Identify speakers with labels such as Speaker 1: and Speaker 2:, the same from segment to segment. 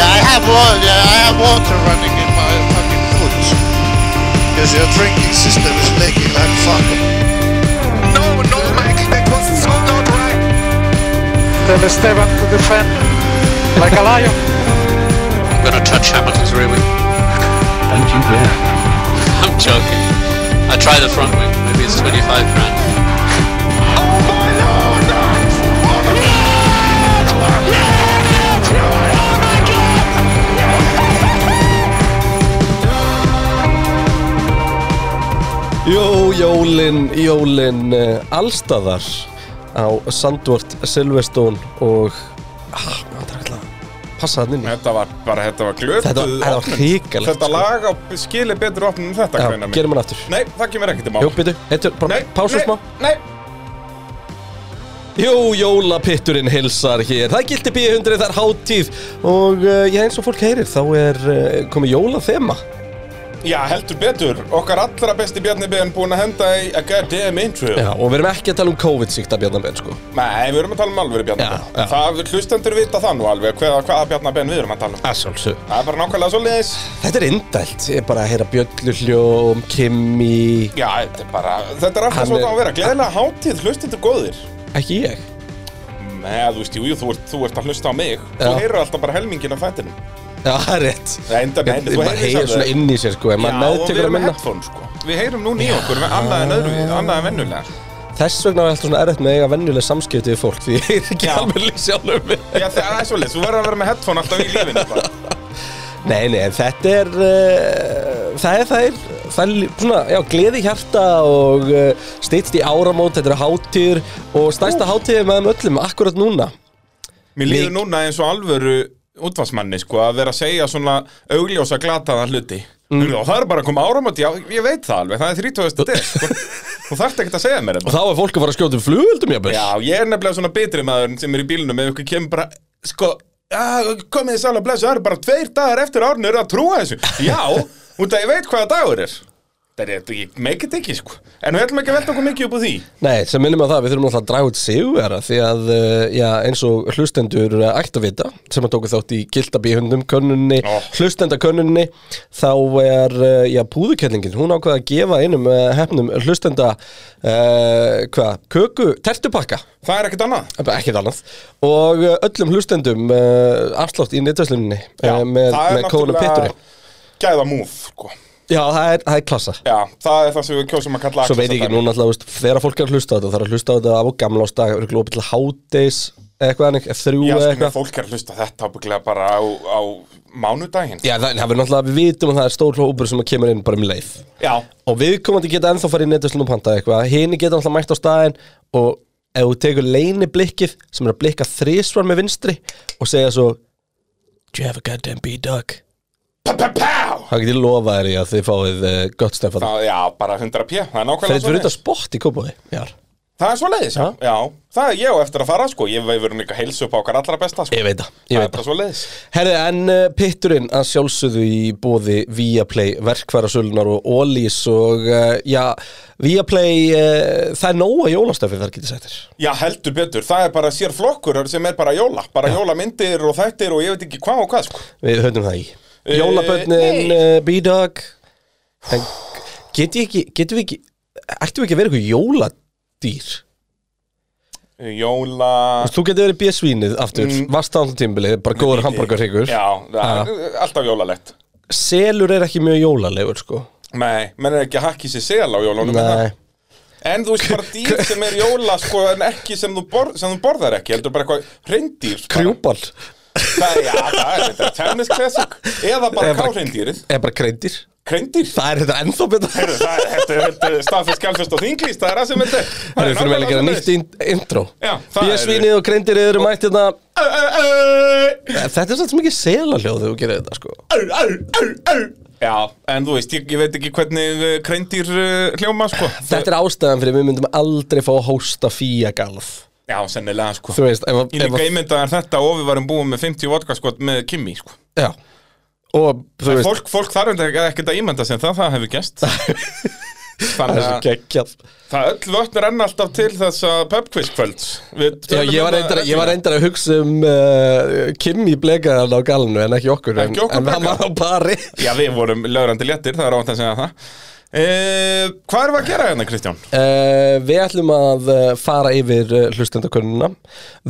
Speaker 1: lot. Yeah, I have water running in my fucking boots. Because your drinking system is making like fuck.
Speaker 2: No, no, Michael, that was so not right.
Speaker 3: Tell Esteban to defend like a lion.
Speaker 4: I'm gonna touch Hamilton's rear wing.
Speaker 5: Don't you dare.
Speaker 4: I'm joking. I try the front wing. Maybe it's 25 grand.
Speaker 2: Oh boy, no, no! Oh, yes! Yes! Oh my God!
Speaker 6: Jó, jólin, jólin uh, allstaðar á Sandvort, Silvestón og ah, hvað er alltaf passa hann inn í
Speaker 7: Þetta var bara, þetta var glötuð
Speaker 6: Þetta var- þetta var
Speaker 7: opnun.
Speaker 6: hrikalegt,
Speaker 7: Þetta
Speaker 6: sko.
Speaker 7: lag á skili betur opnum en þetta
Speaker 6: Já,
Speaker 7: greina mig
Speaker 6: gerum hann aftur
Speaker 7: Nei, það kemur ekkert í mál
Speaker 6: Jó, býtu, heitur, bara
Speaker 7: Nei,
Speaker 6: pásu smá
Speaker 7: Nei,
Speaker 6: Jú, jólapitturinn hilsar hér Það gildi B100, það er hátíð og uh, já, eins og fólk heyrir þá er uh, komið jólathema
Speaker 7: nei, já heldur betur Okkar allra besti Bjarni Ben búin að henda í a goddamn intro
Speaker 6: Já, og við erum ekki að tala um COVID-sýkta bjarnarbenn, sko
Speaker 7: Nei, við erum að tala um alvöru Bjarni
Speaker 6: Já, já.
Speaker 7: Ben Það hlustendur vita það nú alveg hvað, hvaða Bjarni Ben við erum að tala um
Speaker 6: Assálsug
Speaker 7: Það er bara nákvæmlega svo leiðis
Speaker 6: Þetta er indælt, ég er bara að heyra bjölluhljóm, kimmi
Speaker 7: Já, þetta er bara, þetta er alltaf
Speaker 6: Hann
Speaker 7: svo
Speaker 6: er-
Speaker 7: það að vera Gleðilega hátíð, hlustendur góðir
Speaker 6: Ekki ég
Speaker 7: Nei, þú veist, jú, jú, þú ert, þú ert að hlusta á mig Þú
Speaker 6: Já.
Speaker 7: heyrur alltaf bara helmingin af fættinum
Speaker 6: Já, það er rétt
Speaker 7: Nei, enda með henni,
Speaker 6: Ég
Speaker 7: þú
Speaker 6: bara
Speaker 7: heyrir
Speaker 6: heyr
Speaker 7: samt
Speaker 6: svona
Speaker 7: það.
Speaker 6: inn í sér, sko En maður
Speaker 7: Já, og við
Speaker 6: meðtekur að
Speaker 7: erum með
Speaker 6: minna
Speaker 7: headphone sko Við heyrum núna í okkur með annað en öðru við, annað en vennulega
Speaker 6: Þess vegna er alltaf svona erfitt með að eiga venjuleg samskipti við fólk Því ég er ekki
Speaker 7: Já.
Speaker 6: alveg líf sjálfum við
Speaker 7: Já, það er svolítið, þú verður að vera með headphone alltaf í lífinu bara.
Speaker 6: Nei, nei, en þetta er uh, það er, það er, það er lí- svona, já, gleði í hjarta og uh, stýtst í áramót, þetta er hátíður og stærsta hátíður með þeim öllum akkurat núna.
Speaker 7: Mér líður
Speaker 6: Mik-
Speaker 7: núna eins og alvöru útvarsmanni sko að vera að segja svona augljósa glataða hluti mm. og það er bara að koma áramönd, já, ég veit það alveg það er 30. dag sko. þú þarft ekkert að segja mér
Speaker 6: Og
Speaker 7: þetta
Speaker 6: þá er fólk að fara að skjóta um flugöldum, jáfnvel.
Speaker 7: Já, ég er nefnilega svona betri maður sem er í bílunum ef ykkur kemur bara, sko "Ah, komið þið sæla blessu, það eru bara tveir dagar eftir árinu eru að trúa þessu, já út að ég veit hvaða dagur er Það er, ég make it ekki, sko En við ætlum ekki að velta okkur mikið upp úr því
Speaker 6: Nei, sem minnum að það, við þurfum alltaf að draga út sigurvera því að, uh, já, eins og hlustendur eh, ættu að vita, sem að tóku þátt í gildabíhundum, könnunni,
Speaker 7: Ó.
Speaker 6: hlustendakönnunni, þá er, uh, já, púðukellingin, hún ákvaði að gefa einum uh, hefnum hlustenda, uh, hvað, köku, tertupakka.
Speaker 7: Það er ekkert annað
Speaker 6: ekkert annað og uh, öllum hlustendum uh, afslátt í netvæsluninni uh, með,
Speaker 7: það er
Speaker 6: með kóðunum Petri
Speaker 7: Gæða múf, sko
Speaker 6: Já, það er, það er klassa
Speaker 7: Já, það er það sem við kjósum að kalla
Speaker 6: Svo veit ég ekki
Speaker 7: axlastæmi.
Speaker 6: núna alltaf, þú veist, þegar fólk er að hlusta á þetta það er að hlusta á þetta af og gamla ástag eru glópið til hádeis eitthvað ennig, þrjú
Speaker 7: Já, sko,
Speaker 6: eða
Speaker 7: mér
Speaker 6: eitthvað
Speaker 7: fólk er að hlusta þetta ábygglega bara á, á mánudaginn
Speaker 6: Já, það, það verður náttúrulega, við vitum að það er stór hópur sem kemur inn bara um leið
Speaker 7: Já,
Speaker 6: og viðkomandi geta ennþá farið í netvæslunum og pantað eitthvað hini geta alltaf mætt á staðinn og ef þú tekur leini blikkið sem er að blikka þrísvar með vinstri og segja svo Do you have a goddamn B-Dog?
Speaker 7: pá!
Speaker 6: Það get ég lofa þér í að þið fáið uh, gott stefn
Speaker 7: Ná, Já, bara 100 p, það er nákvæmlega
Speaker 6: Fyrir fyrir
Speaker 7: svoleiðis.
Speaker 6: þetta spott í kópaði Ég
Speaker 7: Það er svo leiðis, já. já Það er ég á eftir að fara, sko Ég verður líka að heilsa upp á okkar allra besta, sko
Speaker 6: veit það, ég
Speaker 7: Það
Speaker 6: veit
Speaker 7: er bara
Speaker 6: það
Speaker 7: svo leiðis
Speaker 6: Herði, en uh, pitturinn að sjálfsögðu í bóði Viaplay, verkværasölunar og Ólís og uh, já, Viaplay, uh, það er nóga jólastöfið þar getið sættir
Speaker 7: Já, heldur betur, það er bara sér flokkur sem er bara jóla Bara jólamyndir og þættir og ég veit ekki hvað og hvað, sko
Speaker 6: Við höfum það í
Speaker 7: Eh,
Speaker 6: Jólabönnin,
Speaker 7: nei.
Speaker 6: uh, B-Dog En get ég ekki, getum við ekki, ættum við ekki að vera eitthvað jóladýr?
Speaker 7: Jóla...
Speaker 6: Þú getur verið bjössvínið aftur, mm. vastanlega tímbilið, bara góður hamburgarhryggur
Speaker 7: Já, það er uh, alltaf jólalegt
Speaker 6: Selur er ekki mjög jólalegur, sko
Speaker 7: Nei, menn er ekki að hakki sér sel á jólunum er það?
Speaker 6: Nei
Speaker 7: En þú veist bara dýr sem er jóla sko, en ekki sem þú, borð, sem þú borðar ekki heldur bara eitthvað reyndýr bara.
Speaker 6: Krjúbal
Speaker 7: Það, já, það er þetta tennis classic eða bara kárreindýrið
Speaker 6: Eða bara kreindir
Speaker 7: Kreindýr
Speaker 6: Það er þetta ennþá betra
Speaker 7: Heyrðu, það- Þetta er- þetta er staðfest skjálfest og þinglýst það er það sem þetta er.
Speaker 6: Það
Speaker 7: Það
Speaker 6: er
Speaker 7: er
Speaker 6: fyrir mig að gera
Speaker 7: nákvæmlega
Speaker 6: nýtt in- intro
Speaker 7: Já, það er-
Speaker 6: Bíasvínið og kreindir eru mætt hérna
Speaker 7: svoleiðis.
Speaker 6: Þetta er satt sem ekki sela hljóð þegar þú gerir þetta sko
Speaker 7: Já, en þú veist, ég, ég veit ekki hvernig eh, kreindýr hljóma sko
Speaker 6: Þetta er ástæðan fyrir við myndum aldrei fá að hósta fíagalð
Speaker 7: Já, sennilega sko
Speaker 6: Þú veist, ef, að-
Speaker 7: Ég
Speaker 6: ef,
Speaker 7: líka
Speaker 6: að-
Speaker 7: ímyndaðar þetta og við varum búin með 50 vodka sko með Kimi sko
Speaker 6: Já Og þú veist
Speaker 7: Fólk, fólk þarf ekki ekkert að ímynda sem það, það hefur gæst
Speaker 6: Það
Speaker 7: Þannig
Speaker 6: er svo
Speaker 7: að
Speaker 6: geggjað
Speaker 7: það öll vötnir enn alltaf til þessa pubquiz kvölds
Speaker 6: Já, ég var reyndar, ég var reyndar að hugsa um uh, Kim í blekaðan á galnu en ekki okkur
Speaker 7: Ekki okkur
Speaker 6: En, en hann
Speaker 7: blekaðan.
Speaker 6: var á pari
Speaker 7: Já, við vorum lögrandi léttir, það er ávænt að segja það uh, Hvað erum við að gera hérna, Kristján?
Speaker 6: Uh, við ætlum að uh, fara yfir uh, hlustendakönnuna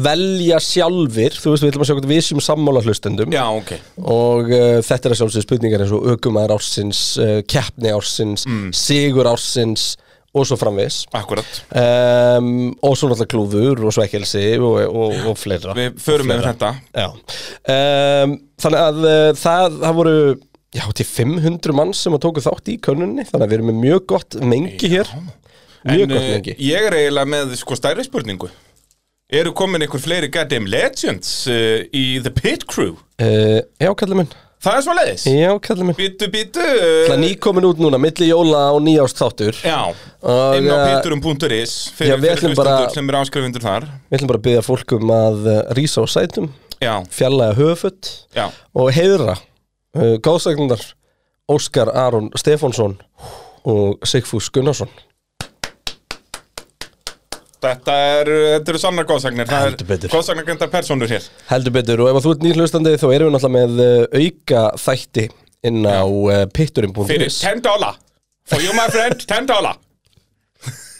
Speaker 6: Velja sjálfir, þú veist við ætlum að sjá hvort við séum sammála hlustendum
Speaker 7: Já, ok
Speaker 6: Og uh, þetta er að sjálfsögðu spurningar eins og aukumæður ársins, uh, keppni ársins,
Speaker 7: Mm.
Speaker 6: sigur ársins og svo framvegis
Speaker 7: Akkurat
Speaker 6: um, Og svo náttúrulega klúður og svekkelsi og, og, og fleira
Speaker 7: Við förum með þetta
Speaker 6: Já um, Þannig að uh, það, það voru Já, til 500 manns sem að tóku þátt í könnunni Þannig að við erum með mjög gott mengi hér Mjög
Speaker 7: En,
Speaker 6: gott
Speaker 7: eh,
Speaker 6: mengi
Speaker 7: Ég er eiginlega með sko stærri spurningu Eru komin einhver fleiri goddamn legends uh, í The Pit Crew?
Speaker 6: uh, Já, kallið minn
Speaker 7: Það er svo leiðis
Speaker 6: Já, kallið minn
Speaker 7: Bítu, bítu
Speaker 6: Það er
Speaker 7: uh,
Speaker 6: nýkomin út núna, milli jóla og nýjást þáttur
Speaker 7: Já,
Speaker 6: Og,
Speaker 7: inn á
Speaker 6: eh,
Speaker 7: piturum.is
Speaker 6: já,
Speaker 7: fyrir,
Speaker 6: við
Speaker 7: fyrir
Speaker 6: ætlum bara-
Speaker 7: hlustendur sem eru áskrifundur þar
Speaker 6: Við ætlum bara að byggja fólk um að uh, rísa á sætum
Speaker 7: Já,
Speaker 6: Fjallega höfutt
Speaker 7: já
Speaker 6: Og heiðra uh, Góðsagnar Óskar Aron Stefánsson Og Sigfús Gunnarsson
Speaker 7: Þetta er, eh, þetta eru sannar góðsagnir Það
Speaker 6: Heldur betur.
Speaker 7: er góðsagnargönda personur hér
Speaker 6: Heldur betur og ef að þú ert nýr hlustandi þá erum við náttúrulega með uh, auka þætti inn á uh,
Speaker 7: Fyrir
Speaker 6: pitturinn.is
Speaker 7: 10 dollar For you my friend, 10 dollar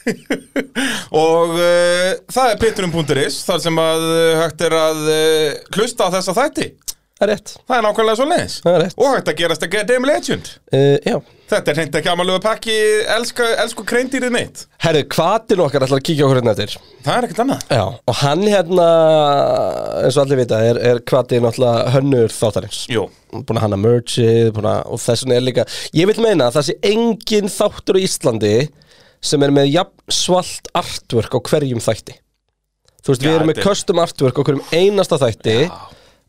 Speaker 7: Og uh, það er pitturum.is Þar sem að uh, hægt er að uh, hlusta á þessa þætti
Speaker 6: Það er rétt,
Speaker 7: Það er nákvæmlega svo leiðis
Speaker 6: það er rétt
Speaker 7: Og hægt að gerast að get damn legend
Speaker 6: uh, Já,
Speaker 7: Þetta er hreint ekki amalögu pakki Elsku, elsku kreindýrið mitt
Speaker 6: herru, hvatin okkar ætlar að kíkja okkur hérna eftir
Speaker 7: Það er ekkert annað
Speaker 6: Já, og hann hérna, eins og allir vita, er, er hvatin náttúrulega hönnur þáttarins
Speaker 7: Jú,
Speaker 6: Búin að hanna mergið, búin að, og þess vegna er líka Ég vil meina að það sé engin þáttur á Íslandi sem er með jafn svalt artwork á hverjum þætti Þú veist,
Speaker 7: Já,
Speaker 6: við erum með
Speaker 7: þetta er-
Speaker 6: custom artwork á hverjum einasta þætti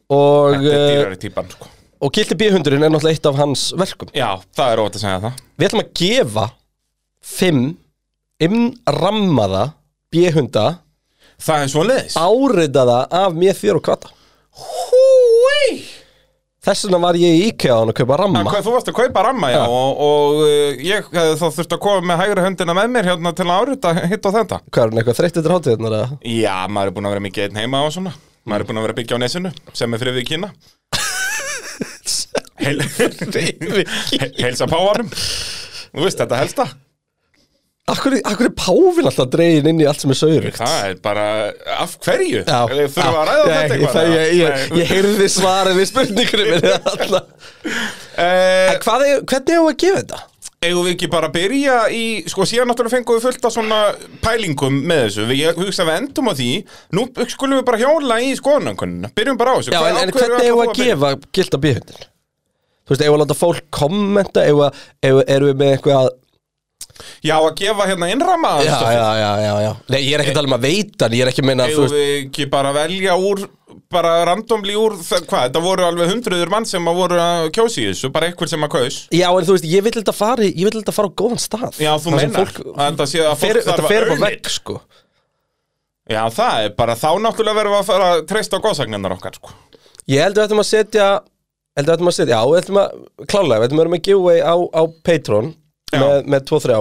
Speaker 6: Og,
Speaker 7: þetta er
Speaker 6: eh,
Speaker 7: dýrari típan sko
Speaker 6: Og Kilti B100 er náttúrulega eitt af hans verkum
Speaker 7: Já, það er óvægt að segja það
Speaker 6: Við ætlum að gefa Fimm Innrammaða B100
Speaker 7: Það er svo leiðis
Speaker 6: Áritaða af mér, þér og kvata
Speaker 7: Húi
Speaker 6: Þess vegna var ég í IKEA án að kaupa ramma
Speaker 7: Hvað, þú varst að kaupa ramma, já,
Speaker 6: Já.
Speaker 7: og, og uh, ég hefði þá þurft að koma með hægri höndina með mér hérna til að árita hitt og þetta.
Speaker 6: Hvað er hann eitthvað þreytt eftir hátíðnar að
Speaker 7: Já, maður er búin að vera mikið einn heima og svona.
Speaker 6: Mm.
Speaker 7: Maður er búin að vera að byggja á nesinu, sem er fyrir við kynna. Heil, Heil, heilsa páanum. Þú veist, þetta helsta.
Speaker 6: Akkur, akkur er páfin alltaf dregin inn í allt sem er saurugt
Speaker 7: Það er bara, af hverju?
Speaker 6: Já,
Speaker 7: Þurfum við
Speaker 6: já,
Speaker 7: að ræða um
Speaker 6: ég-
Speaker 7: þetta eitthvað?
Speaker 6: það- Ég, ég,
Speaker 7: Nei.
Speaker 6: ég heyrði svarið við spurningunum minni þarna.
Speaker 7: Eh,
Speaker 6: En hvað er, hvernig hefur að gefa þetta?
Speaker 7: Eigum við ekki bara að byrja í, sko síðan náttúrulega fengum við fullt af svona pælingum með þessu, við ég hugsa að við endum á því, nú skulum við bara hjóla í skoðanankunina, byrjum bara á þessu.
Speaker 6: Já,
Speaker 7: Hvað- á
Speaker 6: en, en
Speaker 7: hverju
Speaker 6: hvernig
Speaker 7: ætlar
Speaker 6: eigum
Speaker 7: þú
Speaker 6: við að
Speaker 7: byrja?
Speaker 6: gefa gilda bíhundin? Þú veist, eigum við að láta fólk kommenta, eigum við að, eigum við- erum við með eitthvað
Speaker 7: Já, að gefa hérna innrama
Speaker 6: Já, já, já, já, já Nei, ég er ekki að tala um að veita hann, ég er ekki að meina að þú
Speaker 7: Eigum
Speaker 6: veist
Speaker 7: við ekki bara að velja úr, bara randomli úr, þe- hvað, þetta voru alveg hundruður mann sem að voru að kjósi í þessu, bara einhver sem að kaus.
Speaker 6: Já, en þú veist, ég vil þetta fara, í- ég vil þetta fara á góðan stað
Speaker 7: Já, þú
Speaker 6: Þar sem
Speaker 7: meinar,
Speaker 6: fólk,
Speaker 7: að þetta sé að fólk
Speaker 6: fer,
Speaker 7: þarf
Speaker 6: Þetta
Speaker 7: að
Speaker 6: fer bara
Speaker 7: earn it.
Speaker 6: vekk, sko
Speaker 7: Já, það er bara, þá náttúrulega verðum við að fara að treysta á góðsagninnar okkar, sko.
Speaker 6: Ég heldur að þetta maður setja Heldur að þetta maður setja, já, við ætlum að Klálega, við ætlum að vera með giveaway á, á Patreon
Speaker 7: Já.
Speaker 6: Með, með 2-3 eða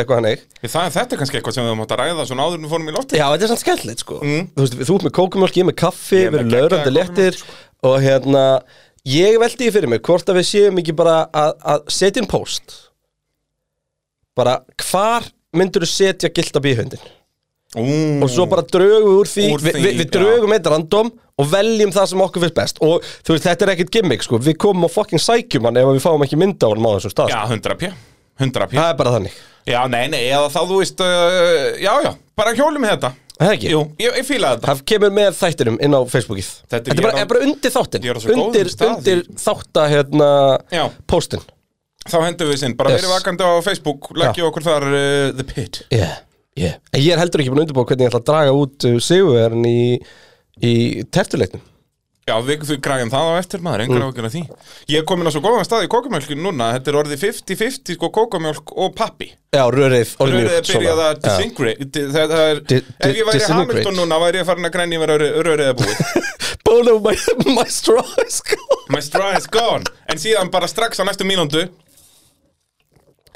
Speaker 6: eitthvað hannig
Speaker 7: Það, þetta er kannski eitthvað sem við mátt að ræða svona áður en við fórum í loftið.
Speaker 6: Já, þetta er samt skemmtilegt sko
Speaker 7: Mm.
Speaker 6: Þú veist, þú ert með kókumjólk, ég er með kaffi
Speaker 7: Ég er með
Speaker 6: Við erum
Speaker 7: geggjaða
Speaker 6: lögrandi léttir
Speaker 7: kókumjólk,
Speaker 6: Og hérna, ég veldi því fyrir mig Hvort að við séum ekki bara að, að setja inn post Bara, hvar myndur þú setja gilda bíhundin?
Speaker 7: Ú,
Speaker 6: Og svo bara drögum við úr því,
Speaker 7: Úr
Speaker 6: við,
Speaker 7: því,
Speaker 6: við, við
Speaker 7: já.
Speaker 6: drögum eitt random Og veljum það sem okkur finnst best Og þú veist, þetta er ekkit gimmick sko Við komum á fucking sækjum hann Ef við fáum ekki mynda á hann á þessum stað sko.
Speaker 7: Já, 100 p 100 p
Speaker 6: Það er bara þannig
Speaker 7: Já, nei, nei, eða þá þú veist uh, Já, já, bara hjólum í þetta
Speaker 6: Er Það ekki?
Speaker 7: Jú, ég, ég fíla þetta
Speaker 6: Það kemur með þættinum inn á Facebookið
Speaker 7: Þetta er-
Speaker 6: Þetta er
Speaker 7: ég
Speaker 6: bara,
Speaker 7: er á-
Speaker 6: er bara undir þáttin
Speaker 7: Ég er á svo góðum
Speaker 6: Undir,
Speaker 7: stað
Speaker 6: undir þátta hérna
Speaker 7: Já.
Speaker 6: Póstin
Speaker 7: Þá hendum við sinn, bara
Speaker 6: Yes.
Speaker 7: verið vakandi á Facebook Leggja okkur þar uh, The Pit
Speaker 6: yeah, yeah. En ég er heldur ekki búin að undirbúa hvernig ég ætla að draga út uh, sigurverðin í, í tertuleiknum
Speaker 7: Já, við, við græðum það á eftir maður, engar mm. okkur af því Ég er komin á svo góðan stað í kókumjölkin núna Þetta er orðið 50-50 sko kókumjölk og pappi
Speaker 6: Já, rörið orðið
Speaker 7: Rörið er
Speaker 6: mjúkt,
Speaker 7: byrjað að
Speaker 6: svona.
Speaker 7: disintegrate Það það er,
Speaker 6: Di- di-
Speaker 7: ef ég væri
Speaker 6: disintegrate.
Speaker 7: Hamilton núna væri ég farin að grænja vera rörið að búið
Speaker 6: Já. Bone of my, my straw is gone
Speaker 7: My straw is gone En síðan bara strax á næstu mínúndu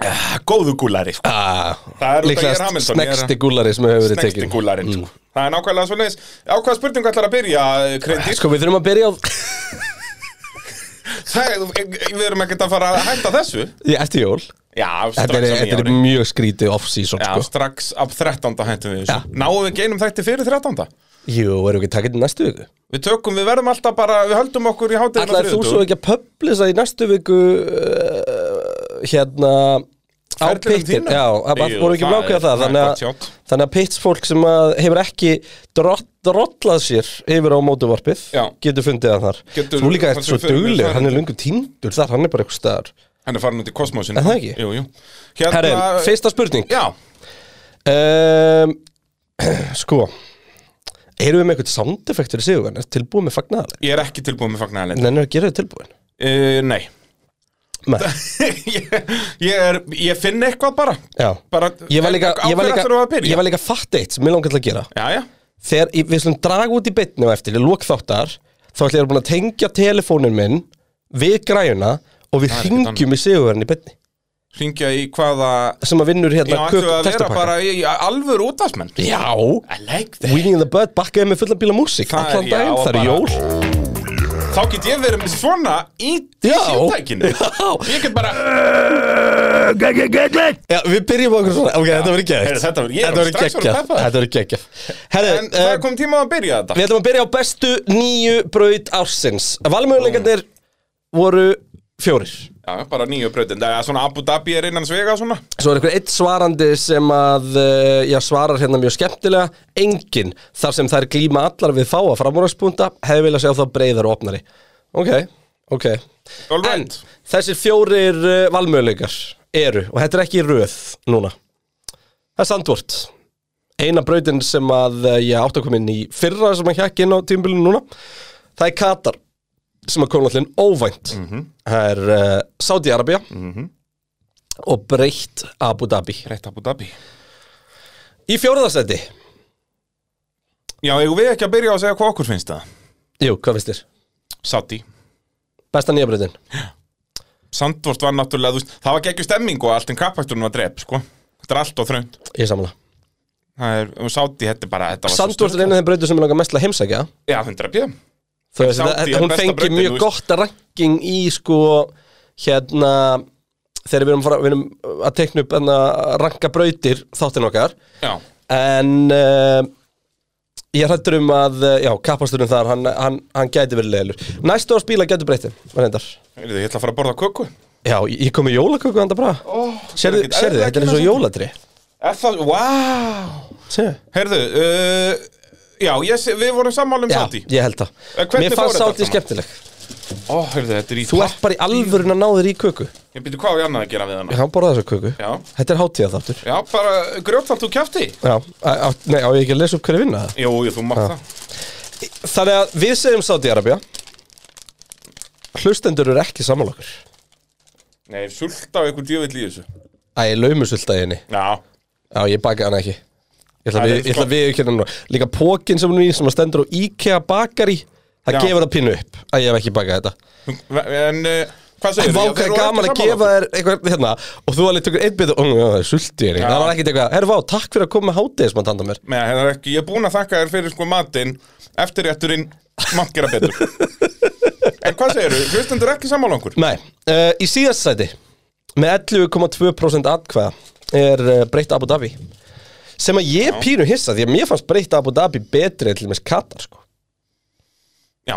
Speaker 7: Ah, góðu gúlari sko. Það er út af ég er
Speaker 6: Líklega
Speaker 7: Hamilton ég er-
Speaker 6: snegsti gúlari sem hefur verið Mm.
Speaker 7: Snegsti
Speaker 6: tekin
Speaker 7: gúlarinn sko. Það er nákvæmlega svo leiðis Á hvaða spurningu ætlar að byrja, Krindi?
Speaker 6: Sko, við þurfum að byrja á
Speaker 7: Við erum ekkert að fara að hætta þessu
Speaker 6: Í eftir jól
Speaker 7: Já,
Speaker 6: Þetta er,
Speaker 7: strax á
Speaker 6: þetta er
Speaker 7: nýjári
Speaker 6: mjög skrítið off-season,
Speaker 7: Já,
Speaker 6: sko
Speaker 7: strax af 13. hættum við
Speaker 6: Já.
Speaker 7: þessu Náum við geinum þætti fyrir 13.
Speaker 6: Jú, erum við ekki að taka þetta í næstu viku?
Speaker 7: Við tökum, við verðum alltaf bara, við höldum okkur í hátíðina
Speaker 6: Ætlaðir þú svo ekki að publisa í næstu viku uh, hérna á
Speaker 7: Ferlinum
Speaker 6: pittin
Speaker 7: þínum?
Speaker 6: Já, það
Speaker 7: Jú,
Speaker 6: voru ekki
Speaker 7: það
Speaker 6: blákað
Speaker 7: er-
Speaker 6: það
Speaker 7: það er
Speaker 6: þannig
Speaker 7: gott
Speaker 6: að,
Speaker 7: sjátt.
Speaker 6: þannig að pittsfólk sem að hefur ekki drott, drollað sér yfir á mótuvarpið
Speaker 7: Já.
Speaker 6: getur fundið það þar
Speaker 7: Getur-
Speaker 6: Þú líka ert
Speaker 7: það
Speaker 6: svo
Speaker 7: sem fyrir mér
Speaker 6: dugleg,
Speaker 7: það-
Speaker 6: hann er lungu tíndur þar, hann er bara eitthvað staðar
Speaker 7: Hann er farin út í kosmosinu
Speaker 6: Er það ekki?
Speaker 7: Jú, jú Hérna,
Speaker 6: Herre, fyrsta spurning
Speaker 7: Já,
Speaker 6: um, Sko Erum við með eitthvað sound effectur í sigurverðin? Er tilbúið með fagnaðaleg?
Speaker 7: ég er ekki tilbúin með fagnaðalinn
Speaker 6: Nei, að gera þau tilbúin
Speaker 7: uh, Nei
Speaker 6: Nei,
Speaker 7: ég, ég, er, ég finn eitthvað bara
Speaker 6: já
Speaker 7: Bara
Speaker 6: Ég var líka,
Speaker 7: Á
Speaker 6: ég var
Speaker 7: hverju
Speaker 6: líka,
Speaker 7: ætlarðu að byrja?
Speaker 6: ég var líka fatt eitt sem ég langar til að gera
Speaker 7: Já, já
Speaker 6: Þegar ég- við slum draga út í bytni og eftir, ég lók þáttar Þá ætla ég að búin að tengja telefónin minn við græjuna Og við
Speaker 7: Það er ekkert
Speaker 6: hringjum í sigurverðin í bytni
Speaker 7: Hringja í hvaða
Speaker 6: Sem að vinnur
Speaker 7: Já,
Speaker 6: hérna
Speaker 7: ættu að vera
Speaker 6: textapakka.
Speaker 7: bara í, í alvöru útvarsmenn
Speaker 6: Já,
Speaker 7: I like
Speaker 6: Winning the Bud bakkaði með fullan bíla músík
Speaker 7: Það er-
Speaker 6: Allan
Speaker 7: já,
Speaker 6: daginn, það er
Speaker 7: bara-
Speaker 6: jól
Speaker 7: Þá get ég verið með svona í
Speaker 6: Já.
Speaker 7: síntækinu
Speaker 6: Já.
Speaker 7: Ég get bara
Speaker 6: Já, við byrjum á okkur svona Ok, þetta verður geggjað
Speaker 7: Heyrðu, þetta verður- ég er
Speaker 6: Þetta verður
Speaker 7: strax orðinn
Speaker 6: geggjað
Speaker 7: peppaður.
Speaker 6: Þetta verður geggjað Herri,
Speaker 7: En það
Speaker 6: eh,
Speaker 7: er komið tíma að byrja þetta
Speaker 6: Við ætlum að byrja á bestu nýju braut ársins Valmöðuleikarnir voru fjórir
Speaker 7: Já, bara nýju brautin Það er svona Abu Dhabi er innan svega svona
Speaker 6: Svo er einhver eitt svarandi sem að eh, já, svarar hérna mjög skemmtilega Engin, þar sem þær glíma allar við fáa framúrarspunta hefði viljað sjá þá breyðar og opnari Ok, ok
Speaker 7: All right.
Speaker 6: En þessir fjórir uh, valmöðuleikar eru og þetta er ekki í röð núna Það er Sandvort Eina brautin sem að eh, ég átt að koma inn í fyrra sem að hjekki inn á tímbilinu núna Það er Katar sem að koma allir óvænt
Speaker 7: Mhm.
Speaker 6: Það er uh, Saudi-Arabia og breytt Abu Dhabi
Speaker 7: Breytt Abu Dhabi
Speaker 6: Í fjórðarsæti
Speaker 7: Já, eigum við ekki að byrja á að segja hvað okkur finnst það
Speaker 6: Jú, hvað finnst þér?
Speaker 7: Sati
Speaker 6: Besta nýja breytin
Speaker 7: Sandvort var náttúrulega, þú veist, það var ekki ekki stemming og allt en kappakturinn var drep, sko Þetta er allt og þrönd
Speaker 6: Ég samla
Speaker 7: Það er, um Sati, þetta er bara, þetta var
Speaker 6: Sandvort er einu af þeim breytum sem ég langar mest til að heimsækja
Speaker 7: Já, 100 pjö
Speaker 6: Þú veist,
Speaker 7: Saudi
Speaker 6: þetta-
Speaker 7: er
Speaker 6: þetta- hún
Speaker 7: besta
Speaker 6: fengi
Speaker 7: brautin,
Speaker 6: mjög
Speaker 7: þú veist.
Speaker 6: gott ranking í sko hérna þegar við erum, fara, við erum að tekna upp hérna, ranka brautir þáttinn okkar
Speaker 7: Já,
Speaker 6: en uh, ég hrættur um að eh, já, kappasturinn þar, hann, hann, hann gæti verið leilur næstu árs bíla gæti breytin reyndar.
Speaker 7: Heyrðu, ég ætla að fara að borða köku
Speaker 6: já, ég ég kom í jólaköku handa bara
Speaker 7: oh,
Speaker 6: sérðu, sérðu, þetta er eins og jólatri
Speaker 7: Er það, wow
Speaker 6: sérðu
Speaker 7: Heyrðu, uh, já, ég, sé- við vorum sammála um
Speaker 6: Já,
Speaker 7: Sati
Speaker 6: ég held það
Speaker 7: En Eh, hvernig
Speaker 6: Mér
Speaker 7: fór
Speaker 6: fannst
Speaker 7: þetta
Speaker 6: sátti
Speaker 7: allt
Speaker 6: skemmtileg
Speaker 7: Ó, heyrðu, þetta er í
Speaker 6: Þú ert bara í alvörun að ná þér í köku Ég
Speaker 7: Ég býtu hvað á ég annað að gera við hana
Speaker 6: hann borða þessa köku
Speaker 7: Já.
Speaker 6: Þetta er hátíða þáttur
Speaker 7: Já, bara grjótfalt úr kjafti
Speaker 6: Já, á- á- nei, á ég ekki að lesa upp hverju vinna það
Speaker 7: Jú, jú, þú mátt
Speaker 6: Já.
Speaker 7: það
Speaker 6: Þannig að við segjum Sáti-Arabja Hlustendur eru ekki sammála okkur
Speaker 7: Nei, sulta á einhver djövill í þessu
Speaker 6: Æ, laumusult að henni
Speaker 7: Já,
Speaker 6: Já, ég bakaði hana ekki Ég
Speaker 7: Æ,
Speaker 6: ætla að
Speaker 7: það er
Speaker 6: við- ég ætla
Speaker 7: sko-
Speaker 6: að við ekki hérna Líka pókin sem hún er í sem að stendur á IKEA bakari Það
Speaker 7: Já.
Speaker 6: gefur það pínu upp að ég hef ekki bakað þetta
Speaker 7: En uh, hvað segir
Speaker 6: Vá, hvað er gaman að gefa þér eitthvað hérna og þú alveg tökur einn bit og "Ó, já, það er sulti hérna.
Speaker 7: Já.
Speaker 6: Það var ekkert eitthvað, herru vá, takk fyrir að koma með hátíðismann handa mér.
Speaker 7: Nei, það er ekki, ég er búin að þakka þér fyrir sko matinn Eftirrétturinn, mátt gera betur En hvað segir þú? Hlustendur ekki sammála okkur?
Speaker 6: Nei, uh, í síðast sæti með 11,2% atkvæða er uh, breytt Abu Dhabi sem að ég pínu hissa því að mér fannst breytt Abu Dhabi betri en til dæmis Katar sko.
Speaker 7: Já,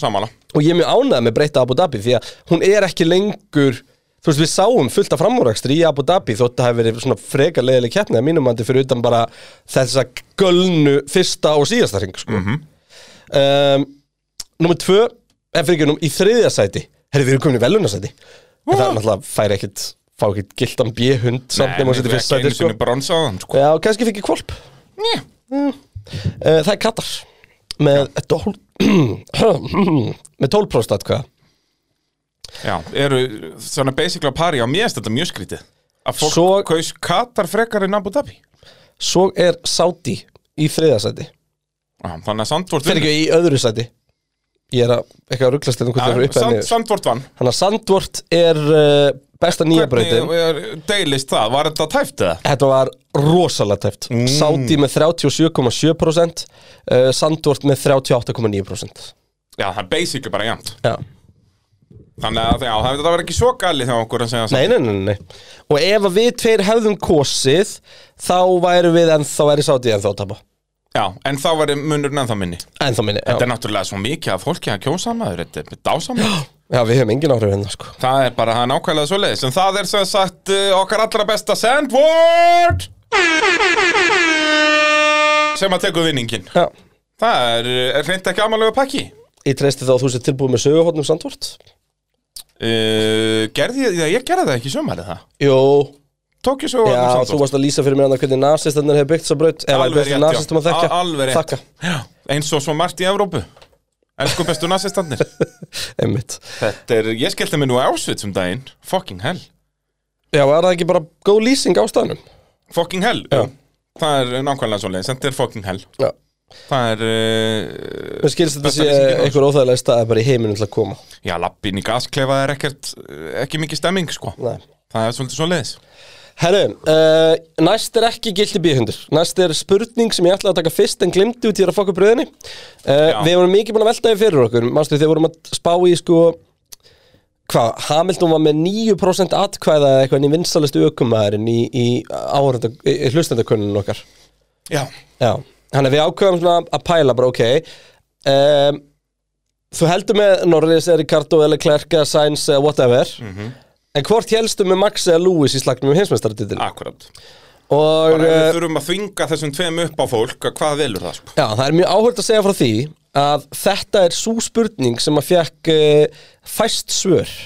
Speaker 7: sammála
Speaker 6: og ég er mjög ánægð með breytta Abu Dhabi því að hún er ekki lengur þú veist við sáum fullt af framúrækstri í Abu Dhabi þótt það hefur verið svona frekar leiðileg keppni að mínum mandi fyrir utan bara þessa gölnu fyrsta og síðasta ring sko. um, Númer tvö en fyrir ekki, nú- í þriðja sæti herri við erum komin í velunarsæti en það er náttúrulega fær ekkit fá ekkit gildan bjöhund samt nema að setja fyrst sæti sko.
Speaker 7: bronsaðan, sko
Speaker 6: Já, kannski fikk ég kvolp
Speaker 7: Né.
Speaker 6: Uh, það er Katar með, dól, með 12% atkvæða
Speaker 7: Já, eru svona basically að pari á mér finnst Þetta mjög skrítið Að fólk
Speaker 6: Svo-
Speaker 7: kaus Katar frekar en Abu Dhabi
Speaker 6: Svo er Saudi í þriðasæti
Speaker 7: Já, Þannig að Sandvort
Speaker 6: Fyrir ekki í öðru sæti Ég er að, eitthvað að rugglast hérna hvort um það eru upp enni
Speaker 7: Sandvort vann
Speaker 6: Þannig að Sandvort er uh, besta nýja brautin
Speaker 7: Hvernig deilist það? Var þetta tæft eða?
Speaker 6: Þetta var rosalega tæft mm. Sáti með 37,7% uh, Sandvort með 38,9%
Speaker 7: Já, það er basically bara jæmt
Speaker 6: Já
Speaker 7: Þannig að já, það- þetta var ekki svo galið hjá okkur að segja
Speaker 6: Nei, nei, nei, nei Og ef að við tveir hefðum kosið Þá væri við ennþá væri Sáti ennþá að tapa
Speaker 7: Já, en þá var munurinn ennþá minni
Speaker 6: Ennþá minni,
Speaker 7: Þetta er
Speaker 6: já,
Speaker 7: náttúrulega svo mikið að fólki að kjósa maður Þetta er dásamlega
Speaker 6: já við höfum engin áhrif hérna sko
Speaker 7: Það er bara það er nákvæmlega svo leiðis En það er sem sagt uh, okkar allra besta sandword Sem að tekur vinningin
Speaker 6: Já
Speaker 7: Það er, uh, er hreint ekki amalega pakki
Speaker 6: Ég treysti þá að þú sér tilbúið með söguhóttnum Sandvort
Speaker 7: uh, Gerði ég, ég gerði það ekki sumarið það
Speaker 6: Jú
Speaker 7: Tók ég svo
Speaker 6: Já, þú varst að lýsa fyrir mér annað hvernig nasistendur hefur byggt þessa braut Eða er bestu nasistum að þekka
Speaker 7: Alveg rétt
Speaker 6: Þakka,
Speaker 7: Já, Eins og svo margt í Evrópu Elsku bestu nasistannir
Speaker 6: einmitt
Speaker 7: Þetta er, ég skellti mig nú á Auschwitz um daginn Fucking hell
Speaker 6: Já, er það ekki bara góð lýsing á staðnum?
Speaker 7: Fucking hell
Speaker 6: Já.
Speaker 7: jú. Það er nákvæmlega svo leiðis Þetta er fucking hell
Speaker 6: Já
Speaker 7: Það er uh,
Speaker 6: Mér skilst þetta
Speaker 7: Besta
Speaker 6: sé
Speaker 7: lýsingin á
Speaker 6: einhver óþægilega staði bara í heiminum til að koma
Speaker 7: Já, lappin í gasklefa er ekkert, ekki mikið stemming, sko.
Speaker 6: Nei.
Speaker 7: Það er svolítið svo leiðis.
Speaker 6: Herru, uh, næst er ekki gildi bíhundur Næst er spurning sem ég ætlaði að taka fyrst en glimti út í að fokka bröðinni uh,
Speaker 7: Já.
Speaker 6: Við vorum mikið búin að velta því fyrir okkur Manstu þegar við vorum að spá í sko Hvað, Hamilton var með 9% atkvæða eða eitthvað en í vinsalistu aukumæðurinn í, í, áhorfenda- í, í hlustendakönnun okkar
Speaker 7: Já.
Speaker 6: Já, þannig að við ákveðum svona að pæla bara, ok um, Þú heldur með Norris, eða Ricardo, eða Klerka, Sainz, eða whatever En hvort helstu með Max eða Lewis í slagnum um heimsmeistaratitil?
Speaker 7: Akkurat.
Speaker 6: Og
Speaker 7: Bara við
Speaker 6: uh,
Speaker 7: þurfum að þvinga þessum tveim upp á fólk, að hvað velur það, sko.
Speaker 6: já, það er mjög áhört að segja frá því að þetta er svo spurning sem að fekk uh, fæst svör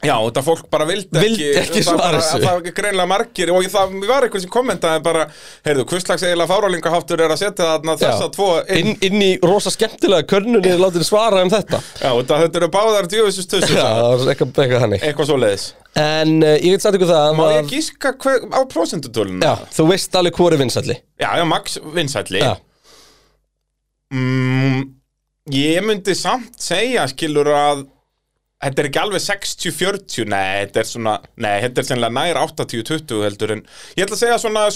Speaker 7: Já, þetta fólk bara vildi ekki,
Speaker 6: Vildi ekki
Speaker 7: það
Speaker 6: svara
Speaker 7: bara-
Speaker 6: þessu.
Speaker 7: Það var ekki greinlega margir og það var eitthvað sem kommentaði bara, heyrðu, hvurslags eiginlega fárálingaháttur er að setja þarna þessa
Speaker 6: Já.
Speaker 7: tvo inn.
Speaker 6: inn, inn í rosa skemmtilega könnunni er látið svara um þetta
Speaker 7: Já, þetta, þetta eru báðar djöfisustussur,
Speaker 6: Já, það var eitthvað, eitthvað þannig
Speaker 7: eitthvað svo leiðis.
Speaker 6: En uh, ég get sagt ykkur það
Speaker 7: Má
Speaker 6: að-
Speaker 7: ég gíska hver, á prosentutölun?
Speaker 6: Já, þú veist alveg hvori vinsælli
Speaker 7: Já, já, Max vinsælli.
Speaker 6: Já,
Speaker 7: Mm, ég myndi samt segja, skilur að Þetta er ekki alveg 60-40, nei, þetta er svona, nei, þetta er sennilega nær 80-20 heldur en Ég ætla að segja svona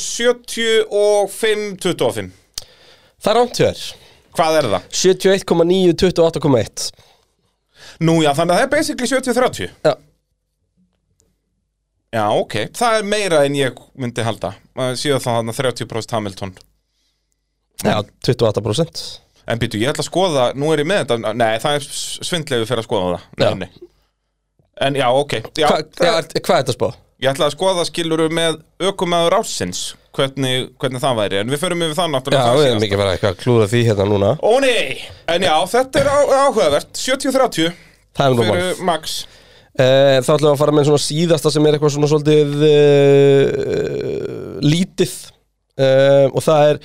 Speaker 7: 75-25,
Speaker 6: það er ánt hjá þér
Speaker 7: hvað er það?
Speaker 6: 71,9, 28,1
Speaker 7: Nú já, þannig að það er basically 70-30
Speaker 6: Já,
Speaker 7: Já, ok, það er meira en ég myndi halda, Eh, síðan það þarna 30% Hamilton
Speaker 6: já 28%
Speaker 7: En býtu, ég ætla að skoða, nú er ég með þetta, nei, það er svindlegu fyrir að skoða það,
Speaker 6: Já.
Speaker 7: nei, nei En já, ok, já,
Speaker 6: Hva, já, er- Hvað er þetta að spá?
Speaker 7: Ég ætla að skoða skiluru með ökumæður ásins hvernig, hvernig það væri, en við förum yfir það
Speaker 6: Já,
Speaker 7: náttúrulega
Speaker 6: við
Speaker 7: það
Speaker 6: erum
Speaker 7: síðast.
Speaker 6: mikið bara eitthvað að klúða því hérna núna
Speaker 7: Ó nei, en já, þetta er á- áhugavert 70-30
Speaker 6: Það er nú mál
Speaker 7: fyrir Max
Speaker 6: Eh, Þá ætlum við að fara með svona síðasta sem er eitthvað svona svolítið uh, lítið uh, og það er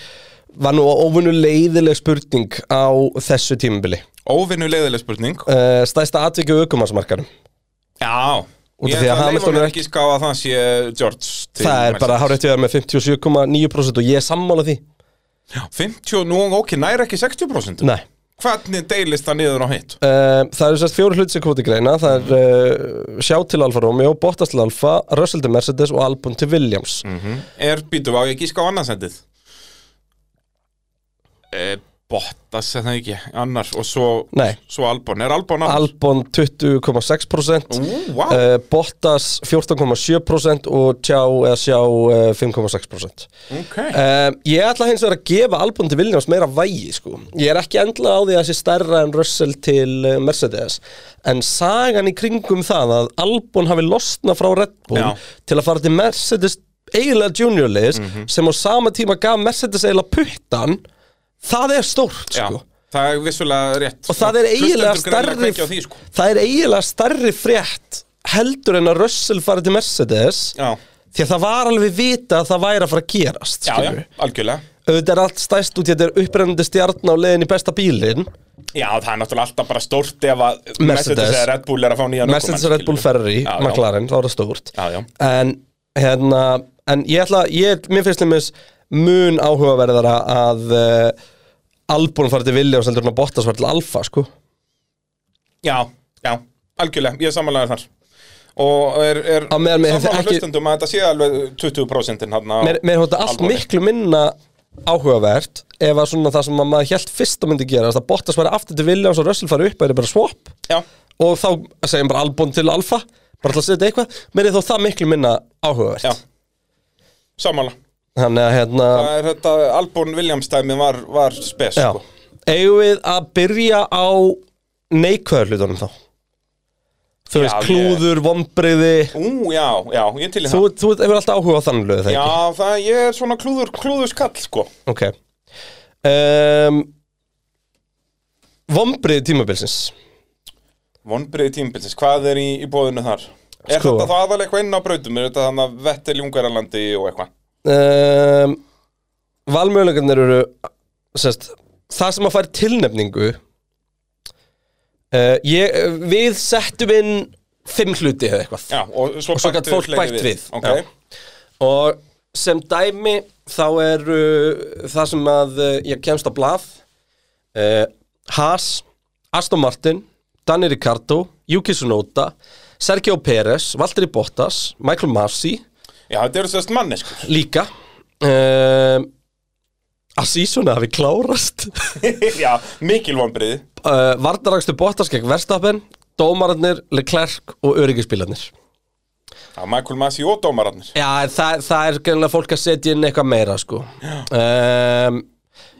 Speaker 6: var nú óvinnu leiðileg spurning á þessu tímabili
Speaker 7: Óvinnu leiðileg spurning
Speaker 6: uh, Stæsta atvikið aukumannsmarkarum
Speaker 7: Já,
Speaker 6: Út af
Speaker 7: ég
Speaker 6: því að
Speaker 7: ætla að leifa
Speaker 6: Hamilton
Speaker 7: mér
Speaker 6: er
Speaker 7: ekki ská að það sé George til
Speaker 6: Það er
Speaker 7: Mercedes.
Speaker 6: bara hárétt við með 57,9% og ég er sammála því
Speaker 7: 50 og nú, ok, næra ekki 60%
Speaker 6: Nei
Speaker 7: Hvernig deilist það niður á hitt?
Speaker 6: Uh, það eru sérst fjóru hlut sem kom til greina Það er uh, sjá til Alfa Romeo, Bottas til Alfa, Russell til Mercedes og Albon til Williams
Speaker 7: Mm. Er, býtu, á ég ekki ská annarsendið? E, Bottas, er það ekki, annars og svo,
Speaker 6: Nei.
Speaker 7: svo Albon, er Albon annars?
Speaker 6: Albon 20,6%
Speaker 7: Ú, vá.
Speaker 6: uh, Bottas 14,7% og Tjá eða Sjá uh, 5,6%
Speaker 7: Ok
Speaker 6: uh, Ég ætla hins vegar að gefa Albon til Williams meira vægi sko Ég er ekki endla á því að það sé stærra en Russell til uh, Mercedes En sagan í kringum það að Albon hafi losna frá Red Bull
Speaker 7: Já.
Speaker 6: til að fara til Mercedes eiginlega junior list
Speaker 7: Mhm.
Speaker 6: sem á sama tíma gaf Mercedes eiginlega puttan Það er stórt
Speaker 7: Já,
Speaker 6: sko
Speaker 7: það er vissulega rétt
Speaker 6: og það er eiginlega
Speaker 7: Hlustendur greinilega
Speaker 6: starri
Speaker 7: kveikja á því, sko.
Speaker 6: það er eiginlega starri frétt heldur en að Russell fari til Mercedes
Speaker 7: Já,
Speaker 6: því að það var alveg vita að það væri að fara að gerast
Speaker 7: já, já,
Speaker 6: skilurðu.
Speaker 7: algjörlega
Speaker 6: auðvitað er allt stæst út í að þetta er upprennandi stjarn á leiðin í besta bílin
Speaker 7: Já, það er náttúrulega alltaf bara stórt ef að
Speaker 6: Mercedes
Speaker 7: Mercedes eða Red Bull er að fá nýjan
Speaker 6: Mercedes Red Bull Ferrari,
Speaker 7: Já, já.
Speaker 6: McLaren, þá er það stórt
Speaker 7: Já, já.
Speaker 6: en hérna en ég ætla, ég, mér finnst nefnist mun áhugaverðara að uh, Albon fari til Williams heldur en að Bottas fari til Alfa sko
Speaker 7: Já, já, algjörlega, ég er samanlega þar og er, er
Speaker 6: Á meðan mér hefði
Speaker 7: sammála
Speaker 6: ekki-
Speaker 7: hlustendum að þetta sé alveg 20% hann
Speaker 6: Mér, mér hótt allt miklu minna áhugavert ef að svona það sem að maður held fyrst að myndi gera það Bottas væri aftur til Williams og Russell fari upp að það er bara swap
Speaker 7: Já,
Speaker 6: og þá segjum bara Albon til Alfa bara til að setja eitthvað mér er þó það miklu minna áhugavert
Speaker 7: já Sammála
Speaker 6: þannig að hérna
Speaker 7: Það er þetta Albon Williams dæmi var, var spes
Speaker 6: já.
Speaker 7: sko.
Speaker 6: eigum við að byrja á neikvæður hlutunum þá þú
Speaker 7: Já,
Speaker 6: veist
Speaker 7: ég-
Speaker 6: klúður, vonbriði
Speaker 7: Ú, já, já, ég er til í
Speaker 6: þú,
Speaker 7: það
Speaker 6: þú hefur alltaf áhuga á þannig lögu þegar
Speaker 7: Já, það, ég er svona klúður, klúður skall sko
Speaker 6: Ok um, Vombrið tímabilsins
Speaker 7: Vonbreið tímbilsins, hvað er í, í bóðinu þar? Er
Speaker 6: Sko.
Speaker 7: þetta þá aðalega eitthvað inn á brautum? Er þetta þannig að Vettel í Ungaralandi og eitthvað?
Speaker 6: um, Valmöðlegarnir eru sest, Það sem að fara tilnefningu uh, ég, Við settum inn Fimm hluti eða eitthvað
Speaker 7: Já, og svo,
Speaker 6: Og svo
Speaker 7: bættu
Speaker 6: gat fólk
Speaker 7: fleiri
Speaker 6: bætt við,
Speaker 7: Ok,
Speaker 6: já. Og sem dæmi Þá eru það sem að uh, Ég kemst á blað uh, Haas Aston Martin, Danny Ricardo Yuki Tsunoda, Sergio Pérez Valtteri Bottas, Michael Masi
Speaker 7: já þetta eru sérst manneskur
Speaker 6: Líka um, Að sísuna hafi klárast
Speaker 7: Já, mikil vonbreið
Speaker 6: uh, Vardarangstu Bottas gegn Verstappen Dómararnir, Leclerc og öryggispílarnir
Speaker 7: Já, Michael Masi og dómararnir
Speaker 6: Já, en það, það er gennilega fólk að setja inn eitthvað meira sko um,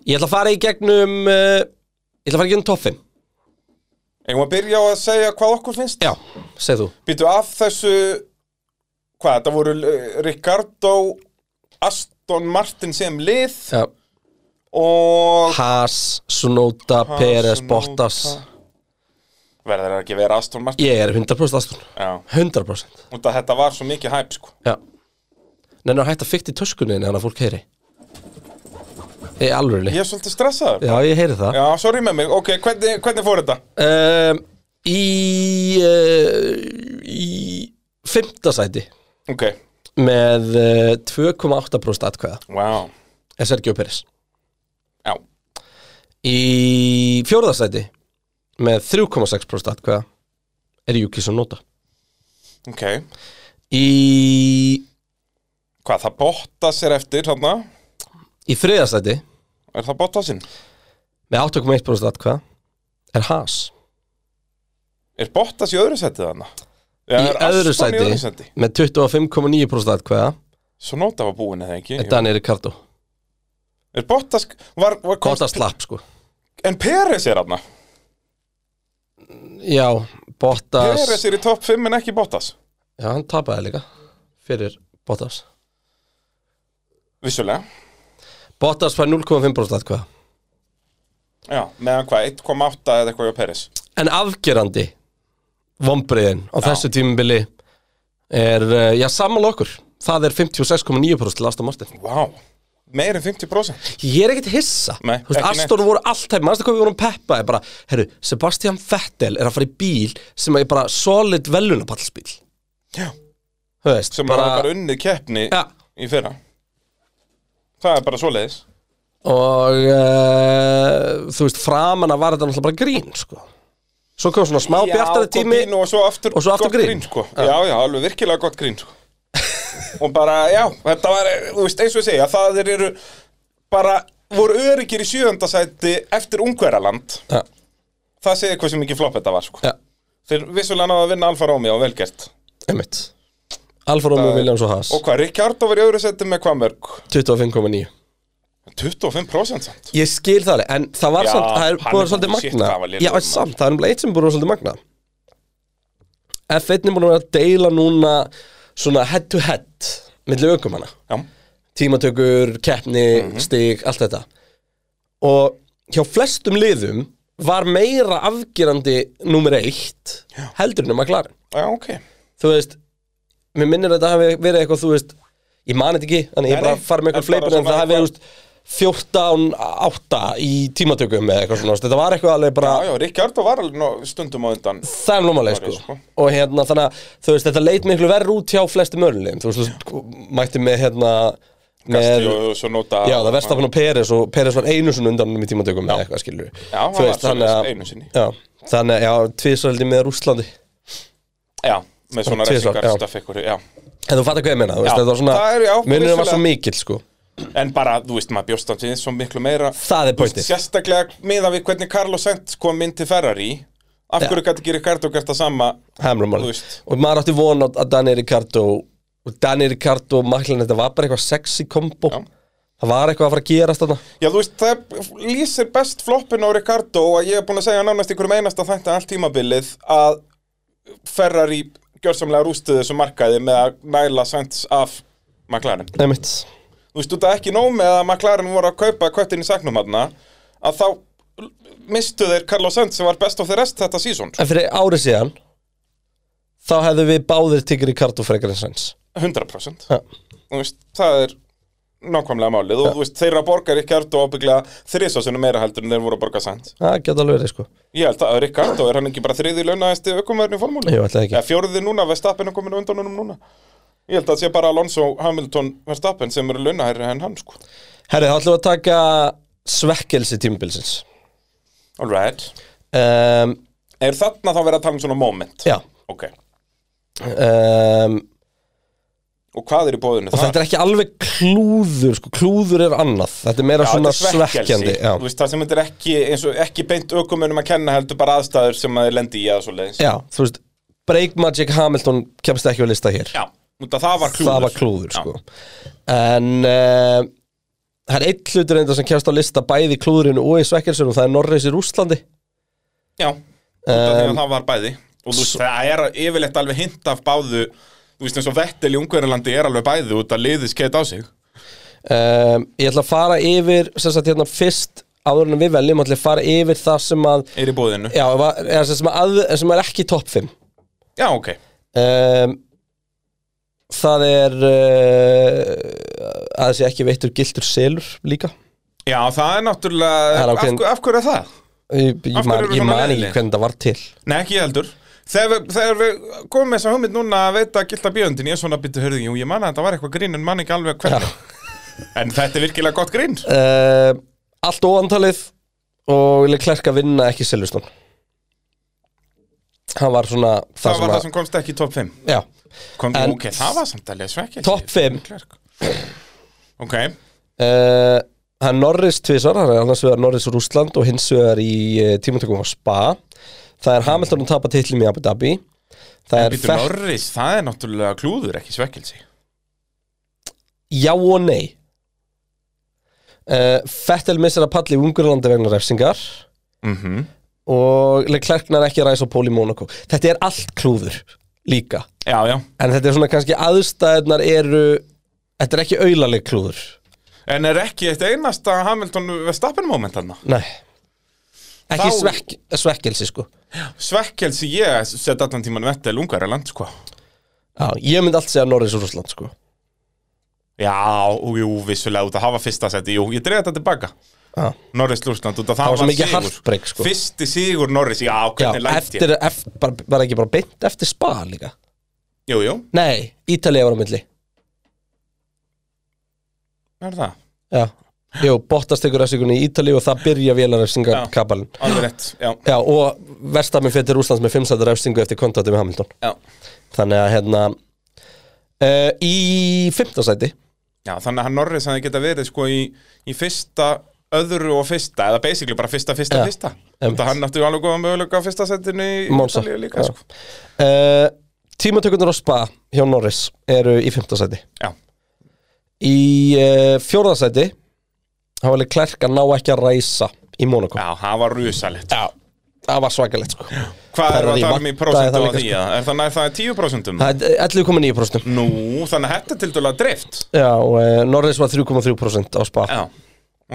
Speaker 6: Ég ætla að fara í gegnum uh, Ég ætla að fara í gegnum toffin
Speaker 7: Eigum að byrja á að segja hvað okkur finnst?
Speaker 6: Já, segð þú
Speaker 7: Býtu af þessu Hvað, þetta voru eh, Ricardo Aston Martin sem lið
Speaker 6: Já.
Speaker 7: Og
Speaker 6: Haas, Sunoda,
Speaker 7: Haas,
Speaker 6: Peres,
Speaker 7: Sunoda.
Speaker 6: Bottas
Speaker 7: verður það ekki að vera Aston Martin
Speaker 6: Ég er 100% Aston
Speaker 7: Já,
Speaker 6: 100%
Speaker 7: út að þetta var svo mikið hæp sko
Speaker 6: Já Nennar hægt að fykta í töskunni Þannig að fólk heyri Ég er alveg
Speaker 7: Ég er svolítið stressaður
Speaker 6: Já, ég heyri það
Speaker 7: Já, sorry með mig, ok, hvernig, hvernig fór þetta?
Speaker 6: um, Í uh, Í Fymta sæti
Speaker 7: Ok,
Speaker 6: Með uh, 2,8% atkvæða
Speaker 7: wow
Speaker 6: Er Sergio Peris
Speaker 7: Já,
Speaker 6: Í fjórða sæti Með 3,6% atkvæða Er Juki svo nota
Speaker 7: ok
Speaker 6: Í
Speaker 7: Hvað, það botta sér eftir þarna?
Speaker 6: Í þriðja sæti
Speaker 7: Er það botta sinn?
Speaker 6: Með 8,1% atkvæða Er Haas
Speaker 7: Er Bottas í öðru seti þarna?
Speaker 6: Í
Speaker 7: Eða er
Speaker 6: öðru
Speaker 7: Aston
Speaker 6: sæti
Speaker 7: Í öðru seti
Speaker 6: Með 25,9% atkvæða
Speaker 7: Svo nota var búin eða ekki
Speaker 6: Er Daniel Ricardo
Speaker 7: Er Bottas var, var komst-
Speaker 6: Gott að slapp sko
Speaker 7: En Peres er þarna
Speaker 6: Já, Bottas
Speaker 7: Peres er í topp 5 en ekki Bottas
Speaker 6: Já, hann tapaði líka Fyrir Bottas
Speaker 7: Vissulega
Speaker 6: Bottas fær 0,5% atkvæða
Speaker 7: Já, meðan hvað, 1,8 eða eitthvað hjá Peres
Speaker 6: En afgerandi Vombriðin á þessu tímubili Er, eh, já, saman okkur Það er 56,9% til Aston Martin
Speaker 7: Vá, wow. meir en 50%
Speaker 6: Ég er ekkert hissa
Speaker 7: Nei,
Speaker 6: Þú veist,
Speaker 7: ekki neitt.
Speaker 6: Aston voru alltaf, mannstu hvað við vorum peppa bara, herru, Sebastian Vettel er að fara í bíl sem er bara solid velunapallsbíl
Speaker 7: Já.
Speaker 6: Þú veist,
Speaker 7: sem bara, bara unnið keppni
Speaker 6: Ja.
Speaker 7: í fyrra Það er bara svoleiðis
Speaker 6: og uh, þú veist framan að var þetta náttúrulega bara grín sko. svo kom svona smá bjartari
Speaker 7: kom
Speaker 6: tími
Speaker 7: grín og svo aftur,
Speaker 6: og svo aftur
Speaker 7: gott
Speaker 6: grín.
Speaker 7: sko. Já, já, alveg virkilega gott grín sko. Og bara, já, þetta var, þú veist, eins og ég segja Það þeir eru bara, voru öryggir í sjööndasæti eftir Ungverjaland
Speaker 6: ja,
Speaker 7: Það segir hversu mikið flopp þetta var sko.
Speaker 6: ja,
Speaker 7: Þeir vissulega náðu að vinna Alfa Romeo og velgert
Speaker 6: einmitt Alfa Romeo Williams og Haas
Speaker 7: Og hvað, Ricardo var í öðru seti með hvað mörg?
Speaker 6: 25,9
Speaker 7: 25% samt
Speaker 6: ég skil það alveg, en það var
Speaker 7: Já,
Speaker 6: samt það er
Speaker 7: hann
Speaker 6: búin
Speaker 7: er
Speaker 6: svolítið
Speaker 7: búinn að
Speaker 6: magna
Speaker 7: shit, það var lélegur
Speaker 6: já, en
Speaker 7: maður.
Speaker 6: samt, það er nefnilega eitt sem er búin að vera svolítið magna F1 er búin að vera að deila núna svona head to head millir ökumanna
Speaker 7: Já,
Speaker 6: tímatökur, keppni,
Speaker 7: Mhm.
Speaker 6: stig, allt þetta og hjá flestum liðum var meira afgerandi nummer eitt heldur en um að klara
Speaker 7: já ok
Speaker 6: þú veist, mér minnir að þetta hafi verið eitthvað, þú veist, ég mani þetta ekki þannig
Speaker 7: Nei,
Speaker 6: ég bara
Speaker 7: nei,
Speaker 6: fara með
Speaker 7: en
Speaker 6: eitthvað fleipin
Speaker 7: bara
Speaker 6: en það
Speaker 7: svona
Speaker 6: hafi verið, þú veist 14-8 í tímatökum eða eitthvað svona, þú veist, þetta var eitthvað alveg bara
Speaker 7: Já, já, Ricardo var alveg ná- stundum á undan
Speaker 6: það er nómaleg
Speaker 7: Sorry,
Speaker 6: sko.
Speaker 7: sko.
Speaker 6: og hérna þannig að þú veist þetta leit miklu verð út hjá flestum örlum þú veist þú mætti með hérna með,
Speaker 7: Gastri og svo nota
Speaker 6: já það verðst af hann og Peres og Peres var einu sinni undan honum í tímatökum eða eitthvað skilur
Speaker 7: Já, hann var svoleiðis, einu sinni.
Speaker 6: já, þannig að já, tvisvöldi með Rússlandi
Speaker 7: Já, með svona
Speaker 6: Tvisvar,
Speaker 7: refsingar
Speaker 6: já.
Speaker 7: stuff ykkur, já.
Speaker 6: En þú fattar hvað ég meina, þú
Speaker 7: Já,
Speaker 6: veist, þetta var
Speaker 7: það er, já,
Speaker 6: svona Munurinn var svo
Speaker 7: vissulega.
Speaker 6: mikill, sko
Speaker 7: En bara, þú veist, maður bjóst hann til svo miklu meira
Speaker 6: Það er
Speaker 7: Þú veist,
Speaker 6: pointið.
Speaker 7: Sérstaklega miða við hvernig Carlos Sainz kom inn til Ferrari Af
Speaker 6: Já.
Speaker 7: hverju gæti ekki Ricardo gert það sama Þú
Speaker 6: Hamramáli
Speaker 7: veist.
Speaker 6: Og maður átti von á- að Dani Ricardo og Dani Ricardo og Maklin, þetta var bara eitthvað sexy kombo
Speaker 7: Já.
Speaker 6: Það var eitthvað að fara að gerast þarna
Speaker 7: Já, þú veist, það lýsir best floppin á Ricardo og ég er búin að segja nánast í hverjum einasta þætti allt tímabilið að Ferrari gjörsamlega rústuði þessu markaði með að næla Sainz af McLaren
Speaker 6: Nei mitt
Speaker 7: Þú veist, þú þetta ekki nóg með að McLaren voru að kaupa köttin í sagnum hann að þá mistu þeir Carlos Sainz sem var best of the rest þetta sísón
Speaker 6: En fyrir árið síðan þá hefðu við báðir tekið Ricardo frekar en Sainz
Speaker 7: 100%
Speaker 6: Já.
Speaker 7: Þú veist, það er nákvæmlega málið og þú veist, þeirra borgar Ricardo ábygglega þrisasunum meira heldur en þeir voru að borga Sainz
Speaker 6: Það geta alveg verið, sko
Speaker 7: Ég held að Ricardo er hann ekki bara þriði launaðist aukumverðin í formúli
Speaker 6: Jú, ætlaði ekki.
Speaker 7: Eða Fjórði núna, Verstappen er komin á undan honum núna Ég held að það sé bara Alonso, Hamilton, Verstappen sem eru launahærri en hann sko
Speaker 6: Herri, þá ætlum við að taka svekkelsi tímabilsins
Speaker 7: Alright
Speaker 6: um,
Speaker 7: Er þarna þá verið að tala um svona moment?
Speaker 6: Já
Speaker 7: Ok,
Speaker 6: um,
Speaker 7: og hvað er í bóðinu
Speaker 6: Og þetta er ekki alveg klúður, sko Klúður er annað Þetta er meira svona svekkjandi Já,
Speaker 7: Þú veist, það sem þetta er ekki, eins og ekki beint aukumunum að kenna heldur bara aðstæður sem að þeir lendi í að svo leiðis
Speaker 6: Já, þú veist Break Magic Hamilton kemst ekki á lista hér
Speaker 7: Já, út að það var klúður
Speaker 6: Það var klúður,
Speaker 7: Já.
Speaker 6: sko En uh, það er eitt hlutur enda sem kemst á lista bæði í klúðurinu og í svekkelsunum Það er Norreis í Rússlandi
Speaker 7: Já, út af því að það var bæði Og þú veist, það er yfirleitt alveg hint af báðu Þú veist, eins og Vettel í Ungverjalandi er alveg bæði út að liðið skeitt á sig
Speaker 6: um, Ég ætla að fara yfir sem sagt hérna fyrst áður en við veljum ætla að fara yfir það sem að
Speaker 7: Er í bóðinu
Speaker 6: Já, va- eða sem, sem, að, sem er ekki topp 5
Speaker 7: Já, ok
Speaker 6: um, Það er uh, að þessi ekki veittur gildur selur líka
Speaker 7: Já, það er náttúrulega
Speaker 6: Það er
Speaker 7: af,
Speaker 6: ákveðin-
Speaker 7: hver- af hverju er það?
Speaker 6: Ég, ég,
Speaker 7: Af hverju
Speaker 6: man,
Speaker 7: eru
Speaker 6: ég
Speaker 7: svona
Speaker 6: man ekki
Speaker 7: leiðinleg?
Speaker 6: hvernig það var til
Speaker 7: Nei, ekki ég heldur Þegar við, þegar við komum með þessa hugmynd núna að veita að gilda bjöndin Ég er svona byttu hörðu, jú, ég man að þetta var eitthvað grín En man ekki alveg
Speaker 6: Já.
Speaker 7: hvernig En þetta er virkilega gott grín
Speaker 6: uh, Allt óantalið og vilja klerka að vinna ekki Silveston Hann var svona það,
Speaker 7: Það
Speaker 6: sem
Speaker 7: var
Speaker 6: að,
Speaker 7: það sem komst ekki í top 5
Speaker 6: Já,
Speaker 7: Kom,
Speaker 6: En-
Speaker 7: Ok, það var samtalið svekkelsi
Speaker 6: Topp fimm.
Speaker 7: Ok,
Speaker 6: uh, hann Norris tvisar, hann er annars vegar Norris úr Úsland og hins vegar í uh, tímatökum á Spa Það er Hamilton að tapa titlum í Abu Dhabi Það er
Speaker 7: býtu
Speaker 6: Fer-
Speaker 7: Norris, það er náttúrulega klúður, ekki svekkelsi
Speaker 6: já og nei uh, Fettel missir að palli í Ungurlandi vegna refsingar
Speaker 7: Mhm.
Speaker 6: og Leclerc nær ekki að ræsa á pól í Monaco þetta er allt klúður líka
Speaker 7: Já, já
Speaker 6: en þetta er svona kannski aðstæðnar eru þetta er ekki auðaleg klúður
Speaker 7: En er ekki eitt einasta Hamilton Verstappen moment hann?
Speaker 6: nei ekki
Speaker 7: Þá-
Speaker 6: svekk, svekkelsi sko
Speaker 7: Svekkelsi ég set allan tíman Vettel Ungariland, sko
Speaker 6: já, ég myndi allt segja Norris úr Úsland sko
Speaker 7: Já, og jú, vissulega út að hafa fyrsta seti Jú, ég dreif þetta tilbaka
Speaker 6: Já.
Speaker 7: Norris Lúsland, út að það
Speaker 6: Það var svo
Speaker 7: var
Speaker 6: mikið
Speaker 7: sigur
Speaker 6: heartbreak, sko.
Speaker 7: Fyrsti sigur Norris, já,
Speaker 6: já,
Speaker 7: hvernig lætt ég
Speaker 6: eftir, eftir, bara, bara ekki bara beint eftir spa líka
Speaker 7: Jú, jú,
Speaker 6: nei, Ítalið var á milli
Speaker 7: er það
Speaker 6: já, jú, Bottas tekur refsingunni í Ítalið og það byrja vélarefsinga
Speaker 7: Já.
Speaker 6: kapalinn
Speaker 7: Alveg rétt, já,
Speaker 6: Já, og Verstappen fyrir Rúslands með 5 sæti refsingu eftir kontakti með Hamilton
Speaker 7: já
Speaker 6: Þannig að hérna uh, Í 15 sæti
Speaker 7: Já, þannig að hann Norris hann geta verið sko í, í fyrsta, öðru og fyrsta eða basically bara fyrsta, fyrsta,
Speaker 6: Já,
Speaker 7: fyrsta
Speaker 6: einmitt.
Speaker 7: Þetta hann átti alveg góða möguleika á fyrsta setinu í
Speaker 6: Monza.
Speaker 7: Ítalíu líka,
Speaker 6: Já.
Speaker 7: sko
Speaker 6: uh, Tímatökunar á Spa hjá Norris eru í 15 sæti
Speaker 7: Já,
Speaker 6: Í uh, 4. sæti Há alveg klerk að ná ekki að ræsa í Monaco
Speaker 7: já, það var rusalegt
Speaker 6: Já, það var svakalegt sko
Speaker 7: Hvað
Speaker 6: Það
Speaker 7: er að
Speaker 6: er í
Speaker 7: tala um í
Speaker 6: vantaði
Speaker 7: prósentu
Speaker 6: það
Speaker 7: á
Speaker 6: líka,
Speaker 7: því? Sko. Er það, nær- það er 10%?
Speaker 6: Það er 11,9%
Speaker 7: Nú, þannig að þetta er til dæla drift
Speaker 6: Já, uh, Norris var 3,3% á Spa
Speaker 7: Já,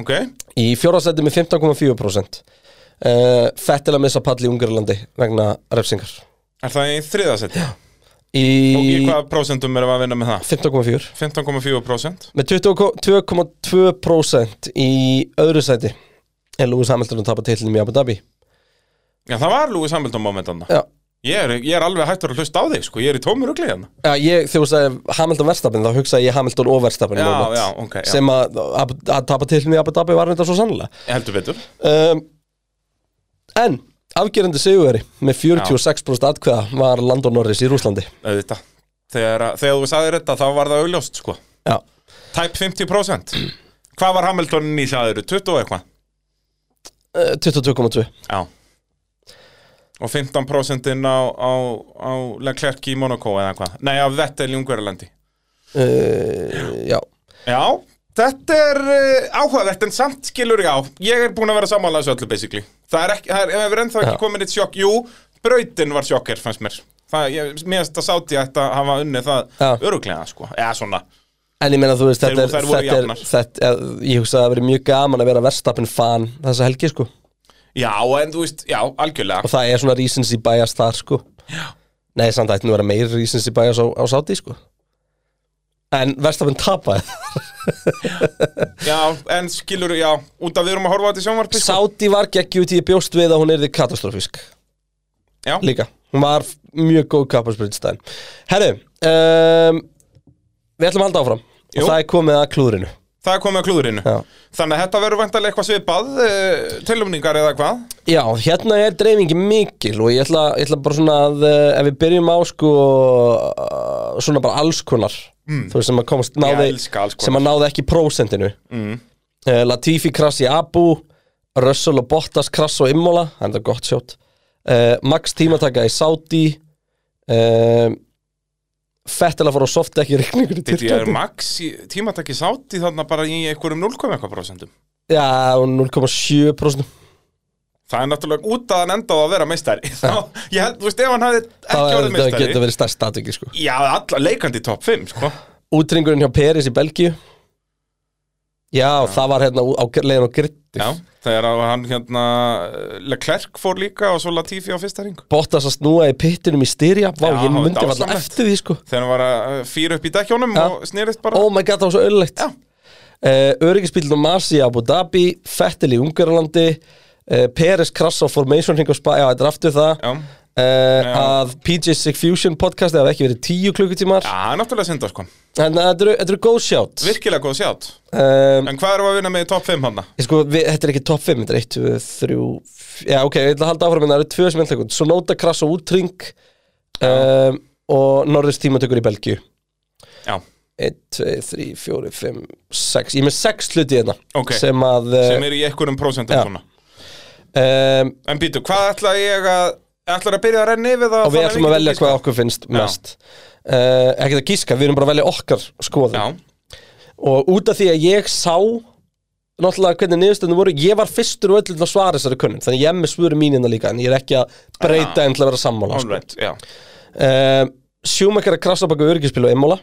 Speaker 7: ok
Speaker 6: Í 4. sæti með 15,4% uh, Fettil að missa palli í Ungarlandi vegna refsingar
Speaker 7: Er það í þriða seti?
Speaker 6: Í,
Speaker 7: Og í hvaða prósentum erum við að vinna með það?
Speaker 6: 15,4
Speaker 7: 15,4%
Speaker 6: Með 22,2% í öðru sæti er Lewis Hamilton að tapa titlinum í Abu Dhabi
Speaker 7: Já, það var Lúi Samhildum momentanna
Speaker 6: Já,
Speaker 7: ég er, ég er alveg hættur að hlusta á þig, sko Ég er í tómur og gleðina
Speaker 6: já ég, þegar þú sagði Hamilton verstafinn þá hugsaði ég Hamilton og verstafinn
Speaker 7: Já, já, ok, já.
Speaker 6: sem að, að, að tapa titlinum í Abu Dhabi var þetta svo sannlega
Speaker 7: Heldur betur
Speaker 6: um, Ehm, En Afgerandi sigurveri með 46% atkvæða var Landon Norris í Rúslandi
Speaker 7: auðvitað þegar, að- þegar þú sagðir þetta þá var það augljóst sko
Speaker 6: Já,
Speaker 7: Tæp 50% Hvað var Hamiltonin í sagðir? 20 og eitthvað?
Speaker 6: eh, 22,2
Speaker 7: Já Og 15% inn á, á, á Leclerc í Monaco eða hvað Nei, á Vettel í Ungverjalandi
Speaker 6: Eh, Já,
Speaker 7: Já, þetta er uh, áhugavert en samt skilur ég á Ég er búin að vera sammála þessu öllu basically Það er ekki, það er, ef er ennþá ekki
Speaker 6: Já.
Speaker 7: komin eitt sjokk Jú, brautin var sjokker fannst mér Það, ég, mér finnst að sáti að þetta hafa unnið það
Speaker 6: Já.
Speaker 7: öruglega sko Eða svona,
Speaker 6: en ég meina þú veist
Speaker 7: Þeir-
Speaker 6: þetta er,
Speaker 7: þær voru
Speaker 6: þetta er,
Speaker 7: jafnar.
Speaker 6: þetta er Ég hugsa að það verið mjög gaman að vera verstapin fan þessa helgi sko Og
Speaker 7: já, en þú veist, já, algjörlega
Speaker 6: það er svona reasons í bæjast þar sko Já Nei, samt ætti nú að vera meiri reasons í bæjast á, á sáti sko En verstapin tapaði
Speaker 7: Já, en skilur, já, út af við erum að horfa á þetta í sjónvarpi sko.
Speaker 6: Sáti var geggjút ég bjóst við að hún erði katastrófísk
Speaker 7: Já.
Speaker 6: Líka, hún var f- mjög góð kapparspritstæðin Herru, um, við ætlum að halda áfram
Speaker 7: Jú.
Speaker 6: Og það er komið að klúðrinu
Speaker 7: Það er komið að klúðrinu
Speaker 6: Já.
Speaker 7: Þannig að þetta verður vantarlega eitthvað svipað uh, Tilumningar eða hvað
Speaker 6: Já, hérna er dreifingi mikil og ég ætla, ég ætla bara svona að eh, ef við byrjum á sko eh, svona bara alls konar þú veist sem að komast náði
Speaker 7: Mm. elska alls konar.
Speaker 6: sem að náði ekki prósentinu mm. Latifi krass í Abu Russell og Bottas krass og Immola það er þetta gott sjótt uh, Max tímataka í Saudi uh, Fettel að fara á soft ekki rikningur í
Speaker 7: Þetta er
Speaker 6: Tyrklandi
Speaker 7: max í- tímataki sátt í þarna bara í einhverjum 0,1%
Speaker 6: Já, og 0,7%
Speaker 7: Það er náttúrulega út að hann endaði að vera meistari Þá, ég held, þú veist, ef hann hafði
Speaker 6: það
Speaker 7: ekki
Speaker 6: er-
Speaker 7: orðið
Speaker 6: það getur
Speaker 7: meistari
Speaker 6: verið stærst statviki sko
Speaker 7: Já, alla leikandi í topp 5, sko
Speaker 6: útringurinn hjá Peris í Belgíu Já, það var hérna á leiðin á gritti
Speaker 7: Já, þegar að hann hérna Leclerc fór líka og svo Latifi á fyrsta ring
Speaker 6: Bottas að snúa í pittinum í styrja Vá,
Speaker 7: Já,
Speaker 6: ég myndi
Speaker 7: þetta var
Speaker 6: alltaf
Speaker 7: slæmt.
Speaker 6: eftir því sko
Speaker 7: Þegar hann var að eh, fýra upp í dekkjónum
Speaker 6: Já.
Speaker 7: og snerist bara
Speaker 6: Oh my god, það var svo öllegt
Speaker 7: Já.
Speaker 6: uh, Öryggisbílun og Masi í Abu Dhabi Fettil í Ungarlandi uh, Peres krass á Formation Ring og Spa Já, þetta er aftur það
Speaker 7: Já,
Speaker 6: Uh,
Speaker 7: Já.
Speaker 6: að PJ6 Fusion podcasti hafa ekki verið 10 klukkutímar
Speaker 7: Já, það er náttúrulega synda, sko
Speaker 6: en uh, þetta eru- þetta eru góð sjátt
Speaker 7: Virkilega góð sjátt
Speaker 6: um,
Speaker 7: En hvað erum við að vinna með í topp 5 hann?
Speaker 6: Ég Sko, við, þetta er ekki top 5, þetta er 1, 2, 3, já ok, ég ætla að halda áfram en það eru tvö sem ég ætla að taka út. Sonota, Krass og Útring um, og Norris tímatökur í Belgíu.
Speaker 7: Já
Speaker 6: 1, 2, 3, 4, 5, 6, ég er með 6 hluti hérna
Speaker 7: Ok.
Speaker 6: sem að,
Speaker 7: sem er í einhverjum prósentum
Speaker 6: Eh, Já.
Speaker 7: svona
Speaker 6: um,
Speaker 7: En býtu, hvað ætla ég að ætlar að byrja að renna yfir það
Speaker 6: og við
Speaker 7: þannig
Speaker 6: ætlum að
Speaker 7: getum
Speaker 6: velja hvað
Speaker 7: giskað?
Speaker 6: okkur finnst mest. Uh, ekki að gíska, við erum bara að velja okkar skoðum.
Speaker 7: Já,
Speaker 6: Og út af því að ég sá náttúrulega hvernig niðurstöndum voru, ég var fyrstur og öllum að svara þessari kunnum, þannig ég er með svöru mínina líka, en ég er ekki að
Speaker 7: Ah.
Speaker 6: breyta en til að vera sammála. sko.
Speaker 7: alright, já,
Speaker 6: uh, Sjúmakar að krasa baka örgispil og Emola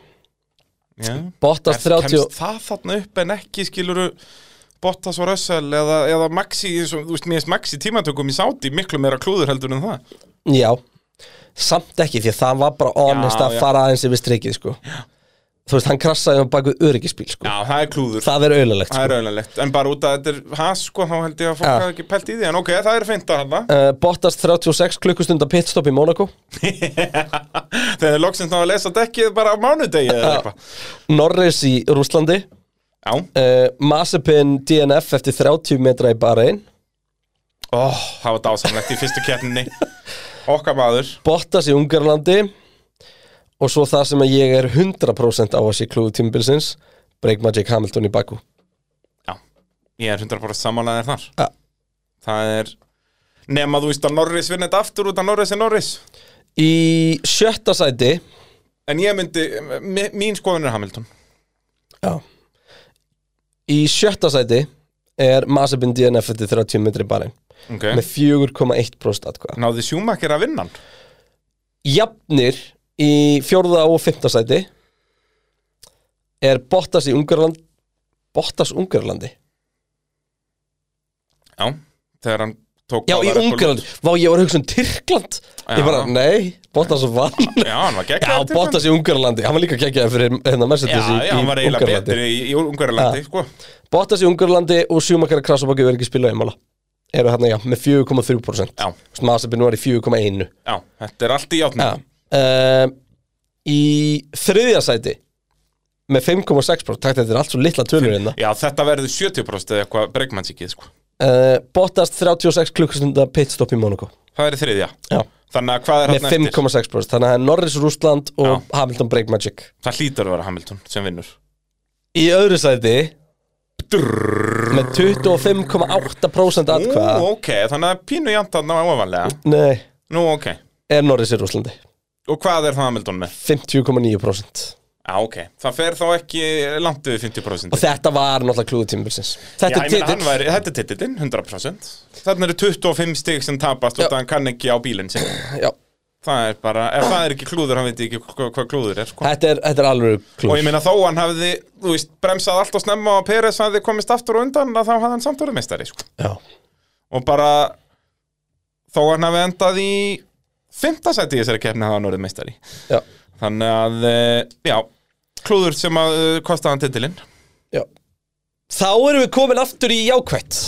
Speaker 7: já.
Speaker 6: Bottas 30
Speaker 7: Kemst það þarna upp en ekki skiluru Bottas og Russell eða, eða Maxi, eins og, þú veist, mér finnst Maxi tímatökum í sáti miklu meira klúður heldur en það
Speaker 6: Já, samt ekki því að það var bara honest
Speaker 7: Já,
Speaker 6: að
Speaker 7: já.
Speaker 6: fara aðeins yfir strikið sko. Þú veist, hann krasaði hann baka örgispil sko.
Speaker 7: Já, það er klúður,
Speaker 6: Það er auðalegt
Speaker 7: það
Speaker 6: sko.
Speaker 7: er raunalegt En bara út að þetta er has, sko, þá held ég að fólk
Speaker 6: Já.
Speaker 7: hafa ekki pælt í því En ok, það er fint að hana
Speaker 6: uh, Bottas 36 klukkustunda pitstop í Monaco
Speaker 7: Þegar þið loksins ná að lesa dekkið bara á mánudegi eða eitthvað
Speaker 6: Norris í Rúslandi
Speaker 7: Já,
Speaker 6: uh, Mazepin DNF eftir 30 metra í Bahrein
Speaker 7: oh, það var dásamlegt í fyrstu keppninni Okkar maður
Speaker 6: Bottas í Ungarlandi og svo það sem að ég er 100% á að sé klúðu tímabilsins Break Magic Hamilton í Baku
Speaker 7: Já, ég er 100% samanlegaðir þar
Speaker 6: Ja.
Speaker 7: Það er Nema þú veist að Norris vinna þetta aftur út að Norris er Norris
Speaker 6: Í sjötta sæti
Speaker 7: En ég myndi, mi- mín skoðun er Hamilton
Speaker 6: Já Í sjötta sæti er Mazepin DNF eftir 30 metri barinn
Speaker 7: okay.
Speaker 6: með 4,1% atkvæða
Speaker 7: Náði Sjúmakir að vinna hann
Speaker 6: Jafnir í fjórða og fimmta sæti er Bottas í Ungarland Bottas Ungarlandi
Speaker 7: Já, þegar hann tók
Speaker 6: Já, í
Speaker 7: báðar Red Bull-
Speaker 6: Ungarland Vá, ég var að hugsa um Tyrkland Ég
Speaker 7: Já.
Speaker 6: bara, nei, Bottas vann
Speaker 7: Já, hann var
Speaker 6: Já,
Speaker 7: geggjæður
Speaker 6: Bottas í Ungarlandi Hann var líka geggjaði fyrir hérna
Speaker 7: Já,
Speaker 6: Mercedes í,
Speaker 7: já, hann var
Speaker 6: í
Speaker 7: eiginlega
Speaker 6: Ungarlandi
Speaker 7: betri í, í Ungarlandi,
Speaker 6: Ja.
Speaker 7: sko
Speaker 6: Bottas í Ungarlandi og sjúmakara krasabaki verður ekki spila einmála eru hérna, já, með 4,3%
Speaker 7: Já,
Speaker 6: Mazepin var í 4,1
Speaker 7: já, þetta er allt í játnum
Speaker 6: Já. um, Í þriðja sæti með 5,6% Takk, þetta er allt svo litla tölur hérna
Speaker 7: Já, þetta verður 70% eða eitthvað breykmannsíkið, sko
Speaker 6: uh, Bottas 36 klukkustunda pitstop í Monaco
Speaker 7: Það er í þriðja
Speaker 6: Já.
Speaker 7: Þannig að hvað er
Speaker 6: með
Speaker 7: hann eftir?
Speaker 6: 5,6% þannig að það er Norris Rústland og Hamilton Break Magic
Speaker 7: Það hlýtur að vera Hamilton sem vinnur
Speaker 6: í öðru sæti með 25,8%
Speaker 7: Ú,
Speaker 6: atkvæða
Speaker 7: ok, þannig að pínu jant að ná ofanlega
Speaker 6: nei,
Speaker 7: Nú, ok
Speaker 6: er Norris í Rústlandi
Speaker 7: Og hvað er það Hamilton með?
Speaker 6: 50,9%
Speaker 7: Já, ok, það fer þá ekki langt yfir 50%
Speaker 6: og þetta var náttúrulega klúðu tímabilsins
Speaker 7: Já,
Speaker 6: þetta
Speaker 7: ég
Speaker 6: er
Speaker 7: meina, hann
Speaker 6: titill
Speaker 7: væri, þetta er titillinn, 100% Þannig eru 25 stig sem tapast og
Speaker 6: Já.
Speaker 7: það hann kann ekki á bílinn sinn
Speaker 6: Já,
Speaker 7: Það er bara, ef það er ekki klúður, hann veit ekki hvað, hvað klúður er sko.
Speaker 6: þetta er, þetta er alveg
Speaker 7: Og ég
Speaker 6: klúður
Speaker 7: meina þó hann hafði, þú veist, bremsað allt og snemma og Peres hafði komist aftur og undan að þá hafði hann samt orðið meistari sko.
Speaker 6: Já.
Speaker 7: Og bara, þó hann hafði endað í fymta sæti í þessari kefni hafði hann orðið meistari
Speaker 6: Já.
Speaker 7: Þannig að, eh, já, klúður sem að eh, kostaði hann titilinn
Speaker 6: Já. þá erum við komin aftur í jákvætt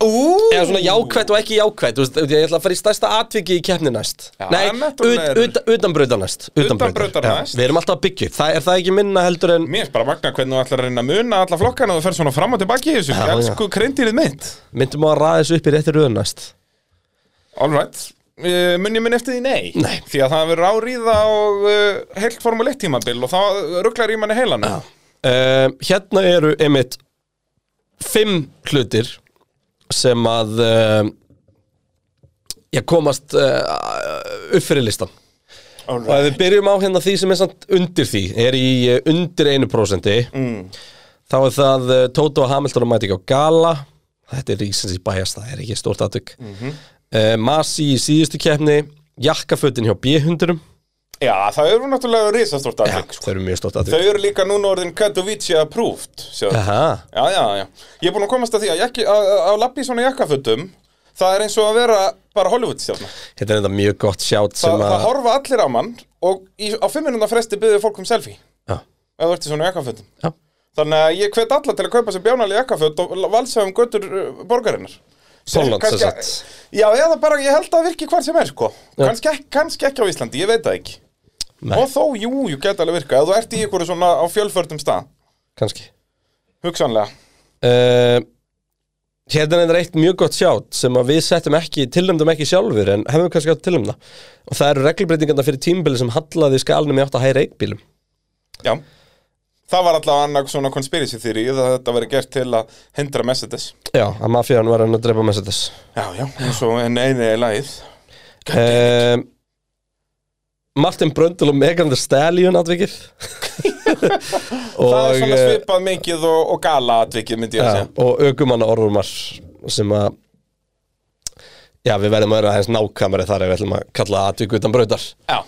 Speaker 7: Ú,
Speaker 6: eða svona jákvætt og ekki jákvætt þú veist, ég ætla að fara í stærsta atviki í keppni næst
Speaker 7: Já,
Speaker 6: nei,
Speaker 7: náttúrulega
Speaker 6: ut, ut, utanbrautar næst
Speaker 7: Utanbrautar
Speaker 6: Já,
Speaker 7: næst.
Speaker 6: við erum alltaf að byggja upp, það er það ekki minna heldur en
Speaker 7: Mér er bara magna hvernig þú ætlar að reyna að muna alla flokkana og þú fer svona fram og tilbaki í þessu
Speaker 6: Já, já.
Speaker 7: Elsku kreindýrið mitt
Speaker 6: myndum á að ræða þessu upp í réttir röðun næst
Speaker 7: All right Uh, mun ég mun eftir því nei,
Speaker 6: Nei.
Speaker 7: því að það verður áríða og uh, heilt formule 1 tímabil og þá rugglar í manni heilana
Speaker 6: uh, hérna eru einmitt fimm hlutir sem að uh, ég komast uh, upp fyrir listan og ef við byrjum á hérna því sem er samt undir því er í eh, undir 1%
Speaker 7: Mm.
Speaker 6: þá er það uh, Tóto og Hamilton að mæta ekki á gala þetta er rísins í bæjast, það er ekki stórt aðtök mm
Speaker 7: Mhm.
Speaker 6: Masi í síðustu keppni jakkafötin hjá B-hundurum
Speaker 7: Já, það eru náttúrulega risastort
Speaker 6: ja,
Speaker 7: aðtök sko.
Speaker 6: þau eru mjög stórt
Speaker 7: Þau
Speaker 6: aðtök
Speaker 7: eru líka núna orðin Katowice approved sjáðu.
Speaker 6: Aha.
Speaker 7: Já, já, já Ég er búin að komast að því að, jakki, að, að lappi svona jakkafötum það er eins og að vera bara Hollywood stjálna
Speaker 6: Þetta er enda mjög gott sjátt
Speaker 7: Þa,
Speaker 6: sem
Speaker 7: Það
Speaker 6: að
Speaker 7: horfa allir á mann og í, á 500 fresti byrðu fólk um selfie
Speaker 6: Já,
Speaker 7: ef þú ert í svona jakkafötum
Speaker 6: já,
Speaker 7: Þannig að ég hvet alla til að kaupa sér bjánali jakkaföt og valsa um göttur uh, borgarinnar
Speaker 6: Pólland,
Speaker 7: Kannski-
Speaker 6: sem sagt.
Speaker 7: Já, eða bara, ég held að það virki hvar sem er, sko kannski, ekki- kannski ekki á Íslandi, ég veit það ekki
Speaker 6: Nei.
Speaker 7: Og þó, jú, jú, geta alveg virka Ef þú ert í ykkur svona á fjölförnum stað
Speaker 6: kannski
Speaker 7: Hugsanlega
Speaker 6: uh, Hérna er enda eitt mjög gott sjátt sem að við settum ekki, tilnæmdum ekki sjálfur en hefum kannski átt að tilnæmda og það eru reglubreitingarna fyrir tímbili sem hallaði skalnum í átt að hæra eignbílum
Speaker 7: Já Það var allavega annað svona conspiracy theory Það þetta verið gert til að hindra Mercedes
Speaker 6: Já, að mafíðan var hann að drepa Mercedes
Speaker 7: Já, já, eins og en einu er lagið
Speaker 6: uh, Martin Brundle og Megan Thee Stallion atvikið
Speaker 7: Það
Speaker 6: og, eh,
Speaker 7: er svona svipað mikið og, og gala atvikið, myndi ég að
Speaker 6: Já,
Speaker 7: segja
Speaker 6: og aukumanna orðumar sem að já, við verðum að vera aðeins nákvæmari þar ef við ætlum að kalla atvik utan brautar
Speaker 7: Já,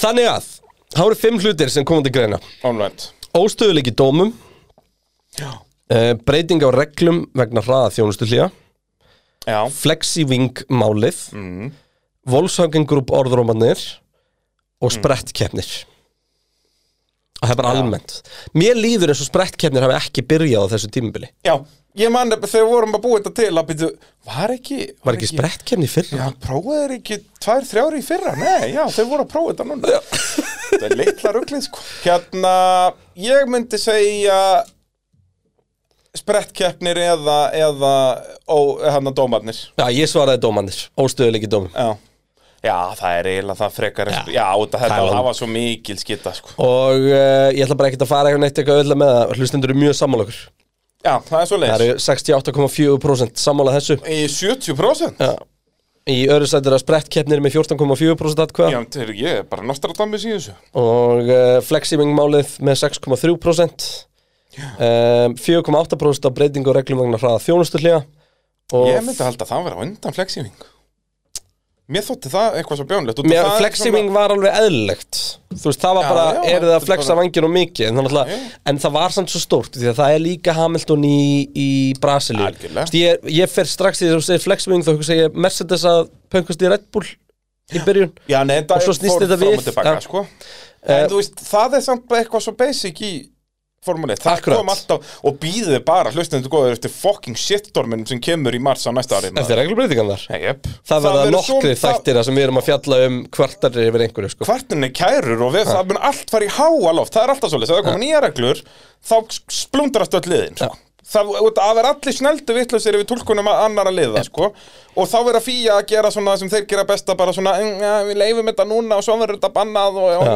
Speaker 6: Þannig að, þá eru fimm hlutir sem komum til greina
Speaker 7: alright
Speaker 6: Óstöðuleiki í dómum
Speaker 7: Já.
Speaker 6: eh, Breyting á reglum vegna hraða þjónustu hlýja
Speaker 7: Já,
Speaker 6: Flexi-wing málið mm. Volkswagen Group orðrómanir og sprettkeppnir og það er bara almennt Mér líður eins og sprettkeppnir hafi ekki byrjað á þessu tímabili
Speaker 7: Já, ég man nefnilega þegar við vorum að búa þetta til að byrju, var ekki
Speaker 6: Var ekki sprettkeppni fyrir?
Speaker 7: Já, prófaði þeir ekki tvær, þrjári í fyrra? Nei, já, þeir voru að prófa þetta núna Þetta er litla ruglið, sko Hérna, ég myndi segja sprettkeppnir eða, eða ó, hérna dómarnir
Speaker 6: Já, ég svaraði dómandir, óstöðuleiki dómum
Speaker 7: Já Já, það er eiginlega það frekar Já, já út af þetta
Speaker 6: Það var-
Speaker 7: það var svo mikil skita, sko
Speaker 6: Og uh, ég ætla bara ekkert að fara eitthvað neitt eitthvað öll með það Hlustendur eru mjög sammála okkur
Speaker 7: Já, það er svo
Speaker 6: Það
Speaker 7: leis
Speaker 6: eru 68,4% sammála þessu
Speaker 7: Í 70%?
Speaker 6: Já. Í öðru sætt eru að sprettkeppnir með 14,4%
Speaker 7: Já,
Speaker 6: atkvæða
Speaker 7: þeir, ég er bara Nostradamus í þessu
Speaker 6: Og uh, fleximing málið með 6,3% um, 4,8% af breytingu og reglum vegna hraða þjónustullega
Speaker 7: Ég
Speaker 6: Og
Speaker 7: myndi halda að það vera á undan flexífing Mér þótti það eitthvað svo bjónlegt út af
Speaker 6: mér,
Speaker 7: það er
Speaker 6: fleximing var alveg eðlilegt Þú veist, það var
Speaker 7: Já,
Speaker 6: bara,
Speaker 7: já,
Speaker 6: er það
Speaker 7: þetta
Speaker 6: að
Speaker 7: er
Speaker 6: flexa
Speaker 7: bara-
Speaker 6: vangin og mikið en, þannig að-
Speaker 7: Já, já.
Speaker 6: en það var samt svo stórt Því að það er líka Hamilton í, í Brasilíu
Speaker 7: Algjörlega.
Speaker 6: Þú veist, ég, ég fer strax í þess að þú segir fleximing Þá hugsa ég Mercedes að pöngast í Red Bull Í byrjun
Speaker 7: Já, nei, þetta
Speaker 6: Og svo snýst
Speaker 7: fór
Speaker 6: þetta
Speaker 7: fram
Speaker 6: við,
Speaker 7: og tilbaka,
Speaker 6: já. Eh,
Speaker 7: sko. En þú veist, það er samt bara eitthvað svo basic í formule 1 Það
Speaker 6: Akkurat.
Speaker 7: kom alltaf og býðið bara hlustendur góður eftir fucking shitstorminum sem kemur í mars á næsta ári maður.
Speaker 6: Eftir reglubreitingarnar
Speaker 7: Nei, jöp.
Speaker 6: Það verða
Speaker 7: verður
Speaker 6: nokkri
Speaker 7: svo- það-
Speaker 6: þættir það sem við erum að fjalla um kvartarri yfir einhverju sko.
Speaker 7: Kvartinni kærur og við, það mun allt fara í háaloft Það er alltaf svolítið, þegar það koma nýja reglur Þá splundrast öll liðin sko. það, út- það verður allir snældu vittlausir yfir tólkunum annara liða sko. og þá verður fíja að gera svona það sem þeir gera besta bara svona "Mm, ja, við leifum þetta núna og svo verður þetta bannað og, og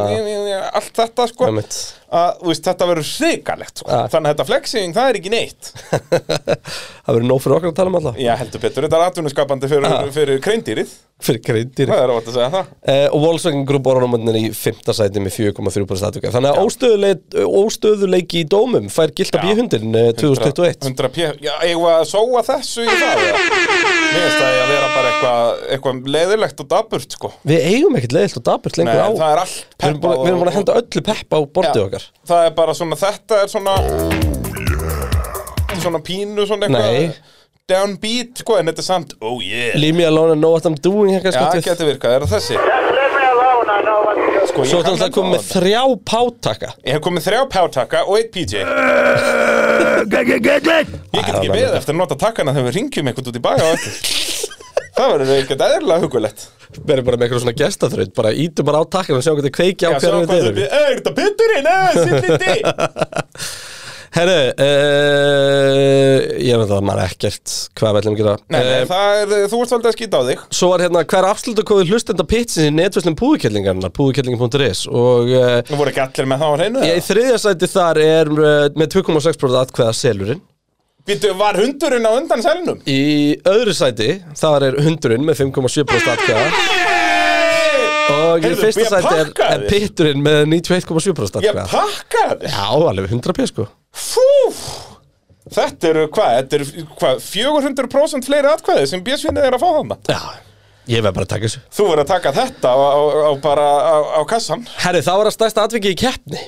Speaker 7: allt þetta sko. að,
Speaker 6: Einmitt.
Speaker 7: þú veist, þetta verður hrikalegt sko.
Speaker 6: Já.
Speaker 7: þannig að þetta flexing það er ekki neitt
Speaker 6: það verður nóg fyrir okkur að tala um alltaf
Speaker 7: já heldur Petur, þetta er atvinnuskapandi fyrir, fyrir kreindýrið
Speaker 6: fyrir greindir
Speaker 7: það er ótt að segja það
Speaker 6: uh, og Volkswagen Group orðanamöndin í 5. sæti með 4,3% aðtöka þannig að óstöðuleik, óstöðuleiki í dómum fær eh, gilt að
Speaker 7: Já.
Speaker 6: býja hundin 2021
Speaker 7: 100 p, já, eigum við að sóa þessu í það eða? Mér finnst það að vera bara eitthvað eitthvað leiðilegt og daburt sko
Speaker 6: við eigum ekkert leiðilt og daburt
Speaker 7: Nei,
Speaker 6: lengur á
Speaker 7: það er allt
Speaker 6: við erum búin að- við erum búin að henda öllu pepp á bortið okkar
Speaker 7: Það er bara svona, þetta er svona Svona pínu, svona eitthvað
Speaker 6: Nei.
Speaker 7: Downbeat, sko, en þetta er samt Oh yeah
Speaker 6: Leave me alone and know what I'm doing
Speaker 7: Já,
Speaker 6: hérna
Speaker 7: það
Speaker 6: skotið
Speaker 7: getur virkað, er það þessi? Sko,
Speaker 6: Svo
Speaker 7: ég hérna
Speaker 6: þetta alltaf komið með þrjá pátaka
Speaker 7: Ég hef komið þrjá pjátaka og eitt PJ Ég get ekki beðið eftir að nota takkana þegar við ringjum eitthvað út í bæja á eftir Það verður eitthvað eðlilega hugulegt
Speaker 6: Verður bara með eitthvað svona gestaþraut Bara ítum bara á takkana og sjáum hvað þetta kveiki á
Speaker 7: Já, sjá
Speaker 6: hverju
Speaker 7: hvað þau
Speaker 6: þetta eru
Speaker 7: við- Eh, Er þetta pitturinn? Eh, sillindi
Speaker 6: Herru, uh, ég veit að maður ekkert Hvað við ætlum að gera
Speaker 7: Nei, nei,
Speaker 6: Eh,
Speaker 7: það er, þú ert svolítið að skýta á þig
Speaker 6: Svo var hérna hver afslutakóði hlustenda pitsins í netverslum púðukellingarnar, púðukellingar.is og uh,
Speaker 7: Nú voru ekki allir með það á hreinu
Speaker 6: í
Speaker 7: eða?
Speaker 6: þriðja sæti þar er uh, með 2,6% atkvæða selurinn.
Speaker 7: Býttu, var hundurinn á undan selnum?
Speaker 6: Í öðru sæti þar er hundurinn með 5,7% atkvæða og í
Speaker 7: Heyrðu,
Speaker 6: fyrsta
Speaker 7: ég
Speaker 6: sæti er, er
Speaker 7: pakkaði.
Speaker 6: pitturinn með 91,7%
Speaker 7: Ég
Speaker 6: atkvæða.
Speaker 7: pakkaði
Speaker 6: Já, alveg 100 p sko.
Speaker 7: Fú Þetta eru hvað, þetta eru hvað 400% fleiri atkvæði sem björsvinnið er að fá þarna
Speaker 6: Já, ég verð bara að taka þessu.
Speaker 7: Þú verður að taka þetta á, á, á bara á, á kassan
Speaker 6: Herri, það var að stæsta atviki í keppni.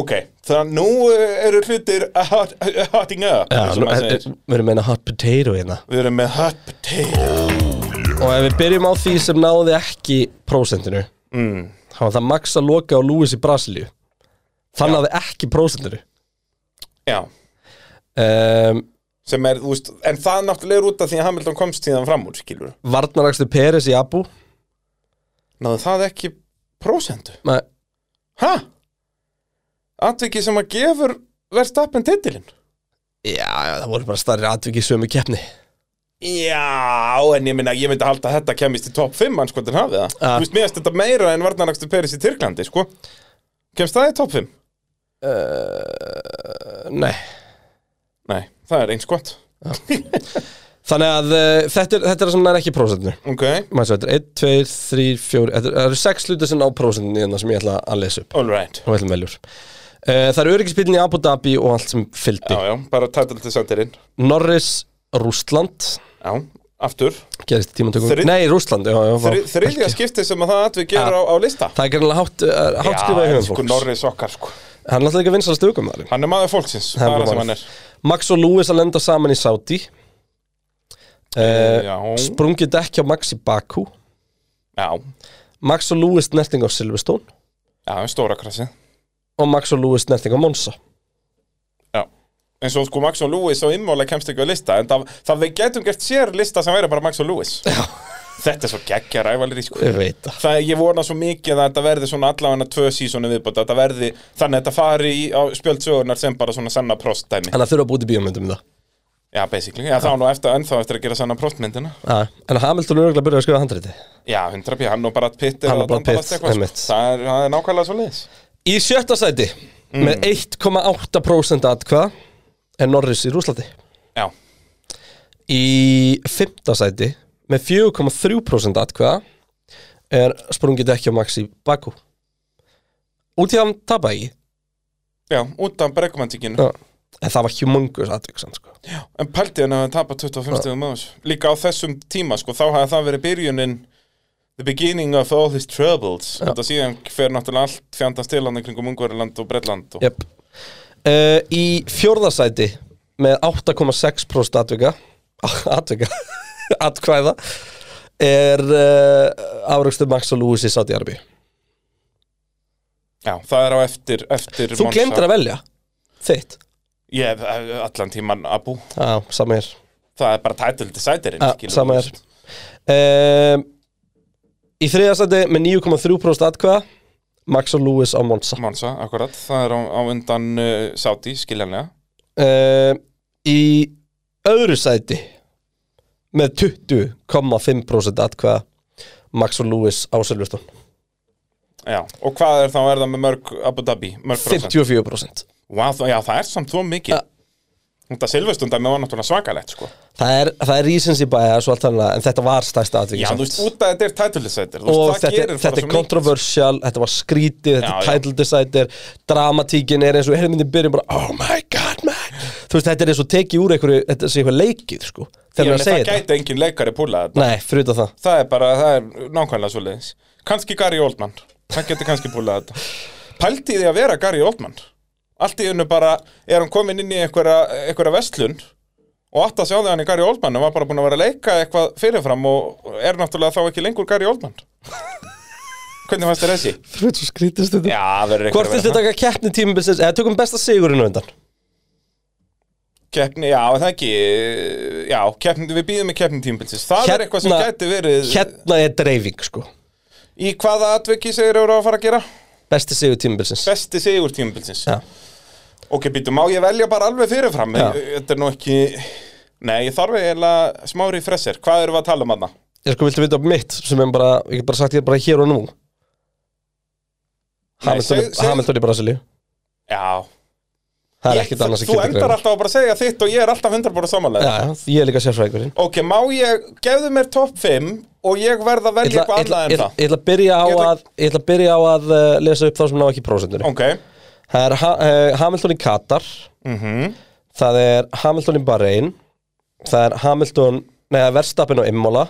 Speaker 7: Ok, þannig nú eh, eru hlutir hot- hotting up
Speaker 6: Já,
Speaker 7: eins og
Speaker 6: nú,
Speaker 7: maður
Speaker 6: eh, eh,
Speaker 7: segir.
Speaker 6: við erum meina hot potato hérna.
Speaker 7: Við erum með hot potato
Speaker 6: Og ef við byrjum á því sem náði ekki prósentinu mm. þá var það Max að loka á Lewis í Brasilíu Það náði ekki prósentinu
Speaker 7: Já,
Speaker 6: um,
Speaker 7: sem er, þú veist, en það náttúrulega er út af því að Hamilton komst síðan fram úr, skilur
Speaker 6: Varnarakstu Peres í Abu
Speaker 7: Náðu það ekki prósentu?
Speaker 6: Nei,
Speaker 7: Hæ? Atviki sem að gefur verðstappen titilinn?
Speaker 6: Já, já, það voru bara starri atviki í sömu keppni
Speaker 7: Já, en ég minna, ég myndi halda að þetta kemist í top 5 hans hvort hann hafi það
Speaker 6: Ja.
Speaker 7: Þú veist, mér finnst þetta meira en varnarakstu Peris í Tyrklandi, sko Kemst það í top 5?
Speaker 6: Nei
Speaker 7: Nei, það er eins gott
Speaker 6: Þannig að uh, þetta, er, þetta er það sem náði ekki prósentinu
Speaker 7: Ok,
Speaker 6: Mæsum, þetta er 1, 2, 3, 4 Þetta eru- það eru 6 hlutir sem ná prósentinu hérna sem ég ætla að lesa upp
Speaker 7: all right
Speaker 6: og við ætlum veljur uh, Það eru öryggisbílinn í Abu Dhabi og allt sem fylgdi
Speaker 7: Já, já, bara tætla til sendirinn
Speaker 6: Norris, Rústland
Speaker 7: Já, aftur
Speaker 6: gerist í tímantökum
Speaker 7: Þrið-
Speaker 6: Nei, Rússland, já, já,
Speaker 7: Þri,
Speaker 6: vá.
Speaker 7: Þriðja skipti sem að það atvik gefur á, á lista
Speaker 6: Það er gerðanlega hátt, uh, hátt skrifað í
Speaker 7: en
Speaker 6: höfum
Speaker 7: sko
Speaker 6: fólks
Speaker 7: Norris okkar, sko
Speaker 6: Hann er alltaf líka vinsala stökum þar
Speaker 7: Hann er maður fólksins,
Speaker 6: Það
Speaker 7: það
Speaker 6: er
Speaker 7: er það sem
Speaker 6: bara-
Speaker 7: hann er
Speaker 6: Max og Lewis að lenda saman í Saudi
Speaker 7: Eh,
Speaker 6: uh,
Speaker 7: Já,
Speaker 6: Sprungið dekk hjá Max í Baku
Speaker 7: já,
Speaker 6: Max og Lewis nerting á Silverstone
Speaker 7: já, stóra krassi
Speaker 6: Og Max og Lewis nerting á Monza
Speaker 7: Já En svo sko Max og Lewis og Immola kemst ekki á lista En það, það við getum gert sér lista sem væri bara Max og Lewis Já Þetta er svo geggja rævalri sko
Speaker 6: Ég veit það
Speaker 7: Það ég vona svo mikið að þetta verði svona allavega tvö sísónu viðbóta Þetta verði, þannig að þetta fari í, á spjöldsögunar sem bara svona sanna prostdæmi
Speaker 6: En það þurfa að búti bíómyndum í það
Speaker 7: Já, basically, já þá nú eftir, ennþá eftir að gera sanna prostmyndina
Speaker 6: Ah, en Hamilton er örgulega að byrja að skrifa handriti
Speaker 7: Já, 100 pí, hann og bara pitt
Speaker 6: Hann og Brad Pitt, einmitt.
Speaker 7: sko. Það er, það er nákvæmlega svo leiðis
Speaker 6: Í sjötta sæti
Speaker 7: Mm.
Speaker 6: Með 1,8% atkvað Er Norris í Rússlandi
Speaker 7: Já,
Speaker 6: Í fymta sæti með 4,3% atkvæða er sprungið ekki á Maxi Baku Út í að hann tapa ekki
Speaker 7: já, út af bregmantíkinu
Speaker 6: Já. En það var humongous atvik samt sko
Speaker 7: En pæltið hann að hann tapa 25 stegum á þessu Líka á þessum tíma, sko, þá hafði það verið byrjunin The beginning of all his troubles Þetta síðan fer náttúrulega allt fjandast til hann í kringum Ungverjaland og Bretland og...
Speaker 6: yep. uh, Í fjórða sæti með 8,6% atvika atvika atkvæða er uh, afröxtu Max og Lewis í Saudi Arabi
Speaker 7: Já, það er á eftir, eftir
Speaker 6: Þú glemtir að velja þitt
Speaker 7: Ég, eh, allan tíman Abu
Speaker 6: Já, sama er
Speaker 7: Það er bara title deciderinn
Speaker 6: Ja,
Speaker 7: skilur
Speaker 6: Ah, sama
Speaker 7: þú
Speaker 6: er
Speaker 7: veist.
Speaker 6: um, Í þriðastæti með 9,3% atkvæða Max og Lewis á Monza
Speaker 7: eh, Monza, akkurat Það er á, á undan uh, Saudi, skiljanlega
Speaker 6: um, í öðru sæti með 20,5% atkvæða Max og Lewis á Silveston
Speaker 7: Já, og hvað er þá, er það með mörg Abu Dhabi, mörg prósent?
Speaker 6: 54%
Speaker 7: Vá, það- já, það er samt þó mikið.
Speaker 6: Ja.
Speaker 7: Þetta silvestundar var náttúrulega svakalegt, sko.
Speaker 6: Það er, það er reasons í bæja svo allt annað en þetta var stærsta atvikið
Speaker 7: Já,
Speaker 6: samt.
Speaker 7: þú veist, út að þetta er tætulisættir.
Speaker 6: og þetta, er- þetta er controversial þetta var skrítið, þetta
Speaker 7: Já,
Speaker 6: er
Speaker 7: já.
Speaker 6: title decider dramatíkin er eins og hérna myndi byrjum bara, oh my god man þú veist, þetta er eins og tekið úr einhverju, þetta sé eitthvað leikið sko, þegar maður
Speaker 7: Það
Speaker 6: segir þetta
Speaker 7: gæti engin leikari púla þetta.
Speaker 6: nei, fruta það,
Speaker 7: Það er bara, það er nákvæmlega svo leiðis. Kanski Gary Oldman. Það getur kannski púlað þetta. Pældi í því að vera Gary Oldman. Allt í unnu bara, er hann komin inn í einhverja, einhverja vestlun og átt að sjá því að hann er Gary Oldman og var bara búin að vera að leika eitthvað fyrirfram og er náttúrulega þá ekki lengur Gary Oldman. Hvernig fannst þér þessi?
Speaker 6: fruta svo skrítist þetta
Speaker 7: Já, verður
Speaker 6: hvort viltu taka keppni tímabilsins eða tökum besta sigurinn á undan
Speaker 7: Keppni, já, er það ekki Já, keppni, við býðum með keppni tímbilsins Það er eitthvað sem
Speaker 6: Hérna-
Speaker 7: gæti verið
Speaker 6: hérna er dreifing sko,
Speaker 7: Í hvaða atveki segir eru að fara að gera?
Speaker 6: besti sigur tímabilsins
Speaker 7: Besti sigur tímbilsins
Speaker 6: Já.
Speaker 7: Ok, býtu, má ég velja bara alveg fyrirfram
Speaker 6: Já.
Speaker 7: Þetta er nú ekki Nei, ég þarf eiginlega smári fresser Hvað erum við að tala um aðna?
Speaker 6: ég sko viltu vita á mitt sem er bara, ég get bara sagt ég er bara hér og nú Hamilton,
Speaker 7: segð- segð-
Speaker 6: Hamilton í Brasilíu
Speaker 7: Já
Speaker 6: það er
Speaker 7: Ég-
Speaker 6: ekkert annars að
Speaker 7: Þú
Speaker 6: geta
Speaker 7: endar alltaf að bara segja þitt og ég er alltaf 100% samanlega
Speaker 6: Já, já, ég er líka sérfræðingurinn
Speaker 7: Ok, má ég, gefðu mér topp 5 og ég verð að velja
Speaker 6: Ég
Speaker 7: eitthvað
Speaker 6: ætla-
Speaker 7: annað en
Speaker 6: ætla
Speaker 7: það
Speaker 6: ég ætla að byrja á
Speaker 7: Ég ætla-
Speaker 6: að Ég ætla að byrja á að uh, lesa upp þá sem ná ekki prósentunni
Speaker 7: Ok,
Speaker 6: Það er ha uh, Hamilton í Katar
Speaker 7: Mhm.
Speaker 6: Það er Hamilton í Bahrein Það er Hamilton Nei, það er Verstappen og Immola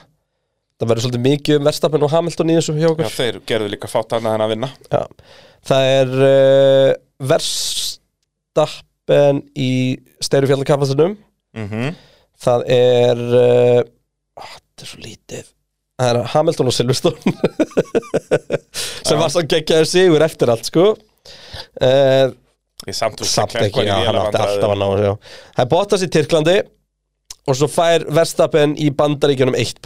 Speaker 6: Það verður svolítið mikið um Verstappen og Hamilton í þessu hjá
Speaker 7: já,
Speaker 6: okkur
Speaker 7: þeir gerðu líka fátt annað en að vinna
Speaker 6: Já. Það er uh, Verstappen í Steyrufjallakapasunum
Speaker 7: Mhm
Speaker 6: Það er uh, á, Þetta er svo lítið Það er Hamilton og Silverstone sem var svo geggjaður sigur eftir allt sko uh,
Speaker 7: Ég samt úr
Speaker 6: Samt ekki, já, hann átti alltaf að ná þessu, já. Það er Bottas í Tyrklandi og svo fær Verstappen í bandaríkjunum 1%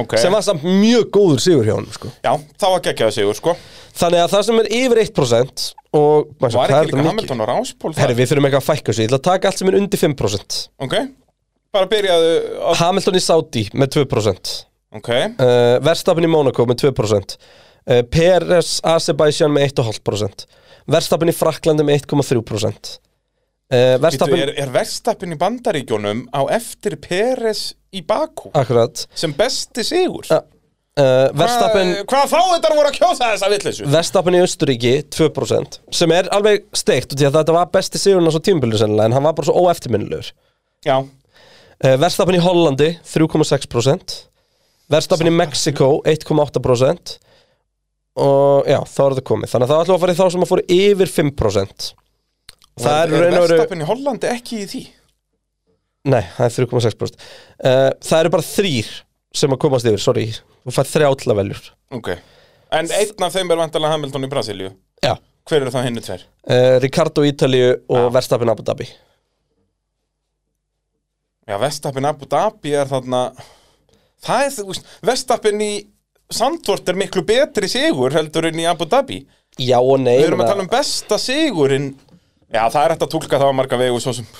Speaker 7: okay.
Speaker 6: sem var samt mjög góður sigur hjá hann sko.
Speaker 7: Já, það var geggjaður sigur sko
Speaker 6: Þannig að það sem er yfir 1% og maður,
Speaker 7: Var
Speaker 6: hvað er
Speaker 7: ekki líka
Speaker 6: þetta mikið?
Speaker 7: Hamilton og Ráspól
Speaker 6: Herri, við þurfum eitthvað að fækka þessu, ég ætla að taka allt sem er undir 5%
Speaker 7: Ok, bara byrjaðu á...
Speaker 6: Hamilton í Saudi með 2%
Speaker 7: Ok,
Speaker 6: uh, Verstappen í Monaco með 2% uh, Peres Azerbaijan með 1,5% Verstappen í Fraklandi með 1,3% uh,
Speaker 7: Stappen...
Speaker 6: Verstappen
Speaker 7: er, er verstappin í bandaríkjónum á eftir Peres í Bakú
Speaker 6: Akkurat
Speaker 7: sem besti sigur
Speaker 6: uh, uh, Verstappen
Speaker 7: Hvað- Hvað þá þetta voru að kjósa þessa vitleysu?
Speaker 6: Verstappen í Östuríki 2% sem er alveg steikt út í að þetta var besti sigurinn á svo tímbilinu sennilega en hann var bara svo óeftirminnilegur
Speaker 7: Já,
Speaker 6: uh, Verstappen í Hollandi 3,6% Verstappen í Mexiko 1,8% og já, þá er þetta komið þannig að það ætlum við að fara í þá sem að fóru yfir 5% það er, raun og veru
Speaker 7: verstappin í Hollandi ekki í því
Speaker 6: nei, það er 3,6% uh, það eru bara þrýr sem að komast yfir, sorry þú fær þrjá til að veljur
Speaker 7: Ok, en einn af þeim er vantarlega Hamilton í Brasilíu
Speaker 6: já.
Speaker 7: Hver eru það hinnu tver?
Speaker 6: Uh, Ricardo í Ítalíu
Speaker 7: Já.
Speaker 6: og Verstappen Abu Dhabi
Speaker 7: Já, Vestappin Abu Dhabi er þarna Það er þú veist Vestappin í Sandvort er miklu betri sigur heldur en í Abu Dhabi
Speaker 6: já og nei
Speaker 7: Við erum
Speaker 6: meina-
Speaker 7: að tala um besta sigurinn Já, það er hægt að túlka það á marga vegu svo sem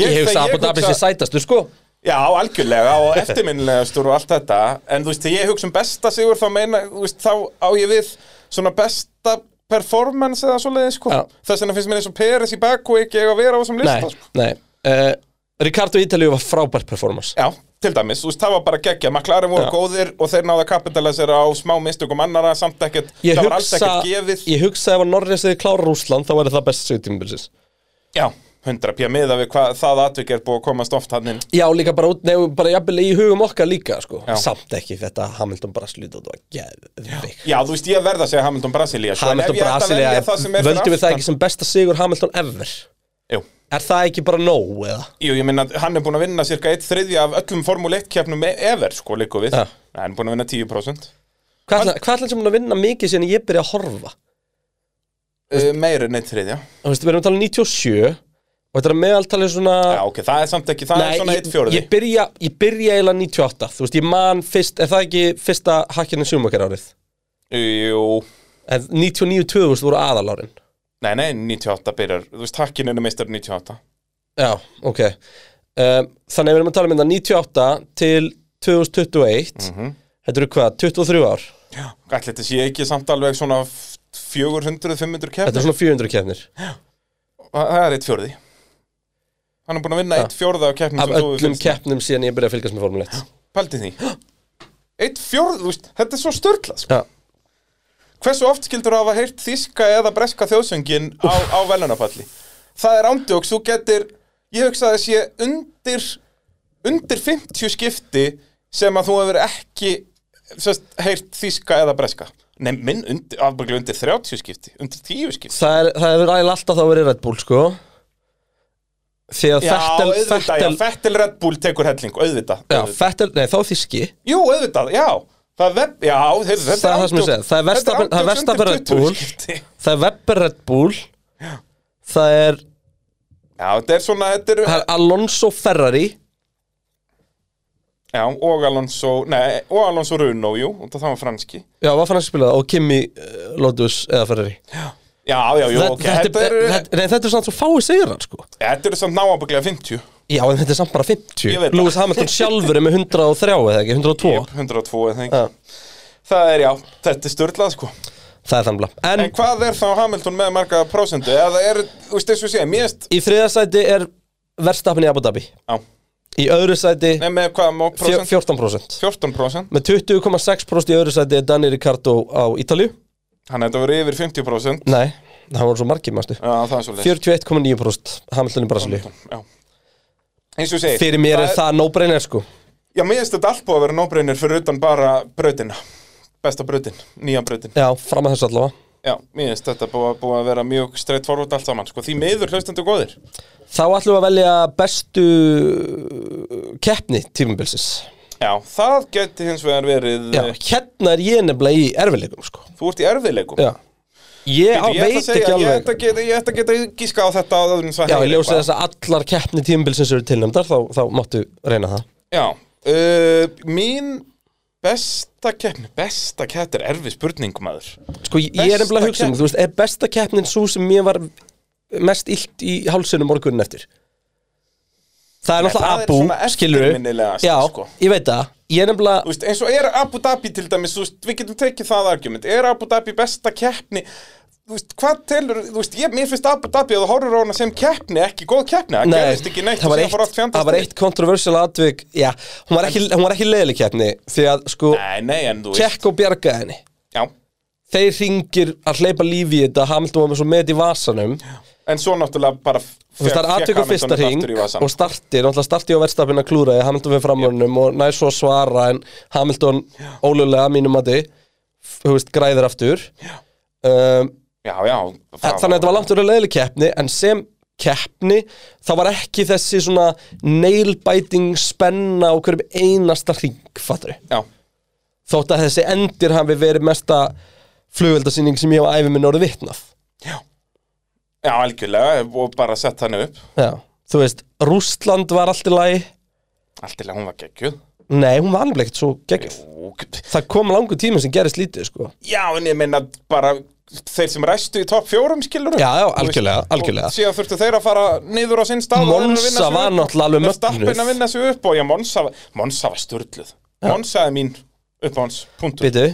Speaker 6: Ég hugsa
Speaker 7: þegar
Speaker 6: Abu Dhabi
Speaker 7: hugsa-
Speaker 6: sé sætastu sko
Speaker 7: Já, algjörlega og eftirminnilegastur og allt þetta En þú veist, þegar ég hugsa um besta sigur þá meina, þú veist, þá á ég við svona besta performance eða svoleiðis, sko
Speaker 6: Já.
Speaker 7: Þess vegna finnst mér eins og Peres í Baku ekki eiga að vera á þessum
Speaker 6: Nei,
Speaker 7: lista, sko
Speaker 6: nei uh, Ricardo í Ítalíu var frábært performance
Speaker 7: Já, til dæmis, þú veist, það var bara geggja McLaren voru
Speaker 6: Já.
Speaker 7: góðir og þeir náðu að kapitalisera á smá mistökum annara samt ekkert,
Speaker 6: Ég
Speaker 7: það var alls
Speaker 6: hugsa,
Speaker 7: ekkert gefið
Speaker 6: ég hugsa ef að Norris eða klára Rúsland þá væri það best sigtímbilsins
Speaker 7: Já, 100 pjá miða við hvað það atvik er búið að komast oft hann inn
Speaker 6: Já, líka bara út, nefnum bara jafnvel í hugum okkar líka sko.
Speaker 7: Já.
Speaker 6: Samt ekki þetta Hamilton Brasilia þetta var geðvik
Speaker 7: Já, þú veist, ég verð að segja Hamilton Brasilia sko, en
Speaker 6: Hamilton
Speaker 7: ef ég ætti að
Speaker 6: Brasilia,
Speaker 7: velja það sem er fyrir
Speaker 6: völdum við það
Speaker 7: aftan-
Speaker 6: ekki sem besta sigur Hamilton ever
Speaker 7: Jú,
Speaker 6: Er það ekki bara nóg eða?
Speaker 7: Jú ég minna, hann er búin að vinna cirka eitt þriðja af öllum Formule 1 keppnum ever, sko, líku við
Speaker 6: Já.
Speaker 7: Nei, Hann er búin að vinna 10%
Speaker 6: Hvað ætla- hvað ætlaði sem hún að vinna mikið síðan ég byrja að horfa?
Speaker 7: uh, Meir en eitt þriðja Já,
Speaker 6: Þú veist, við erum að tala um 97 og þetta er að meðaltalið svona
Speaker 7: ok, það er samt ekki, það
Speaker 6: Nei,
Speaker 7: er svona
Speaker 6: ég-
Speaker 7: eitt fjóruði
Speaker 6: Ég byrja, ég byrja eiginlega 98 Þú veist, ég man fyrst, er það ekki fyrsta hakkinu sjúmakar árið?
Speaker 7: Jú,
Speaker 6: En 99-2000 voru aðalárin
Speaker 7: nei, nei, 98 byrjar, þú veist, hakkin er meistar 98
Speaker 6: Já, ok um, Þannig við erum að tala um þetta 98 til 2021
Speaker 7: Mhm.
Speaker 6: Þetta eru hvað, 23 ár
Speaker 7: Ætli þetta sé ekki samt alveg svona 400-500
Speaker 6: Þetta
Speaker 7: keppnir
Speaker 6: er svona 400 keppnir
Speaker 7: Það er eitt fjórði Hann er búin að vinna eitt fjórða af keppnum
Speaker 6: Af
Speaker 7: sem þú hefur
Speaker 6: öllum
Speaker 7: fylgst með.
Speaker 6: keppnum síðan ég byrja að fylgjast með formulegt
Speaker 7: Pældi því Eitt fjórð, þú veist, þetta er svo störtlað sko.
Speaker 6: Já,
Speaker 7: Hversu oft skildur hafa heyrt þíska eða breska þjóðsöngin á, á velunapalli? Það er ándjóks, þú getur Ég hugsa að það sé undir undir 50 skipti sem að þú hefur ekki sest, heyrt þíska eða breska Nei, minn, undir, afbækli undir 30 skipti undir 10 skipti
Speaker 6: það, er, það hefur ægilega alltaf þá verið Red Bull sko Því að
Speaker 7: Já,
Speaker 6: Fettel
Speaker 7: auðvitað,
Speaker 6: Fettel,
Speaker 7: já, Fettel Red Bull tekur helling, auðvitað,
Speaker 6: já,
Speaker 7: auðvitað.
Speaker 6: Fettel, nei þá þíski
Speaker 7: Jú, auðvitað, já Það er veb, já, heyrðu, þetta
Speaker 6: Það er það sem ég
Speaker 7: átján-
Speaker 6: segi, það er
Speaker 7: þetta
Speaker 6: Verstappen- það er
Speaker 7: átján
Speaker 6: Verstappen
Speaker 7: undir
Speaker 6: Red
Speaker 7: 20
Speaker 6: Bull.
Speaker 7: skipti.
Speaker 6: Það er Webber Red Bull Það er,
Speaker 7: Já, þetta er svona, þetta er
Speaker 6: það er Alonso Ferrari
Speaker 7: Já, og Alonso, nei, og Alonso Runo, jú, og það var franski
Speaker 6: Já, var fann að spila það og Kimi uh, Lotus eða Ferrari
Speaker 7: Já, já, jú,
Speaker 6: Þetta-
Speaker 7: ok,
Speaker 6: Þetta
Speaker 7: þetta
Speaker 6: er
Speaker 7: eru
Speaker 6: þetta- nei, þetta er samt svo fáið sigrar sko
Speaker 7: Þetta eru samt náabuglega 50
Speaker 6: Já, en þetta er samt bara
Speaker 7: Ég veit
Speaker 6: 50
Speaker 7: það.
Speaker 6: Lewis Hamilton sjálfur er með 103 eða ekki, 102
Speaker 7: Jep, 102, eða
Speaker 6: Já.
Speaker 7: ekki Það er, já, þetta er störlað, sko
Speaker 6: Það er þannig En,
Speaker 7: En hvað er þá Hamilton með marga prósendu? Eða er, þú veist, þessu sé, mér erst
Speaker 6: í þriða sæti er verðstapin í Abu Dhabi
Speaker 7: Já,
Speaker 6: Í öðru sæti
Speaker 7: nei, með hvað má
Speaker 6: fjó-
Speaker 7: prósent?
Speaker 6: 14%
Speaker 7: 14 prósent
Speaker 6: Með 20,6% í öðru sæti er Danny Ricardo á Ítalju
Speaker 7: Hann hefði að vera yfir 50 prósent
Speaker 6: Nei, það voru svo margir mástu
Speaker 7: Já, það er svo
Speaker 6: 41,9% Hamilton í Brasilíu
Speaker 7: Já Eins og ég segi
Speaker 6: Fyrir mér er það no-brainer sko
Speaker 7: Já, mér finnst þetta allt búið að vera nóbreynir fyrir utan bara brautina Besta brautin, nýja brautin
Speaker 6: Já, fram að þessu allavega
Speaker 7: Já, mér finnst þetta búið, búið að vera mjög straight forward allt saman Sko, því miður hlustandi góðir
Speaker 6: Þá ætlum við að velja bestu keppni tímabilsins
Speaker 7: Já, það geti hins vegar verið eh,
Speaker 6: Já, hérna er ég nefnilega í erfileikum sko
Speaker 7: Þú ert í erfiðleikum
Speaker 6: Já Ég á,
Speaker 7: Bíddu, ég ætla að
Speaker 6: veit
Speaker 7: segja, Ég
Speaker 6: ekki
Speaker 7: ætla
Speaker 6: alveg
Speaker 7: að geta, ég ætla að geta gíska á þetta áður en svo
Speaker 6: Já, ég
Speaker 7: heyri
Speaker 6: ljósi
Speaker 7: eitthvað.
Speaker 6: þess að allar keppni tímabilsins eru tilnæmdar þá, þá máttu reyna það
Speaker 7: Já, uh, mín besta keppni, besta keppni er erfið spurning maður
Speaker 6: Sko, ég ég er nefnilega að hugsa um,
Speaker 7: keppni.
Speaker 6: þú veist, er besta keppnin svo sem mér var mest illt í hálsinu morgunin eftir? Það er
Speaker 7: það er
Speaker 6: náttúrulega
Speaker 7: svona
Speaker 6: Abu, skilur
Speaker 7: eftirminnilegast,
Speaker 6: Já,
Speaker 7: sko.
Speaker 6: ég veit það, ég er
Speaker 7: Þú
Speaker 6: nefnilega
Speaker 7: veist, eins og er Abu Dhabi til dæmis, þú veist, við getum tekið það argument Er Abu Dhabi besta keppni, þú veist, hvað telur, þú veist, ég, mér finnst Abu Dhabi að þú horfir á hana sem keppni, ekki góð keppni Það gerðist ekki neitt
Speaker 6: það
Speaker 7: og
Speaker 6: var
Speaker 7: síðan fór allt
Speaker 6: eitt,
Speaker 7: fjandast
Speaker 6: það var eitt kontroversial atvik Já, hún var ekki, hún var ekki leiðileg keppni Því að, sko,
Speaker 7: Nei, nei, en þú veist,
Speaker 6: Tjekk og bjargaði henni
Speaker 7: já
Speaker 6: Þeir ringir að hleypa lífi í þetta Hamilton var með svo með í vasanum
Speaker 7: En svo náttúrulega bara
Speaker 6: Þú veist, það er atvik á fyrsta ring og
Speaker 7: og...
Speaker 6: startir, náttúrulega starti á verðstafin að klúraði Hamilton fyrir framlunum og næs svo að svara en Hamilton ólulega mínum að þið, þú veist, græðir aftur um,
Speaker 7: Já, já
Speaker 6: Þannig að þetta var langt úr að leiðileg keppni en sem keppni þá var ekki þessi svona nail-biting spenna á hverjum einasta ring, fattur
Speaker 7: Já,
Speaker 6: þótt að þessi endir hafi verið mesta flugveldasýning sem ég á æfi minn orðið vitnað
Speaker 7: já, algjörlega, og bara sett hann upp
Speaker 6: Já. þú veist, Rústland var allt í lagi
Speaker 7: Allt í lega, hún var geggjuð
Speaker 6: nei, hún var alveg ekkert svo geggjöð
Speaker 7: Jú,
Speaker 6: það kom langur tími sem gerist lítið sko.
Speaker 7: Já, en ég meina bara þeir sem ræstu í topp fjórum skilur
Speaker 6: Já, já, algjörlega, algjörlega.
Speaker 7: Og síðan þurftu þeir að fara niður á sinn stað og þeir að vinna
Speaker 6: Monza
Speaker 7: sig upp.
Speaker 6: var náttúrulega alveg
Speaker 7: Þeir stappin
Speaker 6: mögnuð.
Speaker 7: að vinna sig upp og já, Monsa, Monsa var störluð Monsa er mín uppáhans, punktur
Speaker 6: Býtu,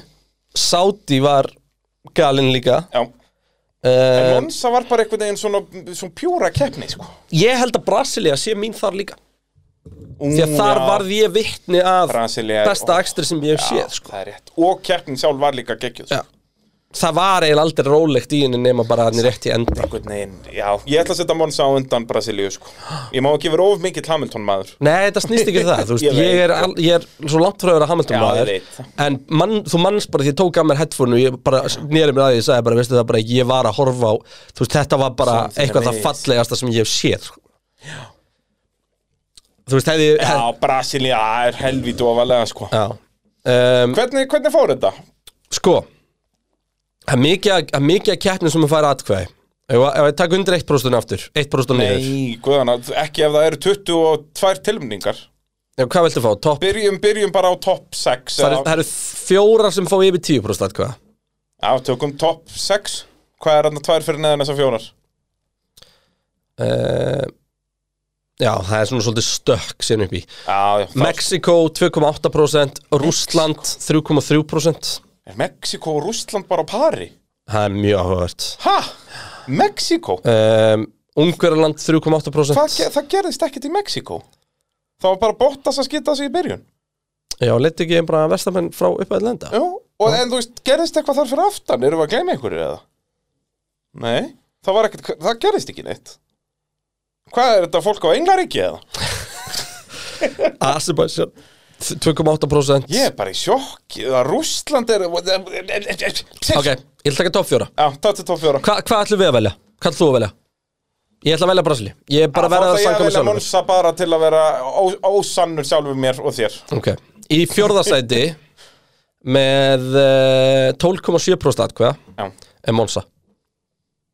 Speaker 6: Saudi var galinn líka
Speaker 7: Já, en
Speaker 6: uh,
Speaker 7: Monsa var bara einhvern veginn svona, svona pjúra keppni, sko
Speaker 6: ég held að Brasilia sé mín þar líka
Speaker 7: Ú,
Speaker 6: því að þar
Speaker 7: Mm, já,
Speaker 6: varð ég vitni að
Speaker 7: Brasilia er-
Speaker 6: besta akstri sem ég hef
Speaker 7: já,
Speaker 6: séð sko.
Speaker 7: það er rétt Og keppnin sjálf var líka geggjuð,
Speaker 6: Já.
Speaker 7: sko
Speaker 6: það var eiginlega aldrei rólegt í henni nema bara hann er rétt í enda
Speaker 7: Einhvern veginn, já, ég ætla að setja Monsa á undan Brasilíu, sko Ég má ekki vera of mikill Hamilton maður
Speaker 6: Nei, þetta snýst ekki um það, þú veist,
Speaker 7: Ég
Speaker 6: ég,
Speaker 7: veit.
Speaker 6: er, al, ég er svo langt frá að vera Hamilton
Speaker 7: Já,
Speaker 6: maður
Speaker 7: ég veit.
Speaker 6: En mann, þú manns bara því ég tók að mér headphone og ég bara nýri mér að því ég sagði bara, veistu það bara, ég var að horfa á Þú veist, þetta var bara
Speaker 7: Samtímavis.
Speaker 6: eitthvað það fallegasta sem ég hef séð sko. Þú veist, hefði hef,
Speaker 7: Já, Brasilia er helvít ofalega, sko
Speaker 6: já. Um,
Speaker 7: Hvernig, hvernig fór þetta?
Speaker 6: Sko, það er mikið, að- það er mikið að keppnum sem að fara atkvæði Ef, ef ég takk undir 1% aftur, 1% niður
Speaker 7: Nei, guðana, ekki ef það eru 22 tilmningar
Speaker 6: Já, Hvað viltu fá, topp?
Speaker 7: Byrjum, byrjum bara á topp 6
Speaker 6: Það eru- það eru fjórar sem fá yfir 10% atkvæða
Speaker 7: Já, tökum topp 6 Hvað er hann að tvær fyrir neðan þessar fjórar?
Speaker 6: Eh, Já, það er svona svolítið stökk sérn upp í
Speaker 7: Já, já, það-
Speaker 6: Mexiko 2,8% Rússland 3,3%
Speaker 7: Er Mexiko og Rússland bara á pari?
Speaker 6: Það er mjög áhugavert
Speaker 7: Ha? Mexiko?
Speaker 6: um, Ungverjaland
Speaker 7: Það,
Speaker 6: 3,8%
Speaker 7: ge- það gerðist ekkert í Mexiko Það var bara Bottas að skita sig í byrjun
Speaker 6: Já, leti ekki bara vestamenn frá upphæðið lenda
Speaker 7: Jú, og en þú veist, gerðist eitthvað þar fyrir aftan Erum við að gleyma einhverju eða? Nei, það, var ekkert, það gerðist ekki neitt Hvað er þetta fólk á Englaríki eða?
Speaker 6: Azerbaijan 2,8%
Speaker 7: Ég er bara í sjokki Það Rússland er
Speaker 6: Ok,
Speaker 7: Ok
Speaker 6: ég ætla ekki að topp fjóra
Speaker 7: Já, þetta er tóf fjóra
Speaker 6: Hva, Hvað ætlum við að velja? Hvað ætlum þú að velja? Ég ætla að velja Brasili Ég er bara að verða að sanga mig
Speaker 7: Ég er
Speaker 6: sjálfur
Speaker 7: monsa bara til að vera ó- ósannur sjálfur mér og þér
Speaker 6: Ok, í fjórðasæti með uh, 12,7% atkvæða
Speaker 7: Já,
Speaker 6: er Monsa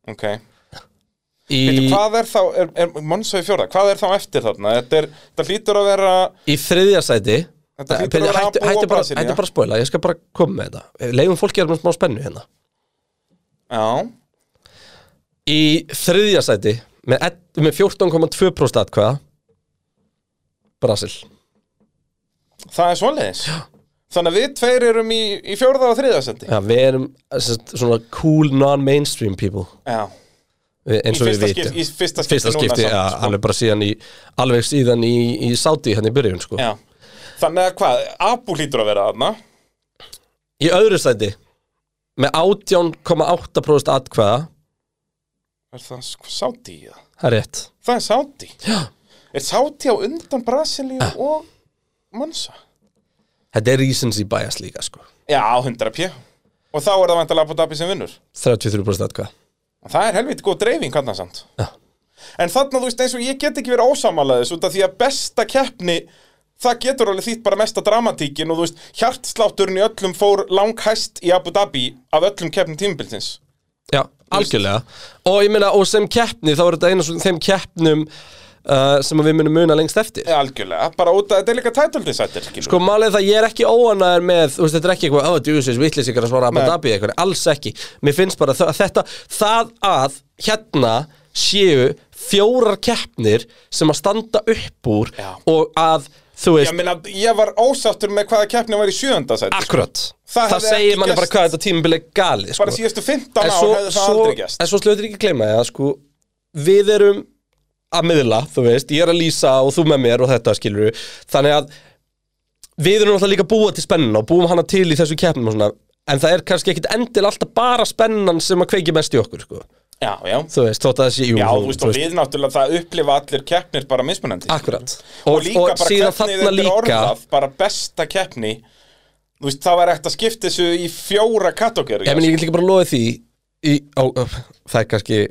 Speaker 7: ok
Speaker 6: í,
Speaker 7: Í... Hvað er þá, er, er Monsa í fjórða, hvað er þá eftir þarna? Þetta, er, þetta hlýtur að vera
Speaker 6: í þriðjasæti
Speaker 7: Þetta hlýtur að
Speaker 6: Peti,
Speaker 7: vera
Speaker 6: hættu,
Speaker 7: Abu og
Speaker 6: hættu, bara,
Speaker 7: Brasilía.
Speaker 6: hættu bara að spoila, ég skal bara koma með þetta Leifum fólki erum smá spennu hérna
Speaker 7: Já,
Speaker 6: Í þriðjasæti með, ell- með 14,2% atkvæða Brasil
Speaker 7: það er svoleiðis Þannig að við tveir erum í, í fjórða og þriða sendi
Speaker 6: Já, við erum eh, sem sagt, svona cool non-mainstream people
Speaker 7: Já, í
Speaker 6: við- eins og við
Speaker 7: fyrsta,
Speaker 6: vitum
Speaker 7: skipti, í fyrsta skipti
Speaker 6: fyrsta skipti,
Speaker 7: núna
Speaker 6: ja,
Speaker 7: samt, sko.
Speaker 6: alveg bara síðan í alveg síðan í, í Saudi hérna í byrjun sko.
Speaker 7: Já, þannig að hvað, Abu hlýtur að vera þarna
Speaker 6: í öðru sæti með 18,8% atkvæða
Speaker 7: Er það sko Sáti í það?
Speaker 6: það er rétt
Speaker 7: Það er Sáti Já Er Sáti á undan Brasilíu og Monsa?
Speaker 6: þetta er recency bias líka sko.
Speaker 7: Já, 100 pjö Og þá er það vantilega Abu Dhabi sem vinnur
Speaker 6: 33% atkvæða
Speaker 7: En Það er helviti góð dreifing hann samt
Speaker 6: Já.
Speaker 7: En þarna þú veist eins og ég get ekki verið ósamalega þess út af því að besta keppni það getur alveg þýtt bara mesta dramatíkin og þú veist hjartslátturinn í öllum fór langhæst í Abu Dhabi af öllum keppnum tímabilsins
Speaker 6: Já, algjörlega og, ég meina, og sem keppni þá er þetta einu af svona þeim keppnum uh, sem að við munum muna lengst eftir
Speaker 7: Eða Algjörlega, bara út af þetta er líka tætaldisættir
Speaker 6: Sko málið er það að ég er ekki óanæður með þú veist, þetta er ekki eitthvað, oh, djúsis, vittlis ykkur að svara Abu
Speaker 7: Nei.
Speaker 6: Dhabi eitthvað, alls ekki Mér finnst bara þa- þetta, það að hérna séu fjórar keppnir sem að standa upp úr
Speaker 7: Já.
Speaker 6: og að, þú
Speaker 7: Ég
Speaker 6: veist,
Speaker 7: meina, ég var ósáttur með hvaða keppni var í sjöönda sætti sko.
Speaker 6: akkurat
Speaker 7: Það
Speaker 6: Það,
Speaker 7: hefði ekki
Speaker 6: segir manni bara
Speaker 7: gerst.
Speaker 6: hvað þetta tímabil er gali sko.
Speaker 7: Bara síðustu 15
Speaker 6: En
Speaker 7: ár
Speaker 6: svo,
Speaker 7: hefði það
Speaker 6: svo,
Speaker 7: aldrei gæst
Speaker 6: en svo slöður ekki gleyma ég að sko Við erum að miðla, þú veist Ég er að lýsa og þú með mér og þetta skilur við Þannig að við erum alltaf líka að búa til spennuna Og búum hana til í þessu keppnum og svona En það er kannski ekkit endil alltaf bara spennan sem að kveiki mest í okkur, sko
Speaker 7: Já, já
Speaker 6: Þú veist, þótt að þessi, jú,
Speaker 7: Já, þú veist, og við náttúrulega það upplifa allir keppnir bara mismunandi
Speaker 6: Akkurat
Speaker 7: og,
Speaker 6: Og,
Speaker 7: líka
Speaker 6: og,
Speaker 7: bara
Speaker 6: síðan
Speaker 7: hvernig
Speaker 6: þarna
Speaker 7: þetta er
Speaker 6: líka
Speaker 7: orðað bara besta keppni þú veist það var eftir að skipta þessu í fjóra kategóri
Speaker 6: Ég meni, ég get líka bara loðið því í, ó, ó, Það er kannski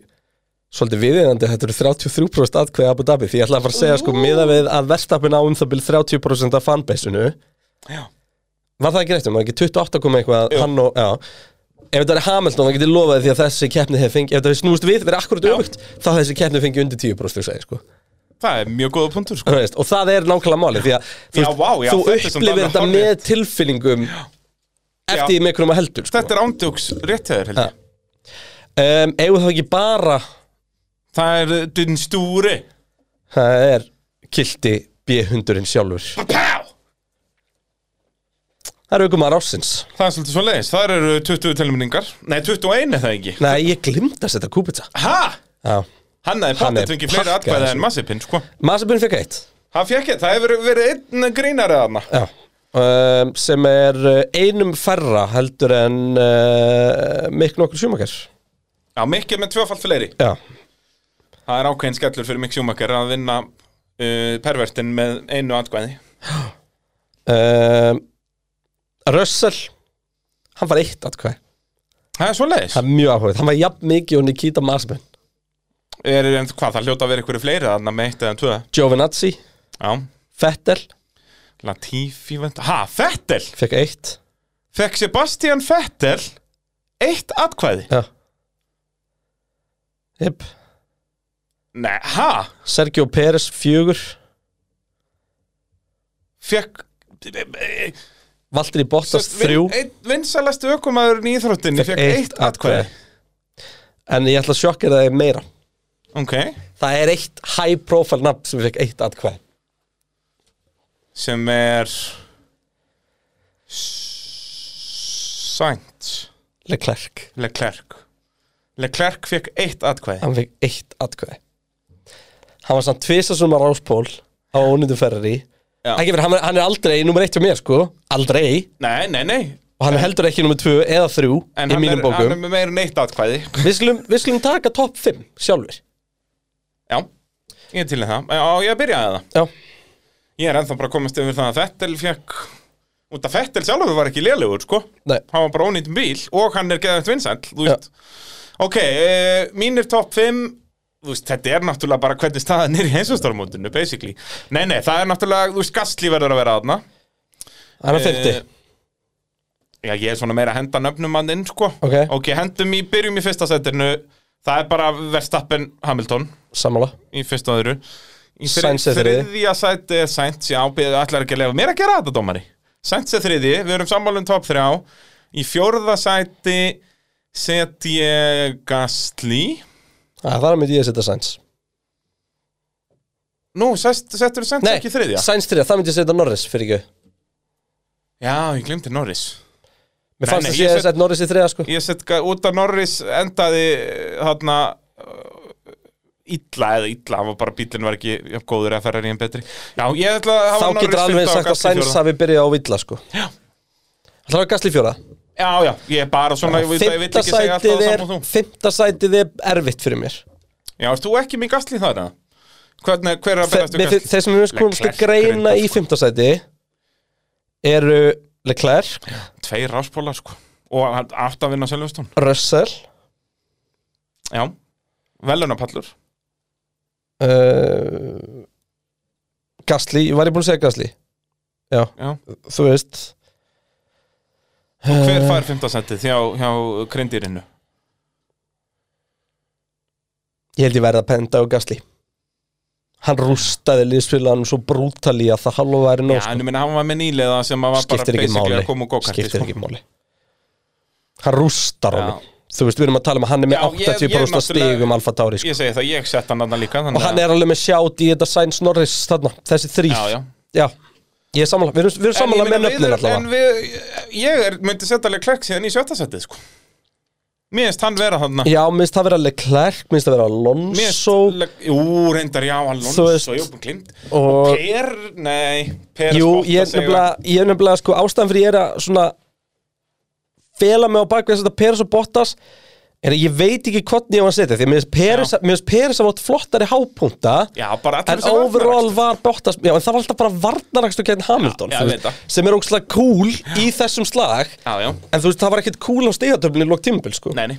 Speaker 6: svolítið viðeigandi að Þetta eru 33% atkveði Abu Dhabi Því ég ætla að fara að segja, sko, miða við að Verstapin á um það byrð 30% af fanbase-unu
Speaker 7: Já.
Speaker 6: Var það ekki rétt um, var ekki 28 komið eitthvað
Speaker 7: Jú.
Speaker 6: Hann og, já Ef þetta er Hamilton, það getur lofaði því að þessi keppni hefði fengið Ef þetta hefði snúist við, verið akkurat öfugt Þá hefði þessi keppni fengið undir 10% þú segir, sko.
Speaker 7: það er mjög góða punktur sko.
Speaker 6: Þú veist, Og það er nákvæmlega máli Því að þú,
Speaker 7: Já,
Speaker 6: veist,
Speaker 7: vá, já,
Speaker 6: þú
Speaker 7: þetta er samt
Speaker 6: upplifir
Speaker 7: alveg
Speaker 6: þetta
Speaker 7: hárrétt.
Speaker 6: með tilfinningum Eftir með hverjum að heldur sko.
Speaker 7: þetta er ándjóks réttæður held ég
Speaker 6: um, Eigum það ekki bara
Speaker 7: það er uh, dinn stúri
Speaker 6: Það er kilti B-hundurinn sjálfur
Speaker 7: Pá!
Speaker 6: Það er aukumar ásins
Speaker 7: það er svolítið svo leiðis það eru 20 tilmyningar nei 21 er það ekki
Speaker 6: Nei, ég glimta að setja kúpitsa
Speaker 7: ha
Speaker 6: Já
Speaker 7: hann er
Speaker 6: Hann er
Speaker 7: pattið fengið fleiri
Speaker 6: pakkað
Speaker 7: atkvæða
Speaker 6: þessu.
Speaker 7: en massipinn sko
Speaker 6: Masabun fekk eitt
Speaker 7: hann fekk þetta það hefur verið einn grínari þarna
Speaker 6: Já um, Sem er uh, einum færra heldur en uh, Mikk nokkur sjúmakar
Speaker 7: já mikið með tvöfalt fleiri
Speaker 6: Já
Speaker 7: það er ákveðin skellur fyrir Mick Schumacher að vinna uh, pervertin með einu atkvæði
Speaker 6: um, Russell Hann var eitt atkvæð
Speaker 7: það er svo leiðis
Speaker 6: Það er mjög áhugað Hann var jafn mikið og Nikita Masabun
Speaker 7: er, en hvað, það hljóta að vera einhverju fleiri þarna með eitt eða tvö
Speaker 6: Giovinazzi
Speaker 7: Já,
Speaker 6: Fettel
Speaker 7: Latifi vend... Ha, Fettel!
Speaker 6: fekk eitt
Speaker 7: Fekk Sebastian Fettel eitt atkvæði?
Speaker 6: Já Jep
Speaker 7: Nei, ha?
Speaker 6: Sergio Pérez fjögur
Speaker 7: Fekk...
Speaker 6: Valtteri Bottas
Speaker 7: Sest,
Speaker 6: þrjú
Speaker 7: Vin, eh, einn vinsalasti ökumæðurinn í Íþróttinni fekk eitt atkvæði
Speaker 6: En ég ætla að sjokkera þig meira
Speaker 7: Ok,
Speaker 6: Það er eitt high profile nafn sem fekk eitt atkvæð
Speaker 7: sem er Sainz
Speaker 6: Leclerc,
Speaker 7: Leclerc Leclerc fekk eitt atkvæði
Speaker 6: hann fekk eitt atkvæð Hann var samt tvisa svona ráspól á ónýttu Ferrari
Speaker 7: Já.
Speaker 6: Ekki verið, hann, er- hann er aldrei nummer eitt hjá mér sko Aldrei
Speaker 7: Nei, nei, nei
Speaker 6: Og hann er heldur ekki nummer tvö eða þrjú
Speaker 7: En hann
Speaker 6: í
Speaker 7: er, hann
Speaker 6: mínum
Speaker 7: er
Speaker 6: bókum
Speaker 7: með meira en eitt atkvæði
Speaker 6: við, skulum, við skulum taka topp 5 sjálfur
Speaker 7: Já, ég er til í það Já, ég byrjaði það
Speaker 6: Já,
Speaker 7: Ég er ennþá bara að komast yfir það að Fettel fekk Út af Fettel sjálfur var ekki lélegur, sko
Speaker 6: nei,
Speaker 7: Hann var bara ónýtt bíl og hann er geðvægt vinsæll, þú
Speaker 6: Já.
Speaker 7: veist Ok, uh, mínir topp 5 Þú veist, þetta er náttúrulega bara hvernig staðan er í heimsvöstarmótinu, basically Nei, nei, það er náttúrulega, þú veist, Gastli verður að vera aðna
Speaker 6: hann er
Speaker 7: eh,
Speaker 6: 50
Speaker 7: Já, ég er svona meira að henda nöfnum hann inn, sko
Speaker 6: Ok.
Speaker 7: ok, hendum í, byrjum í fyrsta setinu Það er bara Verstappen Hamilton
Speaker 6: Sammála
Speaker 7: í fyrsta og öðru Í þri-
Speaker 6: Sainz er þriðji.
Speaker 7: Þriðja sæti er Sainz, já, beðið allar ekki að lefa mér að gera þetta, dómari Sainz er þriðji, við erum sammálum top 3 Í fjórða sæti set ég Gastli
Speaker 6: Æ, Það er Ah, myndi ég að setja Sainz
Speaker 7: Nú, sest, settur Sainz
Speaker 6: Nei,
Speaker 7: ekki þriðja?
Speaker 6: Sainz 3, það myndi ég að setja Norris fyrir ekki
Speaker 7: Já, ég glemti Norris Nei,
Speaker 6: Mér fannst
Speaker 7: nei,
Speaker 6: að
Speaker 7: ég
Speaker 6: sé að
Speaker 7: set-
Speaker 6: setja Norris í 3 sko
Speaker 7: Ég set ga- út að Norris endaði eh, þarna eh, illa eða illa, hann var bara bílinn var ekki jafn góður eða ferrar í enn betri Já, ég ætla að
Speaker 6: Þá
Speaker 7: hafa Norris
Speaker 6: getur alveg
Speaker 7: fimmta og
Speaker 6: sagt að
Speaker 7: Gasly
Speaker 6: Sainz
Speaker 7: fjórða.
Speaker 6: hafi byrjað á villa sko
Speaker 7: Já.
Speaker 6: Það var Gasly fjóra
Speaker 7: Já, já, ég er bara svona, ég veit ég vil
Speaker 6: Fymta
Speaker 7: ekki segja alltaf það
Speaker 6: sætið er
Speaker 7: saman og þú
Speaker 6: Fymta sætið er erfitt fyrir mér
Speaker 7: Já, ert þú ekki með gasli þar? eða? Hvernig, hver er að
Speaker 6: Þe-
Speaker 7: berast
Speaker 6: mér fi- Þeir sem við komumst að
Speaker 7: Leclerc
Speaker 6: greina
Speaker 7: grindar,
Speaker 6: í
Speaker 7: sko.
Speaker 6: fymta sæti eru Leclerc,
Speaker 7: Tveir ráspólar, sko Og hann átt að vinna Selvestón
Speaker 6: Russell
Speaker 7: Já, velunapallur
Speaker 6: uh, Gasly, var ég búinn að segja Gasly? Já,
Speaker 7: Já.
Speaker 6: þú veist
Speaker 7: Hver fær fimmtasættið hjá, hjá krindýrinu?
Speaker 6: Ég held ég verði að penda á Gasly Hann rústaði liðspilanum svo brútali að það halva væri
Speaker 7: Já,
Speaker 6: nóg sko.
Speaker 7: en ég meina, hann var með nýliða sem að var bara
Speaker 6: skiptir ekki
Speaker 7: basically
Speaker 6: máli
Speaker 7: að koma sko. og gokarti
Speaker 6: skiptir ekki máli Hann rústar
Speaker 7: Já.
Speaker 6: honum Þú veist, við erum að tala um að hann er með
Speaker 7: Já, ég- ég
Speaker 6: 80%
Speaker 7: náttúrulega-
Speaker 6: stigum Alfa Tauri sko.
Speaker 7: Ég segi það, ég sett hann andan líka
Speaker 6: og hann er alveg með sjátt í þetta Sainz Norris þarna, þessi þrýr
Speaker 7: Já, já
Speaker 6: ég er sammála, við erum, við erum
Speaker 7: En ég
Speaker 6: sammála
Speaker 7: meina,
Speaker 6: með
Speaker 7: við
Speaker 6: nöfnin
Speaker 7: erum- En
Speaker 6: allavega
Speaker 7: við, ég er, myndi setja alveg klerk síðan í sjöttasættið, sko Mér finnst hann vera þarna
Speaker 6: já, minnst það vera Leclerc, minnst það vera
Speaker 7: Mér
Speaker 6: Alonso
Speaker 7: finnst le- Jú, reyndar, já, Alonso
Speaker 6: Þú veist-
Speaker 7: Jú, búin glimt
Speaker 6: og
Speaker 7: Per, nei Per
Speaker 6: jú, ég er nefnilega, ég er nefnilega sko, ástæðan fyrir ég er að svona fela mig á bakveg þess að Peres og Bottas er að ég veit ekki hvernig ég var að setja því að mér finnst Peres- mér finnst Peres að vart flottari hápunta
Speaker 7: Já, bara allir
Speaker 6: En overall var Bottas Já, en það var alltaf bara varnarakstur gegn Hamilton
Speaker 7: Já,
Speaker 6: þú
Speaker 7: ég
Speaker 6: veist,
Speaker 7: veit það.
Speaker 6: Sem er ógslag cool í þessum slag
Speaker 7: Já, já,
Speaker 6: En þú veist, það var ekkert cool á stigatöflinu í lók tímabil, sko
Speaker 7: nei, nei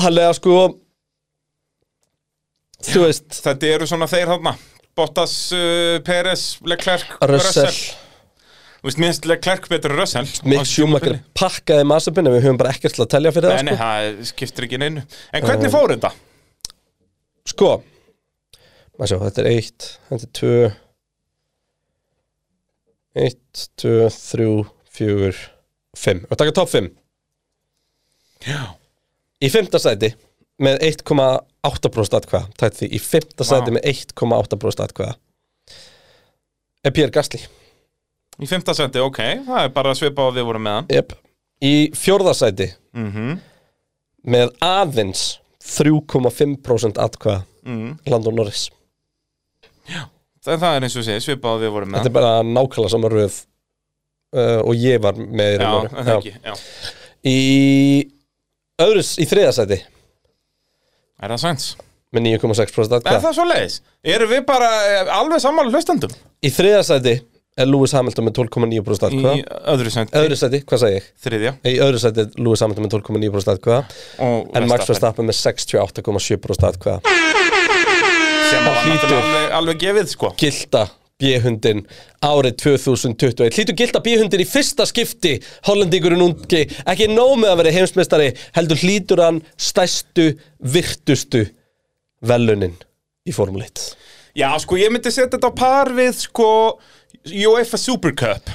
Speaker 6: Hallega, sko Þú veist,
Speaker 7: Þetta eru svona þeir þarna Bottas, uh, Peres, Leclerc,
Speaker 6: Russell,
Speaker 7: Þú veist, minnst Leclerc betur en Russell
Speaker 6: Mick
Speaker 7: Á
Speaker 6: Schumacher
Speaker 7: tímabili.
Speaker 6: pakkaði Mazepin En við höfum bara ekkert til að telja fyrir
Speaker 7: Nei, nei,
Speaker 6: það,
Speaker 7: það skiptir ekki neinu En hvernig
Speaker 6: Eh.
Speaker 7: fór þetta?
Speaker 6: sko Sko Maður sjá, þetta er eitt, þetta er tvö Eitt, tvö, þrjú, fjögur, fimm Og taka topp fimm
Speaker 7: Já
Speaker 6: Í fymta sæti með 1,8% atkvæða Tætt því í fymta sæti með 1,8% atkvæða er Pierre Gasly
Speaker 7: Í fimmta seti, ok Það er bara að svipa á að við vorum með hann
Speaker 6: yep. Í fjórða sæti með aðeins 3,5% atkvæða
Speaker 7: mm.
Speaker 6: Landon Norris
Speaker 7: En það er eins og sé, svipa á að við vorum með
Speaker 6: Þetta er bara nákvæmlega sama röð uh, og ég var með í raun og
Speaker 7: hann
Speaker 6: veru.
Speaker 7: Já, en það ekki, já
Speaker 6: Í öðru, í þriða sæti
Speaker 7: Er það sæns?
Speaker 6: með 9,6%
Speaker 7: Er
Speaker 6: atkvæða
Speaker 7: það svo leiðis? Erum við bara eh, alveg sammála hlustandum?
Speaker 6: Í þriða sæti er Lewis Hamilton með 12,9%
Speaker 7: Í
Speaker 6: atkvæða
Speaker 7: öðru seti
Speaker 6: Öðru sæti, hvað sagði ég?
Speaker 7: Þriðja
Speaker 6: Í öðru sæti er Lewis Hamilton með 12,9% atkvæða
Speaker 7: og
Speaker 6: en Max Verstappen með 68,7% atkvæða
Speaker 7: sem var
Speaker 6: hlýtur.
Speaker 7: náttúrulega alveg, alveg gefið sko
Speaker 6: Gilda B-hundin árið 2021 Hlýtu gilda B-hundin í fyrsta skipti Hollendingurinn ungi ekki nóg með að vera heimsmeistari heldur hlýtur hann stæstu virtustu velunin í formuleitt
Speaker 7: já sko ég myndi setja þetta á par við sko UEFA Super Cup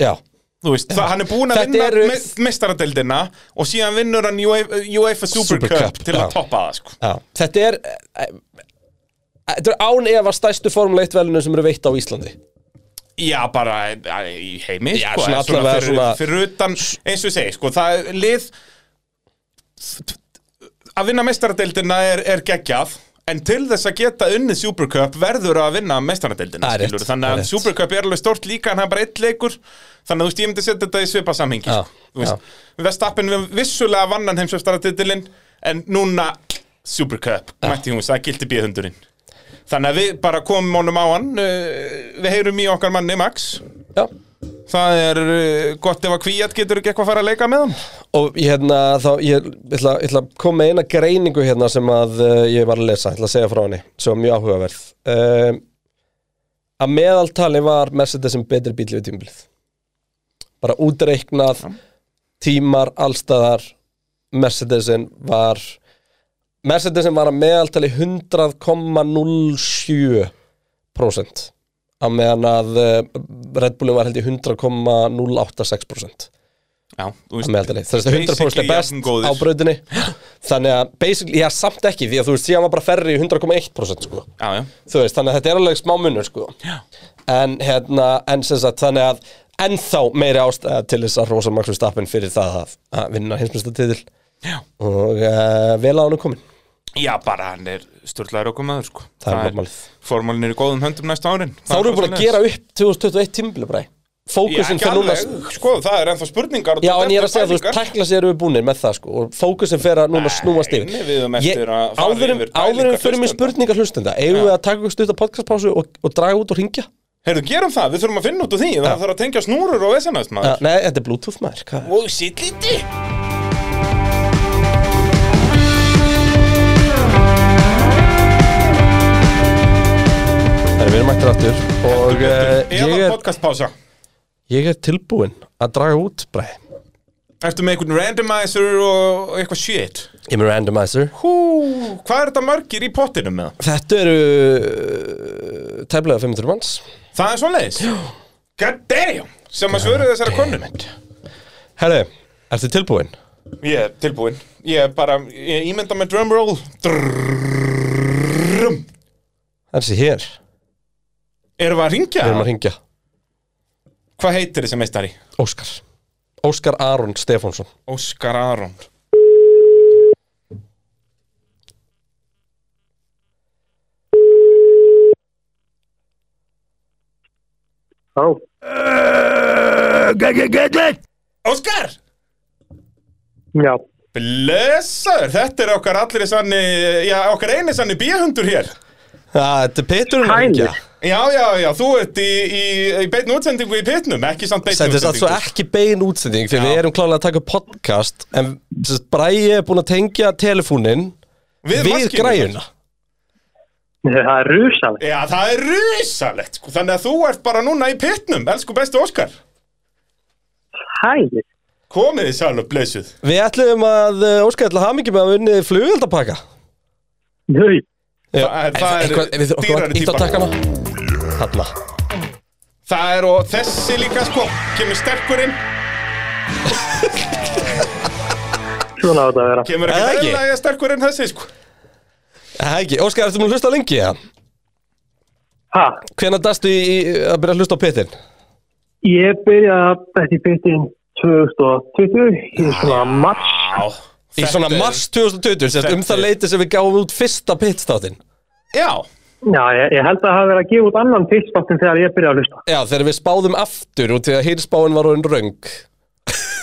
Speaker 6: Já,
Speaker 7: Þú þú veist, það, hann er búin að
Speaker 6: Þetta
Speaker 7: vinna
Speaker 6: eru-
Speaker 7: eru... mestaradeldina og síðan vinnur hann UEFA UEFA Super,
Speaker 6: Super
Speaker 7: Cup
Speaker 6: Cup,
Speaker 7: til
Speaker 6: já.
Speaker 7: að toppa það sko.
Speaker 6: Já. Þetta er eh, Þetta er án efa stærstu formuleitt velinu sem eru veitt á Íslandi
Speaker 7: Já, bara eh, í heimi
Speaker 6: Já,
Speaker 7: sko,
Speaker 6: svona
Speaker 7: en
Speaker 6: allavega
Speaker 7: fyrir,
Speaker 6: svona-
Speaker 7: fyrir utan, eins og ég segi sko, það er lið að vinna mestaradeldina er, er geggjað En til þess að geta unnið Super Cup verður að vinna mestaradeildina
Speaker 6: Það er rétt,
Speaker 7: skilurðu.
Speaker 6: það er
Speaker 7: Þannig að
Speaker 6: rétt.
Speaker 7: Super Cup er alveg stórt líka en það er bara eitt leikur Þannig að þú veist, ég myndi setja þetta í svipa samhengi
Speaker 6: Já,
Speaker 7: sko. Þú veist, Vestappen við vissulega vannan heimsvefstaratitilinn En núna Super Cup, mætti hún, það gildi bíðhundurinn Þannig að við bara komum honum á hann uh, Við heyrum í okkar manni Max
Speaker 6: Já.
Speaker 7: Það er uh, gott ef að kvíat getur ekki eitthvað að fara að leika með hann
Speaker 6: Og ég, hérna, þá, ég, ég, ætla, ég ætla að koma með eina greiningu hérna sem að uh, ég var að lesa, ég ætla að segja frá henni sem var mjög áhugaverð um, Að meðaltali var Mercedes sem betri bíl við tímbilið Bara útreiknað tímar allstaðar Mercedesin var Mercedesin var að meðaltali 100,07% að meðan að uh, Red Bullin var held ég 100,086%
Speaker 7: Já, þú
Speaker 6: að meðaldali þess að 100% er
Speaker 7: basically
Speaker 6: best
Speaker 7: jafngóðir.
Speaker 6: á brautinni þannig að basically, já samt ekki því að þú veist, síðan var bara ferri í 100,1% sko.
Speaker 7: Já, já,
Speaker 6: þú veist, þannig að þetta er alveg smá munur sko. en hérna, en sem sagt þannig að ennþá meiri ástæða til þess að rosa Max Verstappen fyrir það að, að vinna hinsmestatitil
Speaker 7: Já.
Speaker 6: og uh, vel á hann komin
Speaker 7: já, bara hann er störtlaður okkur maður sko.
Speaker 6: Það er normálið.
Speaker 7: Formálin er í góðum höndum næsta árin
Speaker 6: þá
Speaker 7: Það
Speaker 6: eru við búin að
Speaker 7: svoleiðis.
Speaker 6: gera upp 2021 tímabili bara fókusinn
Speaker 7: Já,
Speaker 6: fyrir núna
Speaker 7: ekki alveg, sko, það er ennþá spurningar og
Speaker 6: Já, en ég er að
Speaker 7: þetta
Speaker 6: segja, þú veist,
Speaker 7: pælingar.
Speaker 6: tækla sér eru við búnir með það, sko, og fókusin fer að núna snúast yfir.
Speaker 7: nei, við höfum eftir
Speaker 6: Ég-
Speaker 7: að fara
Speaker 6: áður en-
Speaker 7: yfir
Speaker 6: Áður en
Speaker 7: pælingar
Speaker 6: fyrir mér
Speaker 7: hlustenda.
Speaker 6: spurningar hlustenda, eigum við að taka okkur stutt á podcastpásu og, og draga út og ringja?
Speaker 7: Heyrðu, gerum það, við þurfum að finna út úr því Það þarf að tengja snúrur og vesenast maður
Speaker 6: Ah, Nei, þetta er Bluetooth maður, hvað?
Speaker 7: Og sitt liti
Speaker 6: Það er verið mættur aftur og eh, ég
Speaker 7: Eða
Speaker 6: er,
Speaker 7: podcastpása
Speaker 6: ég er tilbúinn að draga út, bræ.
Speaker 7: Ertu með einhvern randomizer og og eitthvað shit
Speaker 6: Ég er með randomizer.
Speaker 7: Hú, hvað er þetta margir í pottinum með það?
Speaker 6: Þetta eru uh, tæmlega 500 manns.
Speaker 7: Það er svoleiðis God damn, sem að svöru þessara konun
Speaker 6: Herri, ertu tilbúinn?
Speaker 7: Ég er tilbúinn Ég er bara, ég ímynda með drumroll Drrrrum
Speaker 6: Þessi hér,
Speaker 7: Erum við að
Speaker 6: við erum að
Speaker 7: ringja?
Speaker 6: ringja.
Speaker 7: Hvað heitir þessi meistari?
Speaker 6: Óskar. Óskar Aron Stefánsson.
Speaker 7: Óskar Aron
Speaker 3: Já,
Speaker 7: Eh, Óskar!
Speaker 3: já,
Speaker 7: Blessaður, þetta er okkar allir sanni, já, okkar eini sanni bíahundur hér.
Speaker 6: Já, þetta er Peturinn að ringja.
Speaker 7: Já, já, já, þú ert í, í, í beitn útsendingu í pitnum, ekki samt beitn
Speaker 6: Þetta er
Speaker 7: útsendingu.
Speaker 6: svo ekki bein útsending fyrir
Speaker 7: Já.
Speaker 6: við erum klálega að taka upp podcast en Bræi er búin að tengja telefónin
Speaker 7: Við
Speaker 6: við,
Speaker 7: maskínuna.
Speaker 6: hérna. græjuna
Speaker 3: það er rusalegt.
Speaker 7: Já, það er risalegt, sko, þannig að þú ert bara núna í pitnum, elsku bestu Óskar.
Speaker 3: Hæðir.
Speaker 7: Komið þið sjálf og blessuð.
Speaker 6: Við ætlum að, uh, Óskar, ætla hamingi með að unni flugöldapakka
Speaker 3: Þau,
Speaker 7: Það er- það er dýrari
Speaker 6: Ítt á
Speaker 7: típa.
Speaker 6: takkana Hanna
Speaker 7: Það er og þessi líka, sko, kemur sterkurinn,
Speaker 3: svona á þetta að vera.
Speaker 7: kemur
Speaker 6: Er það
Speaker 7: ekki
Speaker 6: ekki?
Speaker 7: verðlægja sterkurinn þessi, sko.
Speaker 6: Það ekki, Óskar, ertu múin að hlusta lengi ja?
Speaker 3: Ha,
Speaker 6: Hvenær dastu í, í, að byrja að hlusta á Petin?
Speaker 3: ég byrjaði að þetta í byrjun 2020 í svona mars.
Speaker 7: Já.
Speaker 6: Í svona mars 2020, sérst, um
Speaker 7: þetta
Speaker 6: það
Speaker 7: er-
Speaker 6: leiti sem við gáum út fyrsta Petstáttinn
Speaker 7: Já,
Speaker 3: Já, ég, ég held að það hafi verið að gefa út annan fyrstbáttin þegar ég byrjaði að hlusta.
Speaker 6: Já, þegar við spáðum aftur út því að hinspáin var orðin röng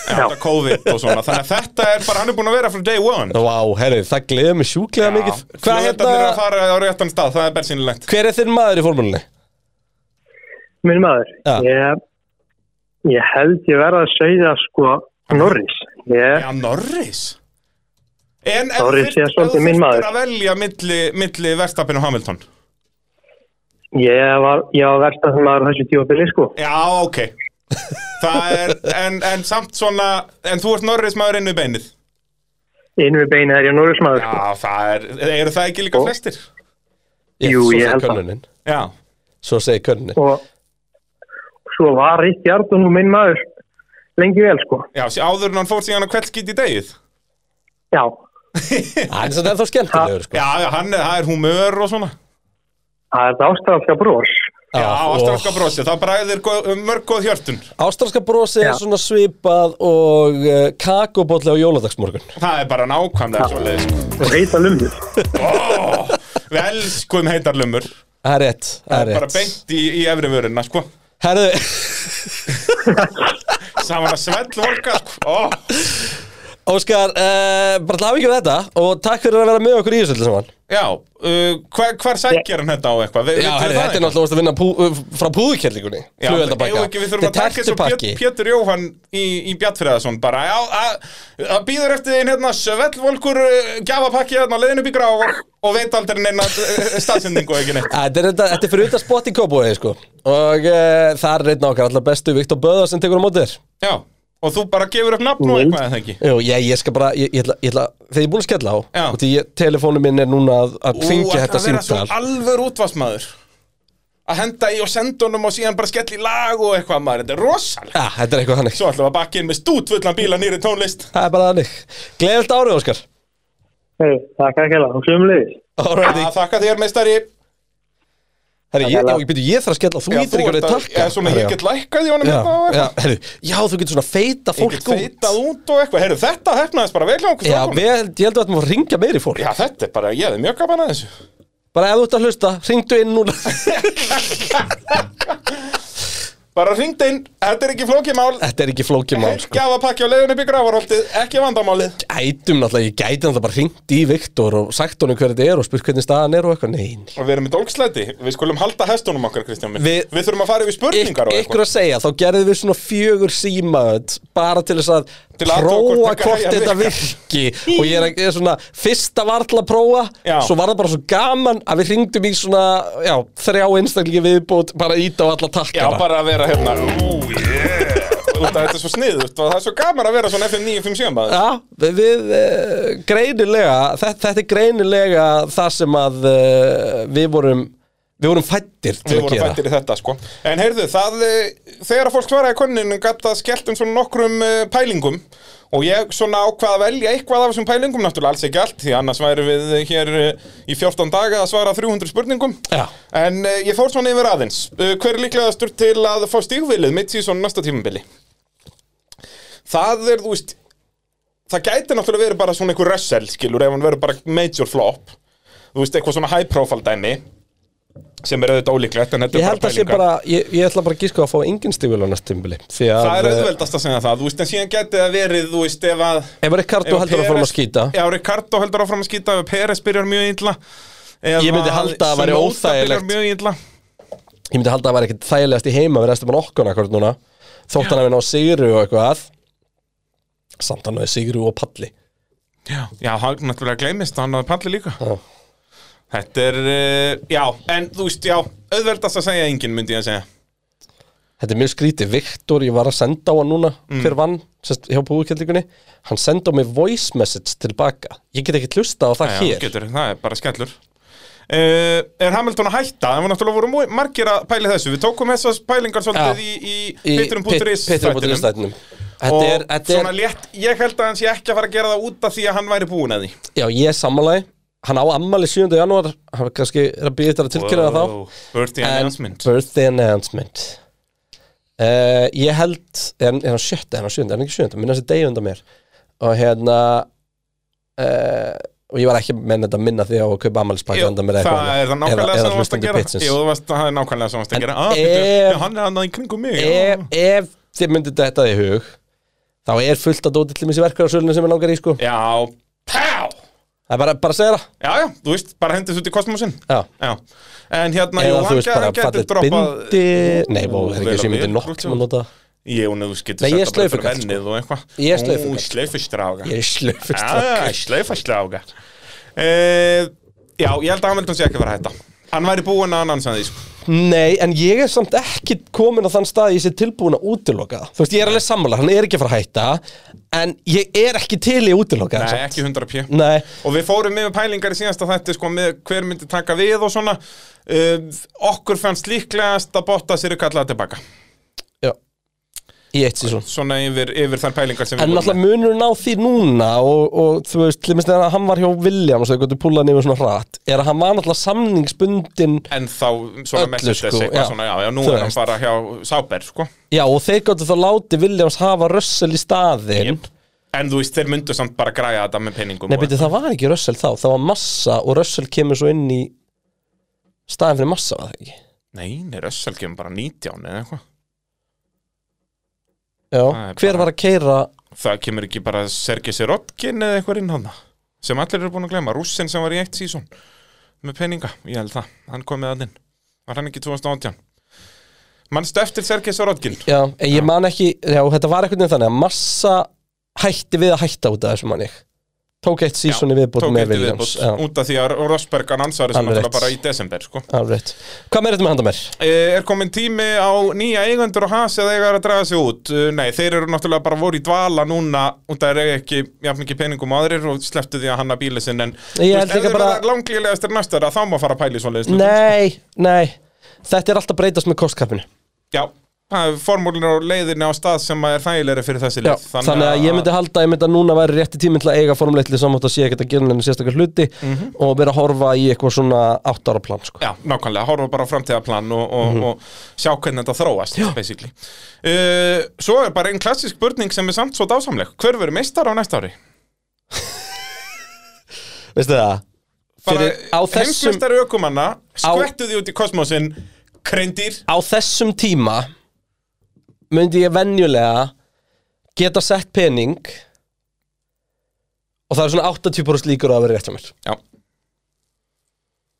Speaker 7: þetta COVID og svona, þannig að þetta er bara, hann er búin að vera frá day one.
Speaker 6: Vá, herri, það gleður mig sjúklega mikið Hvað
Speaker 7: Flugveldarnir eru að
Speaker 6: hérna,
Speaker 7: fara á réttan stað, það er bersýnilegt
Speaker 6: hver er þinn maður í formúlunni?
Speaker 3: Minn maður,
Speaker 6: Já.
Speaker 3: ég, ég held ég verið að segja sko Norris. Ég,
Speaker 7: Já, Norris En ef
Speaker 3: Norris
Speaker 7: þyrft-
Speaker 3: er
Speaker 7: ef
Speaker 3: svolítið
Speaker 7: þú
Speaker 3: minn
Speaker 7: þyrftir
Speaker 3: maður.
Speaker 7: að velja milli, milli Verstappen og Hamilton
Speaker 3: ég var, ég var versta sem maður á þessu tífabili sko.
Speaker 7: Já, ok Það er, en, en samt svona En þú ert Norris maður inn við beinið
Speaker 3: Einu við beinið er ég Norris maður sko.
Speaker 7: Já, það er, eru það ekki líka
Speaker 3: Og-
Speaker 7: flestir?
Speaker 3: Jú,
Speaker 6: svo
Speaker 3: ég
Speaker 6: segir
Speaker 3: held það.
Speaker 6: könnunin.
Speaker 7: Já
Speaker 6: Svo segir könnunin
Speaker 3: Og svo var Ríkjard og nú minn maður. lengi vel sko
Speaker 7: Já, sí- áður en hann fór síðan að kveldskýt í degið
Speaker 3: Já,
Speaker 6: Það er þetta þá skemmtilegur sko.
Speaker 7: Já, já, hann er, það er humör og svona
Speaker 3: það er þetta ástrafja bros
Speaker 7: Já,
Speaker 6: og-
Speaker 7: ástrafska brosi, það bræðir góð, mörg góð hjörtun
Speaker 6: Ástralska brosi er
Speaker 3: Já.
Speaker 6: svona svipað og uh, kakobótli á jóladagsmorgun
Speaker 7: Það er bara nákvæmlega svo leiðis
Speaker 3: og heita lumur
Speaker 7: oh, Við elskum heitar lumur
Speaker 6: Það er rétt, það er
Speaker 7: Bara
Speaker 6: rétt
Speaker 7: beint í, í efri vöruna, sko
Speaker 6: Herðu,
Speaker 7: Saman að svell volka, sko oh,
Speaker 6: Óskar, uh, bara til hafingjum þetta og takk fyrir að vera með okkur í þessu öllu saman
Speaker 7: Já, uh, hver, hver sækjar hann þetta á eitthvað? Vi,
Speaker 6: Já, herðu, þetta er náttúrulega vorst að vinna pú, uh, frá púðukerlingunni
Speaker 7: Já,
Speaker 6: Flugveldabakka
Speaker 7: eigum ekki, við þurfum að taka eins og Pétur, Pétur Jóhann í, í Bjartfriðarsson bara, já, að- að býður eftir þín hérna svellvolkur uh, gjafapakki hérna leiðin upp í grá og, og veit aldrei neina uh, staðsendingu og ekki neitt
Speaker 6: Þetta er, þetta- þetta er fyrir utan spott í kópúi sko. og uh, það er reyna okkar alltaf bestu Viktor Böða sem tekur á móti þér
Speaker 7: Já, og þú bara gefur upp nafn og eitthvað eða ekki
Speaker 6: Jú, ég, ég skal bara, ég, ég ætla, ég ætla, þegar ég er búin að skella á
Speaker 7: Já.
Speaker 6: og því ég- telefónu minn er núna að, að
Speaker 7: ætlar
Speaker 6: hringja þetta
Speaker 7: að vera svo
Speaker 6: símtal
Speaker 7: alvör útvarsmaður að henda í og senda honum og síðan bara skella í lag og eitthvað maður, þetta er rosalega
Speaker 6: Já, þetta er eitthvað hannig
Speaker 7: Svo ætlum við að bakka inn með stútvullan bíla nýri tónlist
Speaker 6: Það er bara þannig. Gleðilt árið, Óskar.
Speaker 3: Hei, takk ekki hella, og sömulegis
Speaker 6: Alrighty.
Speaker 7: að þakka þér meistari
Speaker 6: Herri, ég, já, ég byrju, ég þarf að skella, þú
Speaker 7: Já,
Speaker 6: ítir
Speaker 7: þú
Speaker 6: ekki að
Speaker 7: ert að-
Speaker 6: takka.
Speaker 7: Já, svona ég get lækkað í honum
Speaker 6: já,
Speaker 7: hérna og
Speaker 6: já,
Speaker 7: eitthvað
Speaker 6: herri, já, þú getur svona feita
Speaker 7: Ég
Speaker 6: fólk
Speaker 7: get feitað út og eitthvað, heyrðu þetta hefnaðist bara vel hjá okkur
Speaker 6: Já,
Speaker 7: strákunum.
Speaker 6: við, ég heldur að maður ringja meiri fólk.
Speaker 7: Já, þetta er bara, ég hefði mjög gaman að þessu
Speaker 6: Bara ef þú ert að hlusta, ringdu inn núna.
Speaker 7: Bara ringd inn, þetta er ekki flókið mál
Speaker 6: Þetta er ekki flókið mál, sko.
Speaker 7: Gjafapakki á leiðinu upp í gravarholtið, ekki vandamálið
Speaker 6: Gætum náttúrulega, ég gæti náttúrulega bara ringt í Viktor og sagt honum hver þetta er og spurt hvernig staðan er og eitthvað. Nei, nei.
Speaker 7: Og við erum í dólkslæti, við skulum halda hestunum okkar, Kristján minn
Speaker 6: Við-
Speaker 7: Við þurfum að fara yfir
Speaker 6: Yk,
Speaker 7: spurningar og
Speaker 6: ykkur
Speaker 7: eitthvað
Speaker 6: að segja, þá gerðum við svona fjögur símaönd bara til þess að
Speaker 7: Til að athuga hvort
Speaker 6: prófa
Speaker 7: þetta
Speaker 6: hvort
Speaker 7: gæja
Speaker 6: þetta
Speaker 7: virkar.
Speaker 6: virki og ég er, að- ég er svona, fyrsta var til að prófa
Speaker 7: Já.
Speaker 6: svo var það bara svo gaman að við hringdum í svona, já, þrjá einstaklingi viðbót, bara íta á alla
Speaker 7: Já,
Speaker 6: takkara
Speaker 7: bara að vera hérna, ú, yeah Út að þetta er svo sniðut og það er svo gaman að vera svona FM 957 maður
Speaker 6: Já, við, við uh, greinilega, þetta, þetta er greinilega það sem að uh, við vorum, við vorum fættir til
Speaker 7: Við
Speaker 6: að
Speaker 7: vorum
Speaker 6: gera
Speaker 7: fættir í þetta, sko En heyrðu, það, eh, þegar að fólk svaraði konnin gætt það skellt um svona nokkrum eh, pælingum Og ég svona ákvað að velja eitthvað af þessum pælingum Náttúrulega alls ekki allt Því annars væri við eh, hér eh, í 14 daga að svara 300 spurningum
Speaker 6: Já.
Speaker 7: En eh, ég fór svona yfir aðeins Eh, Hver er líklegastur til að fá stígvilið mitt síðan næsta tímabili? Það er, þú veist Það gæti náttúrulega verið bara svona einhver rössel, skilur Ef hann verið bara major flop Þú veist, eitthvað svona high profile dæmi sem er auðvitað ólíklegt en þetta
Speaker 6: Ég
Speaker 7: er
Speaker 6: held
Speaker 7: bara
Speaker 6: að sé
Speaker 7: pælingar
Speaker 6: bara, ég, ég ætla bara að gíska á að fá engin stígvél á næst tímbili
Speaker 7: það
Speaker 6: eh,
Speaker 7: er auðveldast að segja það, þú veist, en síðan geti það verið þú veist, ef að
Speaker 6: Ef Ricardo
Speaker 7: ef
Speaker 6: heldur að fórum að
Speaker 7: Perez-
Speaker 6: skýta
Speaker 7: Já, Ricardo heldur áfram að skýta, ef Peres byrjar mjög illa ef
Speaker 6: Ég myndi
Speaker 7: að
Speaker 6: halda að væri
Speaker 7: Sonoda byrjar
Speaker 6: óþægilegt.
Speaker 7: mjög illa
Speaker 6: Ég myndi halda að það væri ekkert þægilegast í heima við restum hann okkur akkur núna Þótt hann að við ná sigru og eitthvað Samt hann að sigru og palli
Speaker 7: Já, já hann náttúrulega gleymist, hann hafði palli líka
Speaker 6: Já.
Speaker 7: Þetta er, uh, já, en þú veist, já auðveldast að segja enginn, myndi ég að segja
Speaker 6: Þetta er mjög skrítið, Viktor, ég var að senda á hann núna
Speaker 7: Mm.
Speaker 6: Hver vann, sérst, hjá búðkjöldingunni Hann senda á mig voice message tilbaka Ég get ekki hlusta á það
Speaker 7: Já,
Speaker 6: hér
Speaker 7: getur, það er bara skellur uh, Er Hamilton að hætta? Það var náttúrulega voru mjög margir að pæli þessu Við tókum þessas pælingar svolítið
Speaker 6: Já.
Speaker 7: í, í
Speaker 6: Í
Speaker 7: Petrum.is
Speaker 6: Pit- Pitrum.is
Speaker 7: þættinum.
Speaker 6: þættinum. Þetta
Speaker 7: og
Speaker 6: er, þetta
Speaker 7: svona
Speaker 6: er,
Speaker 7: létt, ég held að hans ég ekki að fara að gera það út af því að hann væri búin að því
Speaker 6: já, ég er sammálaði Hann á ammali 7. janúar Hann kannski er að býða þetta að tilkynna það þá
Speaker 7: Birthday
Speaker 6: En
Speaker 7: announcement
Speaker 6: Birthday announcement uh, Ég held Er hann- er hann sjötta, er hann sjönda, er hann ekki sjönda Minna þessi degi undan mér Og hérna uh, Og ég var ekki menn þetta að minna því á að kaupa ammælispakka
Speaker 7: Jú,
Speaker 6: undan mér eða
Speaker 7: það
Speaker 6: eitthvað
Speaker 7: er það
Speaker 6: annað.
Speaker 7: nákvæmlega
Speaker 6: Eða-
Speaker 7: sem þú
Speaker 6: eða
Speaker 7: varst að
Speaker 6: hlustandi
Speaker 7: gera
Speaker 6: pitsins.
Speaker 7: Jú, þú varst- það er nákvæmlega sem þú varst
Speaker 6: En
Speaker 7: að gera ah,
Speaker 6: ef-
Speaker 7: ef, Hann er annað í kringum mig já.
Speaker 6: Ef, Eh, ef þið myndið þetta í hug Þá er fullt að dóti til mér sér verkvæðarsölunum sem er langar í sko
Speaker 7: Já, pá
Speaker 6: Það er bara, bara að segja það
Speaker 7: Já, já, þú veist, bara hendist út í kosmosin
Speaker 6: Já.
Speaker 7: En hérna, jú,
Speaker 6: Eða þú
Speaker 7: hann
Speaker 6: veist bara
Speaker 7: gæ- gæti
Speaker 6: fallið
Speaker 7: droppað
Speaker 6: bindi Nei, vó, það er
Speaker 7: vel
Speaker 6: ekki
Speaker 7: á
Speaker 6: sem myndi
Speaker 7: vel,
Speaker 6: nokk
Speaker 7: brútt,
Speaker 6: sem að
Speaker 7: já.
Speaker 6: nota
Speaker 7: Jú, en þú getur
Speaker 6: Nei, ég er
Speaker 7: sett það bara fyrir
Speaker 6: slaufugall, sko.
Speaker 7: vennið og eitthvað
Speaker 6: Ég er slaufugall.
Speaker 7: Ú, slaufustráka
Speaker 6: Ég er sko. slöfist
Speaker 7: Ah, slaufastráka uh, Já, ég held að Hamilton sé ekki að vera að hætta Hann væri búinn að annan sem því sko.
Speaker 6: Nei, en ég er samt ekki komin á þann stað að ég sé tilbúin að útiloka það. Þú veist, ég er alveg sammála, hann er ekki að fara að hætta En ég er ekki til í að útiloka
Speaker 7: Nei,
Speaker 6: það samt.
Speaker 7: ekki 100 p
Speaker 6: Nei,
Speaker 7: Og við fórum með pælingar í síðasta þætti sko, með hver myndi taka við og svona Eh, uh, Okkur fannst líklegast að botta sér kallaða tilbaka
Speaker 6: já í eitt sísón
Speaker 7: svona yfir, yfir þær pælingar sem
Speaker 6: En
Speaker 7: við
Speaker 6: náttúrulega munur ná því núna og, og þú veist, til minnst þegar hann var hjá Williams og eitthvað púlaði nefnir svona hratt er að hann var náttúrulega samningsbundin
Speaker 7: en þá svona
Speaker 6: Öllu,
Speaker 7: messið
Speaker 6: sko,
Speaker 7: þessi
Speaker 6: já.
Speaker 7: svona, já, já, nú
Speaker 6: Þú
Speaker 7: er hann
Speaker 6: veist.
Speaker 7: bara hjá Sáber sko.
Speaker 6: Já, og þeir gáttu þá láti Williams hafa Russell í staðinn
Speaker 7: Jep. en þú veist, þeir myndu samt bara græja þetta með penningum
Speaker 6: Nei, byrju, það var ekki Russell þá, það var Massa og Russell kemur svo inn í staðin fyrir Massa, var það ekki?
Speaker 7: Nei, nei, Russell kemur bara 19 eða eitthvað
Speaker 6: Já,
Speaker 7: Það er
Speaker 6: hver
Speaker 7: bara-
Speaker 6: var að keira
Speaker 7: Það kemur ekki bara Sergei Sirotkin eða eitthvað inn hann sem allir eru búin að glemma, rússinn sem var í eitt sísón með peninga, ég held það hann kom með hann inn, var hann ekki 2018 Manstu eftir Sergei Sirotkin
Speaker 6: Já, en ég man ekki, já, þetta var eitthvað þannig að Massa hætti við að hætta út af þessu manni Tók eitt sísoni viðbútt
Speaker 7: tók
Speaker 6: með
Speaker 7: eftir
Speaker 6: Williams
Speaker 7: viðbót út af því að Rosberg annansaði
Speaker 6: Alveg
Speaker 7: sem náttúrulega
Speaker 6: rétt.
Speaker 7: bara í desember sko.
Speaker 6: Já, alveg Hvað meir þetta með handa mér?
Speaker 7: Eh, er komin tími á nýja eigendur og hans eða eiga að draga sig út Eh, nei, þeir eru náttúrulega bara voru í dvala núna og það er ekki jafn mikið peningum og aðrir og slepptu því að hanna bíli sinn en þú
Speaker 6: held
Speaker 7: veist, ef
Speaker 6: líka
Speaker 7: þeir
Speaker 6: bara-
Speaker 7: verða langlýlegast er næstara þá má fara að pæli svona
Speaker 6: Nei, nei Þetta er alltaf breytast með kostkappinu
Speaker 7: já, formúlin og leiðinni á stað sem að er þægilegri fyrir þessi
Speaker 6: Já,
Speaker 7: lið
Speaker 6: þannig, að ég myndi halda, ég myndi að núna væri rétti tíminn til að eiga formuleitli samátt að sé ekkert að gera henni sérstakar hluti og vera að horfa í eitthvað svona átt ára plan sko.
Speaker 7: Já, nákvæmlega, horfa bara á framtíðaplan og, og,
Speaker 6: Mhm.
Speaker 7: og sjá hvernig þetta þróast basically uh, Svo er bara einn klassisk spurning sem er samt svo dásamleg Hver verður meistar á næsta ári?
Speaker 6: Veistu það?
Speaker 7: Bara
Speaker 6: Fyrir- á þessum-
Speaker 7: heimsmeistari ökumanna skvettu því út í kosmosinn kreindýr
Speaker 6: Á þessum tíma myndi ég venjulega geta sett pening og það er svona 80% líkur á að vera rétt hjá mér
Speaker 7: Já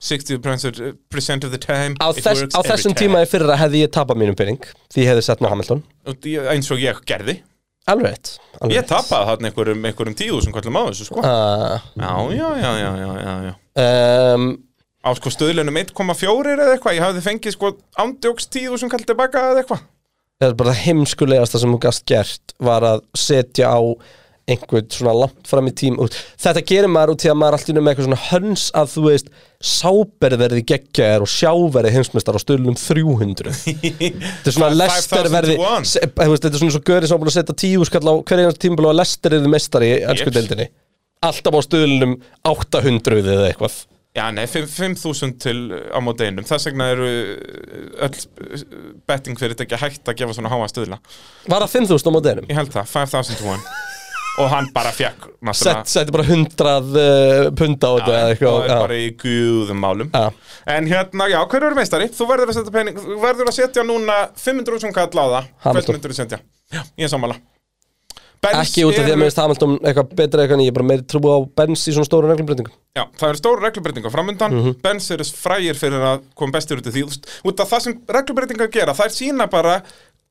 Speaker 7: 60% of the time
Speaker 6: Á,
Speaker 7: it
Speaker 6: þess,
Speaker 7: works
Speaker 6: á
Speaker 7: every
Speaker 6: þessum
Speaker 7: time.
Speaker 6: tíma í fyrra hefði ég tapað mínum pening því ég hefði sett með Hamilton
Speaker 7: Og ég- Eins og ég gerði
Speaker 6: Alveg rétt alveg
Speaker 7: Ég
Speaker 6: rétt.
Speaker 7: tapaði þarna einhverjum, einhverjum tíu sem kvöldum á þessu sko
Speaker 6: Ah,
Speaker 7: Já, já, já, já, já, já, já
Speaker 6: um,
Speaker 7: Á sko stöðlunum 1,4 eða eitthvað Ég hafði fengið sko ándjóks tíu sem kallt tilbaka eða eitthvað
Speaker 6: það er bara það heimskulegasta sem hún gast gert var að setja á einhvern svona langt fram í tím út. þetta gerir maður út í að maður er allir með eitthvað svona höns að þú veist sáber verði geggjaðar og sjáverði heimsmeistar á stöðlunum 300 þetta er svona lester verði
Speaker 7: 5,001.
Speaker 6: se- eh, þú veist, þetta er svona svo görið sem er búin að setja tíu skall á hverja einhvers tímbil og að lester er þið mestar í elsku
Speaker 7: Jeps.
Speaker 6: deildinni alltaf á stöðlunum 800 eða eitthvað
Speaker 7: Já, nei, fimm- 5.000 til uh, á móti einum Þess vegna eru uh, öll betting fyrir þetta ekki hægt að gefa svona háa stöðla
Speaker 6: var það 5000 á mótiðinum
Speaker 7: Ég held það, 5.000 to 1 Og hann bara fekk
Speaker 6: Sett,
Speaker 7: náttúrulega
Speaker 6: setti bara 100 uh, punda á þetta
Speaker 7: Já,
Speaker 6: eða
Speaker 7: og
Speaker 6: eitthvað
Speaker 7: er
Speaker 6: já.
Speaker 7: bara í guðum málum
Speaker 6: Já.
Speaker 7: En hérna, já, hver eru meistari? Þú verður að setja pening Þú verður að setja núna 500.000 kall á það Hvert
Speaker 6: Hamilton.
Speaker 7: myndur þú setja? Já, ég er sammála Benz
Speaker 6: ekki út af því að
Speaker 7: eru-
Speaker 6: mér finnst Hamilton eitthvað betra eitthvað en ég er bara meiri trú á Benz í svona stóru reglumbreytingum
Speaker 7: Já, það eru stóru reglubreitingar framöndan
Speaker 6: Mhm.
Speaker 7: Benz eru frægir fyrir að koma bestir út af því Þú veist, Út af það sem reglubreitingar gera Það er sína bara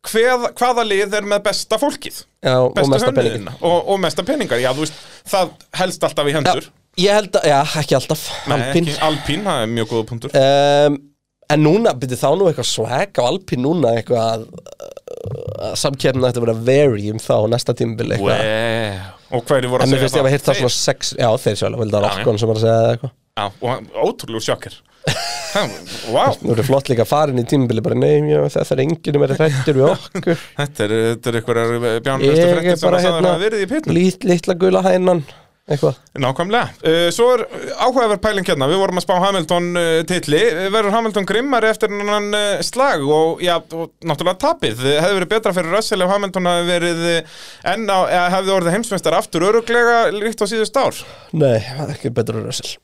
Speaker 7: hveð, hvaða lið er með besta fólkið
Speaker 6: Já, og
Speaker 7: Bestu
Speaker 6: mesta
Speaker 7: hönnuðina.
Speaker 6: peningin.
Speaker 7: og, og mesta peningar, já, þú veist Það helst alltaf í hendur
Speaker 6: ég held að, já, ekki alltaf
Speaker 7: Nei,
Speaker 6: Alpín
Speaker 7: ekki- Alpín, það er mjög góða punktur
Speaker 6: um, en núna, byrju þá nú eitthvað swag á Alpín núna eitthvað uh, samkefna ætti að vera very um þá næsta tímbil eitthvað
Speaker 7: wow. Og hverju voru
Speaker 6: eh. en
Speaker 7: að segja
Speaker 6: mér finnst ég að hýrt það svona
Speaker 7: Þeir-
Speaker 6: sex já, þeir sjálf, það er
Speaker 7: Já, já.
Speaker 6: Alkon sem var að segja það eitthvað
Speaker 7: Já, og hann- ótrúlegur sjokkar Vá,
Speaker 6: nú eru flott líka farin í tímbili bara, nei, já, það er enginn um er hrættur við okkur
Speaker 7: þetta er, þetta er einhverjar bjánlustu
Speaker 6: ég
Speaker 7: frektir
Speaker 6: er
Speaker 7: sem
Speaker 6: bara
Speaker 7: að sagði
Speaker 6: hérna
Speaker 7: að verið í pitnum
Speaker 6: lít, litla gula hænan eitthvað,
Speaker 7: Nákvæmlega. Uh, svo er áhugaverð pæling hérna, við vorum að spá Hamilton uh, titli, verður Hamilton grimmari eftir hann uh, slag og, já, og náttúrulega tapið, Eh, hefði verið betra fyrir Russell ef Hamilton hefði verið uh, enn á, eða hefði orðið heimsveistar aftur öruglega líkt á síðust ár.
Speaker 6: nei, það er ekki betur en Russell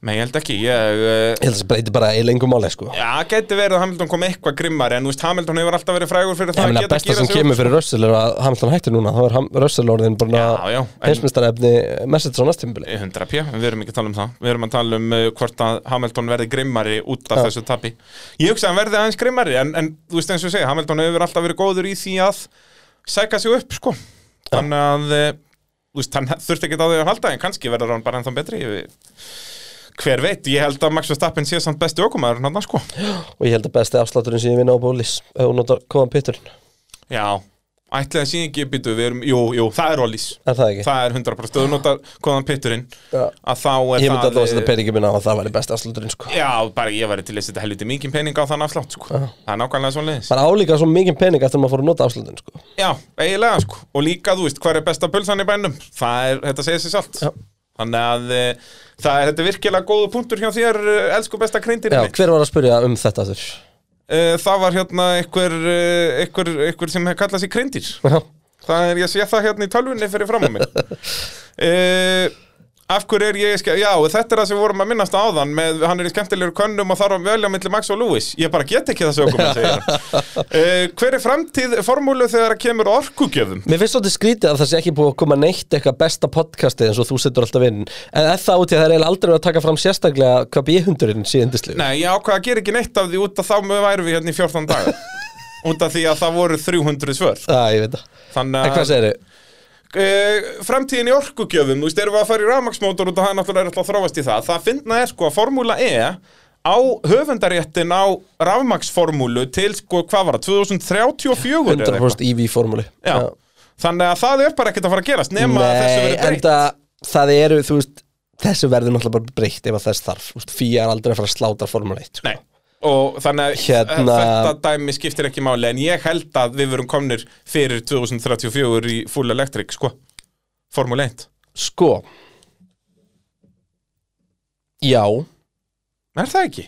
Speaker 7: Nei, ég held ekki, ég... Uh,
Speaker 6: Ég held að það breyti bara í lengum máli sko
Speaker 7: Já, geti verið að Hamilton kom eitthvað grimmari en þú veist, Hamilton hefur alltaf verið frægur fyrir
Speaker 6: Ég
Speaker 7: það
Speaker 6: meina besta
Speaker 7: gírað
Speaker 6: sem
Speaker 7: sig
Speaker 6: kemur fyrir Russell er að Hamilton hættir núna þá er Ham- Russell orðin bara
Speaker 7: sko. Já, já, en-
Speaker 6: heimsmyndstarefni message á næstímbili
Speaker 7: 100 p, við erum ekki að tala um það Við erum að tala um uh, hvort að Hamilton verði grimmari út af
Speaker 6: Já.
Speaker 7: þessu tapi Ég hugsa að hann verði aðeins grimmari en, en þú veist eins og ég segja, Hamilton hefur alltaf verið góður í því að sæka sig upp sko Þannig að uh, þú veist, hann þurfti ekki á því að halda en kannski verður hann bara ennþá betri ég, Hver veit, ég held að Max Verstappen sé samt besti okkumæður hann sko
Speaker 6: og ég held að besti afslátturinn sem ég vinna á bólis ef hún notar kóðan pitturinn
Speaker 7: Já, Ætli það sé ekki, býtu, við erum, jú, jú, það er Ollís
Speaker 6: Er það ekki?
Speaker 7: Það er 100% Þú notar hvaðan pitturinn
Speaker 6: Já.
Speaker 7: Að þá er
Speaker 6: Ég
Speaker 7: það
Speaker 6: myndi
Speaker 7: eh,
Speaker 6: alltaf að setja peningi minna á að það væri besta afsluturinn sko.
Speaker 7: Já, bara ég væri til að setja helviti mikið pening á þann afslátt, sko Það er nákvæmlega svo leiðis
Speaker 6: Bara álíka svo mikið pening eftir að maður fór að nota afsluturinn sko.
Speaker 7: Já, eiginlega, sko Og líka, þú veist, hver er besta pulsan í bænum Það er, þetta segir sér salt
Speaker 6: Já.
Speaker 7: Þannig að e, það er þetta er virkilega góðu punktur hjá þér, eh, elsku besta kreindir
Speaker 6: Já, hver var að spyrja um þetta þurr?
Speaker 7: Það var hérna einhver, eh, einhver, einhver sem kallað sér kreindir Það er, ég sé það hérna í tölvunni fyrir fram á mig uh, Af hverju er ég, ske- já, þetta er það sem við vorum að minnast á áðan með, hann er í skemmtilegur könnum og þarf að velja milli Max og Lewis, ég bara get ekki þessu okkur segir hann. uh, Hver er framtíð formúlu þegar það kemur að orkugjöfum?
Speaker 6: Mér finnst svolítið skrítið að það sé ekki búið að koma neitt eitthvað besta podcastið eins og þú setur alltaf inn En er það út í að það er eiginlega aldrei verið að taka fram sérstaklega hvað bíhundurinn síðendislega
Speaker 7: Nei, ég ákvað að gera ekki neitt af því út að þá mögum væri við hérna í 14 daga út af því að það voru 300 svör
Speaker 6: Æ, ég veit það En
Speaker 7: Þannig
Speaker 6: hvað
Speaker 7: að
Speaker 6: segir þau?
Speaker 7: uh, framtíðin í orkugjöfum, þú veist, erum við að fara í rafmaksmótor út og það er náttúrulega alltaf að þróast í það. Það finna er sko að formúla E á höfundaréttin á rafmaksformúlu til sko, hvað var það, 2034 eða eitthvað.
Speaker 6: 100% EV formúli
Speaker 7: Já. Þannig að það er bara ekkert að fara að gerast nema að þessu
Speaker 6: Nei,
Speaker 7: verið breytt.
Speaker 6: enda það eru, þú veist, þessu verður náttúrulega bara breytt ef að þess þarf Þú veist, Fía er aldrei að fara að sláta formúli 1 sko.
Speaker 7: Nei. Og þannig að
Speaker 6: Hérna-
Speaker 7: þetta dæmi skiptir ekki máli en ég held að við verum komnir fyrir 2034 í full electric, sko. Formúla 1.
Speaker 6: Sko Já
Speaker 7: Er það ekki?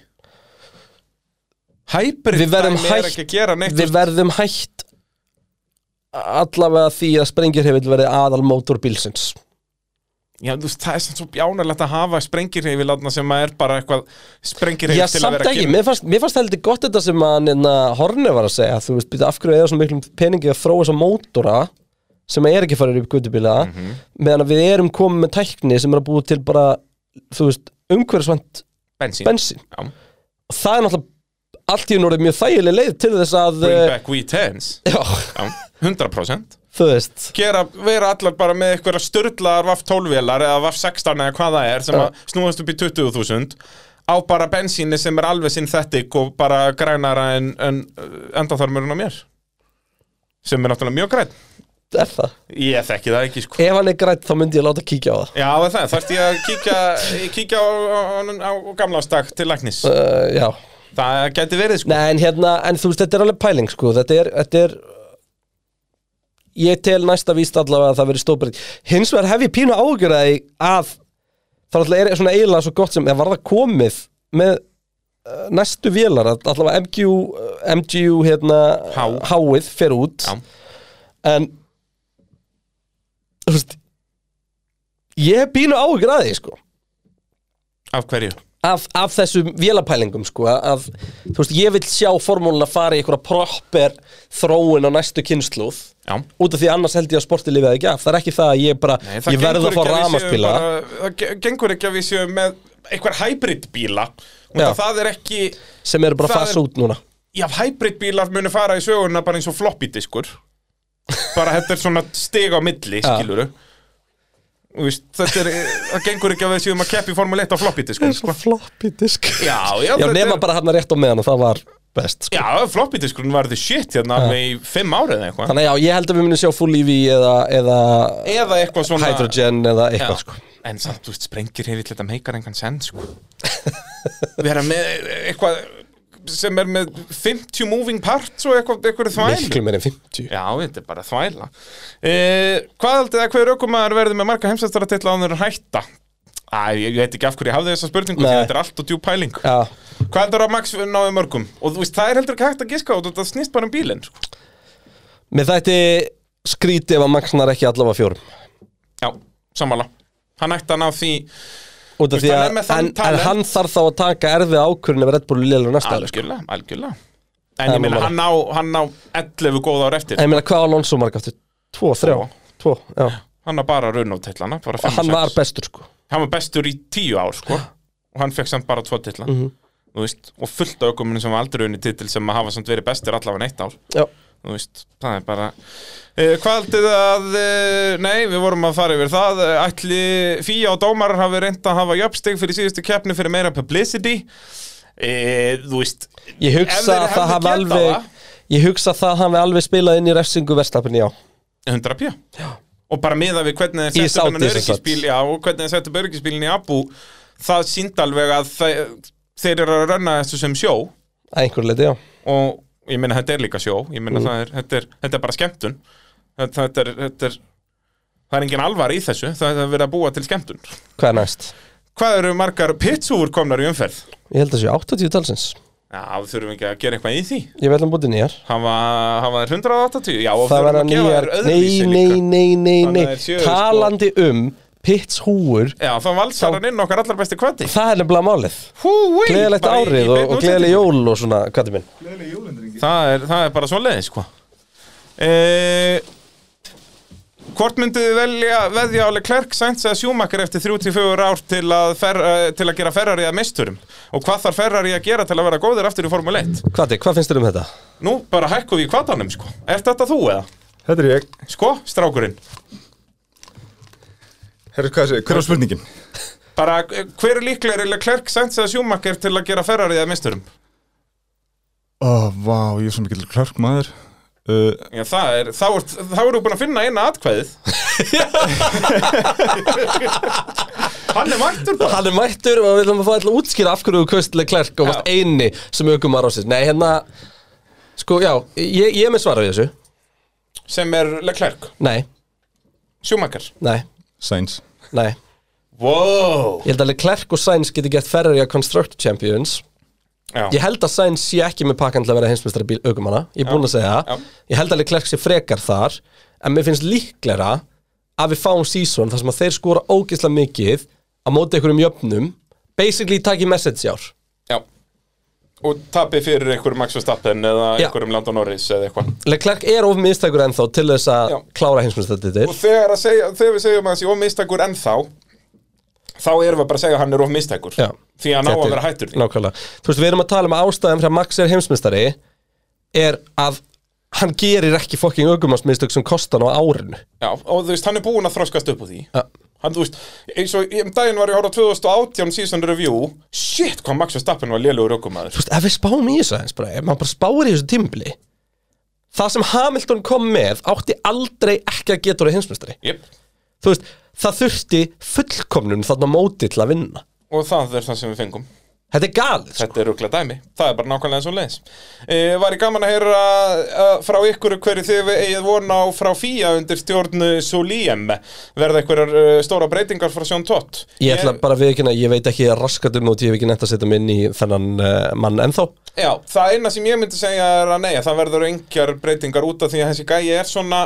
Speaker 7: Hybrid
Speaker 6: Við verðum
Speaker 7: dæmi er
Speaker 6: hætt-
Speaker 7: ekki að gera neitt
Speaker 6: Við verðum hætt allavega því að sprengjurhefill verði aðal mótor bílsins
Speaker 7: Já, þú veist, það er sem svo bjánalegt að hafa sprengirheifilátna sem að er bara eitthvað
Speaker 6: Já,
Speaker 7: sprengirheifil til að
Speaker 6: samt
Speaker 7: vera
Speaker 6: ekki, mér fannst, mér fannst heldur gott þetta sem hann hérna, Horne var að segja, þú veist, býta af hverju eða svo miklum peningi að þróa þessa mótora sem er ekki farið upp gutubíla
Speaker 7: Mhm.
Speaker 6: meðan að við erum komið með tækni sem er að búið til bara, þú veist, umhverfisvænt
Speaker 7: bensín.
Speaker 6: bensin
Speaker 7: Já.
Speaker 6: og það er náttúrulega allt í núrið mjög þægileg leið til þess að
Speaker 7: Bring
Speaker 6: eh,
Speaker 7: back V10s.
Speaker 6: já,
Speaker 7: Já, 100%.
Speaker 6: þú veist
Speaker 7: Gera, vera allar bara með eitthvað störlaðar vaff 12-vélar eða vaff 16 eða hvað það er sem að snúast upp í 20.000 á bara bensíni sem er alveg synthetic og bara grænara en, en eh, endaþarmurinn á mér. Sem er náttúrulega mjög græn.
Speaker 6: er það,
Speaker 7: Ég þekki það ekki, sko.
Speaker 6: ef hann er grætt þá myndi ég láta kíkja á það
Speaker 7: Já, það er það, þarfst ég að kíkja, kíkja á, á, á, á gamlánstak til læknis
Speaker 6: uh, já,
Speaker 7: Það gæti verið sko
Speaker 6: Nei, en hérna, en þú veist, þetta er alveg pæling, sko, þetta er, þetta er ég tel næsta víst allavega að það verið stóbreyt hins vegar hef ég pínu ágjur að, að það alltaf er svona eiginlega svo gott sem eða var það komið með uh, næstu vélar, að allavega MQ uh, MGU, hérna
Speaker 7: Há.
Speaker 6: háið fer út
Speaker 7: Já.
Speaker 6: en þú veist ég hef pínu ágjur að því, sko
Speaker 7: Af hverju?
Speaker 6: af, af þessum vélapælingum sko, að, þú veist, ég vil sjá formúluna fara í einhverja proper þróun á næstu kynnslóð
Speaker 7: Já
Speaker 6: út af því annars held ég að sporti lifið ekki af það er ekki það að ég bara, ég verð að fá ramaspíla
Speaker 7: Það ge- gengur ekki að við séum með einhver hybrid bíla
Speaker 6: Já.
Speaker 7: Það er ekki
Speaker 6: sem eru bara
Speaker 7: það
Speaker 6: að fasa
Speaker 7: er-
Speaker 6: út núna
Speaker 7: Já, hybrid bílar munu fara í söguna bara eins og floppy diskur Bara þetta er svona stig á milli,
Speaker 6: Já.
Speaker 7: skiluru Vist, Þetta er, það gengur ekki að við séum að keppi formule 1 á floppy diskur sko.
Speaker 6: floppy disk já,
Speaker 7: Já, já, þetta
Speaker 6: nema
Speaker 7: er-
Speaker 6: bara hann rétt á meðan og það var best sko.
Speaker 7: Já, floppy diskurinn var the shit hérna alveg í fimm árið eða eitthvað
Speaker 6: þannig að já, ég held að við munum sjá full EV eða, eða
Speaker 7: Eða eitthvað svona
Speaker 6: hydrogen eða
Speaker 7: Já.
Speaker 6: eitthvað sko.
Speaker 7: En samt, þú veist, sprengir hefði þetta meikar engan send, sko Vera með eitthvað sem er með 50 moving parts og eitthvað, eitthvað þvæl
Speaker 6: miklu meir en 50
Speaker 7: Já, þetta er bara þvæla e, Hvað haldið að hver aukumæður verður með marga heimsæstara til að hann hætta? Æ, ég, ég veit ekki af hverju ég hafði þessa spurningu því
Speaker 6: Nei.
Speaker 7: þetta er allt og djú pæling
Speaker 6: já,
Speaker 7: Hvað heldur að Max náði mörgum? Og þú veist, það er heldur ekki hægt að giska út og það snýst bara um bílinn, sko
Speaker 6: mér þætti skrítið ef að magnar ekki allavega fjórum
Speaker 7: Já, sammála Hann ætti að ná því
Speaker 6: út af
Speaker 7: Þú
Speaker 6: því
Speaker 7: veist, hann
Speaker 6: að,
Speaker 7: er með þann
Speaker 6: en, en
Speaker 7: talent.
Speaker 6: hann þarf þá að taka erfið ákvörðin ef Red Bull liður næsta ári, sko.
Speaker 7: Algjörlega, algjörlega
Speaker 6: Það
Speaker 7: En
Speaker 6: er
Speaker 7: ég meina,
Speaker 6: nú
Speaker 7: hann á, hann á 11 góð ár eftir
Speaker 6: en ég meina hvað Alonso marg aftur? Tvo, þrjá, tvo, já
Speaker 7: Hann var bara runnótt tillana bara fimm og
Speaker 6: hann
Speaker 7: sex.
Speaker 6: var Ah. bestur sko
Speaker 7: Hann var bestur í 10 ár sko Og hann fekk samt bara tvo tilla
Speaker 6: Mhm.
Speaker 7: Þú veist, og fullt af aukuminu sem var aldrei unni titil sem að hafa samt verið bestir allavega neitt ár
Speaker 6: já.
Speaker 7: Þú veist, það er bara uh, Hvað aldið að uh, Nei, við vorum að fara yfir það Eh, Ætli Fía og Dómarar hafi reynd að hafa jöfnstig fyrir síðustu keppni fyrir meira publicity uh, Þú veist
Speaker 6: ég
Speaker 7: Ef
Speaker 6: hutsa
Speaker 7: þeir
Speaker 6: að það
Speaker 7: hefðu
Speaker 6: hafi
Speaker 7: getað
Speaker 6: alveg
Speaker 7: það.
Speaker 6: Ég hugsa það hann við alveg spilað inn í refsingu verstapinni, já
Speaker 7: 100 pjá og bara miða við hvernig
Speaker 6: Í
Speaker 7: þeir settu upp
Speaker 6: Saudi,
Speaker 7: hennan
Speaker 6: sem sagt.
Speaker 7: öryggisbíl já, og hvernig þeir settu upp öryggisbílinn í Abu það sínd alveg að þe þeir eru að ranna þessu sem sjó
Speaker 6: Að einhverju leiti, já
Speaker 7: og ég meina þetta er líka sjó ég
Speaker 6: Mm.
Speaker 7: meina það er, þetta, er, þetta er bara skemmtun þetta, þetta, er, þetta er það er engin alvar í þessu það er verið að búa til skemmtun
Speaker 6: Hvað er næst?
Speaker 7: hvað eru margar pitsúur komnar í umferð?
Speaker 6: Ég held að sé 80 talsins
Speaker 7: Já, við þurfum ekki að gera eitthvað í því
Speaker 6: Ég verðum búið nýjar
Speaker 7: Hafa hafa þær 180? Já, og
Speaker 6: Það
Speaker 7: þurfum
Speaker 6: verða
Speaker 7: að gefa
Speaker 6: nýjar
Speaker 7: þær
Speaker 6: Nei,
Speaker 7: öðruvísi
Speaker 6: nei,
Speaker 7: líka
Speaker 6: nei, nei,
Speaker 7: Þannig
Speaker 6: nei
Speaker 7: að þær séu, sko.
Speaker 6: Talandi um pitshúur
Speaker 7: Já, þá valsar hann inn okkar allar besti kvati
Speaker 6: Það er nefnilega málið
Speaker 7: Húi,
Speaker 6: Gleðilegt
Speaker 7: bara í- í
Speaker 6: árið
Speaker 7: beinni
Speaker 6: og, og
Speaker 7: útsendingu.
Speaker 6: gleðileg jól og svona, hvað er minn?
Speaker 7: það er, það er bara svo leiðis, sko e Hvort myndu þið velja veðja álega Klerk Sainz eða Sjúmakar eftir 34 ár til að, fer, eh, til að gera Ferrari að misturum og hvað þarf Ferrari að gera til að vera góðir aftur í Formule 1?
Speaker 6: Hvað hvað finnst þér um þetta?
Speaker 7: Nú, bara hækku við í kvatanum, sko Er þetta þú eða?
Speaker 8: Þetta er ég.
Speaker 7: Sko, strákurinn
Speaker 8: Herru, hvað segir, hver var spurningin?
Speaker 7: Bara, eh, hver er líklegri Leclerc, Sainz eða Schumacher til að gera Ferrari að misturum?
Speaker 8: Ó, vá, ég er svo mikill klark maður. Uh,
Speaker 7: Já, það er, þá ert- þá eru er búin að finna eina atkvæðið Hann er mættur bara
Speaker 6: Hann er mættur og við ætlum að fá alltaf útskýra af hverju þú kaustlega klerk og varst
Speaker 7: Já.
Speaker 6: eini sem aukum var ásins Nei, hérna, sko, já, ég, ég er með svara við þessu
Speaker 7: Sem er Leclerc,
Speaker 6: Nei,
Speaker 7: Schumacher
Speaker 6: nei,
Speaker 8: Sainz.
Speaker 6: nei
Speaker 7: Wow
Speaker 6: Ég held alveg Klerk og Sainz geti gett Ferrari að Construct Champions
Speaker 7: Já,
Speaker 6: Ég held að Sainz sé ekki með pakkan til að vera heimsmeistari bíl aukumanna Ég er búinn að segja það
Speaker 7: Já.
Speaker 6: Ég held alveg Klerk sé frekar þar En mér finnst líklera að við fáum season þar sem að þeir skora ógeðslega mikið að móti einhverjum jöfnum Basically takk í message í ár
Speaker 7: já Og tapi fyrir einhverjum Max Verstappen eða
Speaker 6: Já.
Speaker 7: einhverjum Landon Norris eða eitthvað
Speaker 6: Leclerc er of minnstækur ennþá til þess að
Speaker 7: Já.
Speaker 6: klára heimsmeistari
Speaker 7: Og þegar, að segja, þegar við segjum að þessi of mistækur ennþá Þá erum við bara að segja að hann er of mistækur
Speaker 6: Já.
Speaker 7: Því að hann á að vera hættur því
Speaker 6: Nákvæmlega Þú veist, við erum að tala um að ástæðan fyrir að Max er heimsmeistari er að hann gerir ekki fokking aukumannsmistök sem kostan á árinu
Speaker 7: Já, og þú veist, hann er búinn að þroskast upp á því
Speaker 6: Já.
Speaker 7: Hann, þú veist, eins og ég- um daginn var ég ára 2018 season review Shit, hvað Max Verstappen var lélugur
Speaker 6: þú
Speaker 7: aukumæður
Speaker 6: veist, ef við spáum í þessu aðeins bara, ef maður bara spáir í þessu tímbili það sem Hamilton kom með átti aldrei ekki að geta úr hinsmestari
Speaker 7: yep.
Speaker 6: þú veist, það þurfti fullkomnun þarna á móti til að vinna
Speaker 7: Og það er það sem við fengum
Speaker 6: þetta er galið, sko.
Speaker 7: Þetta er rugla dæmi, það er bara nákvæmlega eins og leins e, Var ég gaman að heyra uh, frá ykkur hverju þið eigið von á frá FIA undir stjórnu Solíem Verða einhverjar uh, stóra breytingar frá Sjón Tott
Speaker 6: ég ætla bara að viðkynna, ég veit ekki raskat um og ég hef ekki nefnt að setja mig inn í þennan uh, mann ennþá
Speaker 7: Já, það eina sem ég myndi segja er að nei, að það verður engjar breytingar út af því að þessi gæi er svona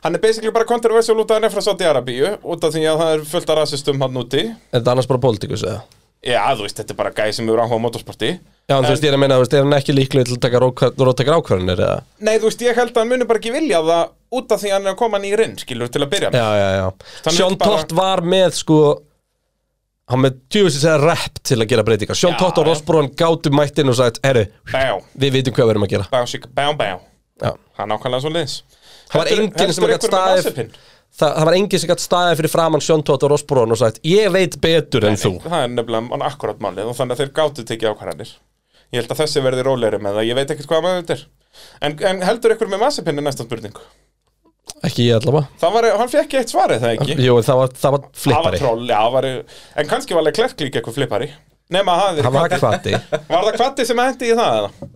Speaker 7: Hann er basically bara kontroversial út af henni frá Saudi Arabíu út af því að það er fullt af rasistum hann úti
Speaker 6: er þetta annars bara pólitíkus eða?
Speaker 7: Já, þú veist, þetta er bara gæi sem hefur áhuga á motorsporti
Speaker 6: Já, en, þú veist, ég er að meina, þú veist, er hann ekki líklega til að taka róttakar ákvarðanir eða?
Speaker 7: Nei, þú veist, ég held að hann muni bara ekki vilja það út af því að hann er að koma nýr inn, skilur, til að byrja með
Speaker 6: Já, já, já
Speaker 7: Þannig
Speaker 6: Sjón
Speaker 7: bara-
Speaker 6: Tott var með, sko hann með djúfisins eða rap til að gera breytingar Sjón
Speaker 7: Já,
Speaker 6: Tott og
Speaker 7: já.
Speaker 6: Rosbrón gátu mættinn og sagt, herru,
Speaker 7: Bá,
Speaker 6: við vitum hvað við erum að gera
Speaker 7: bá, sík, bá, bá
Speaker 6: Já.
Speaker 7: Það er nákvæmlega svo liðs
Speaker 6: Það var enginn sem gætt staðið það, það var enginn sem gætt staðið fyrir framann Sjón Tótt og Rosbrón og sagt Ég veit betur en þú
Speaker 7: Það er nefnilega an- akkurat málið og þannig að þeir gátu tekið ákvarðanir Ég held að þessi verði rólegri með það, ég veit ekkert hvað maður þetta er En, en heldur ykkur með massipinni næsta spurningu?
Speaker 6: Ekki ég allavega
Speaker 7: Það var, hann fekk eitt svarið, það ekki?
Speaker 6: Jú, en það var, það
Speaker 7: Það
Speaker 6: var
Speaker 7: var
Speaker 6: flippari
Speaker 7: troll, já, það var, en kannski var alveg klerk líka eitthvað flippari Nefna að hafa
Speaker 6: Það var
Speaker 7: verið
Speaker 6: kvati
Speaker 7: Var það kvatti sem hendi í það eða?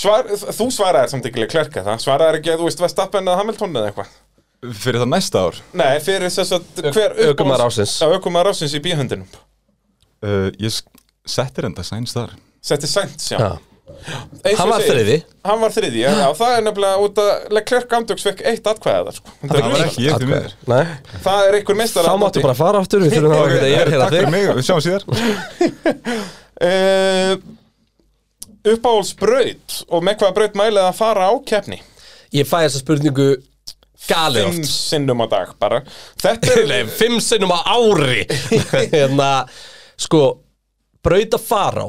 Speaker 7: Svar, þú svaraðir samt ekki klerka það Svaraðir ekki að þú veist Vestappen eða Hamilton eða eitthvað
Speaker 8: Fyrir það næsta ár.
Speaker 7: Nei, fyrir þess að hver
Speaker 6: ökumaður ársins.
Speaker 7: Já, Ökumaður ásins í bíhundinum
Speaker 8: Uh, ég s- settir enda Sainz þar.
Speaker 7: Setti Sainz, já,
Speaker 6: Já.
Speaker 7: Eins og
Speaker 6: Hann
Speaker 7: ég
Speaker 6: var
Speaker 7: segi,
Speaker 6: þriði.
Speaker 7: Hann var þriði, já, já það er nefnilega út að Leclerc Amdöks fekk eitt atkvæða þar sko. það,
Speaker 8: Það var
Speaker 7: er
Speaker 8: ekki ég því miður.
Speaker 6: Nei,
Speaker 7: það er einhver meistar
Speaker 6: Þá máttu bara fara aftur Við þurfum að hafa eitthvað ég er hérna
Speaker 8: Takk fyrir
Speaker 6: þig
Speaker 8: mig, við sjáum síðar.
Speaker 7: uh, Uppáhalds braut og með hvaða braut mælið að fara á keppni
Speaker 6: Ég fæ þessa spurningu galið
Speaker 7: Fimm
Speaker 6: oft
Speaker 7: sinnum á dag bara Þetta er
Speaker 6: Nei, fimm sinnum á ári Hérna, sko Braut að fara á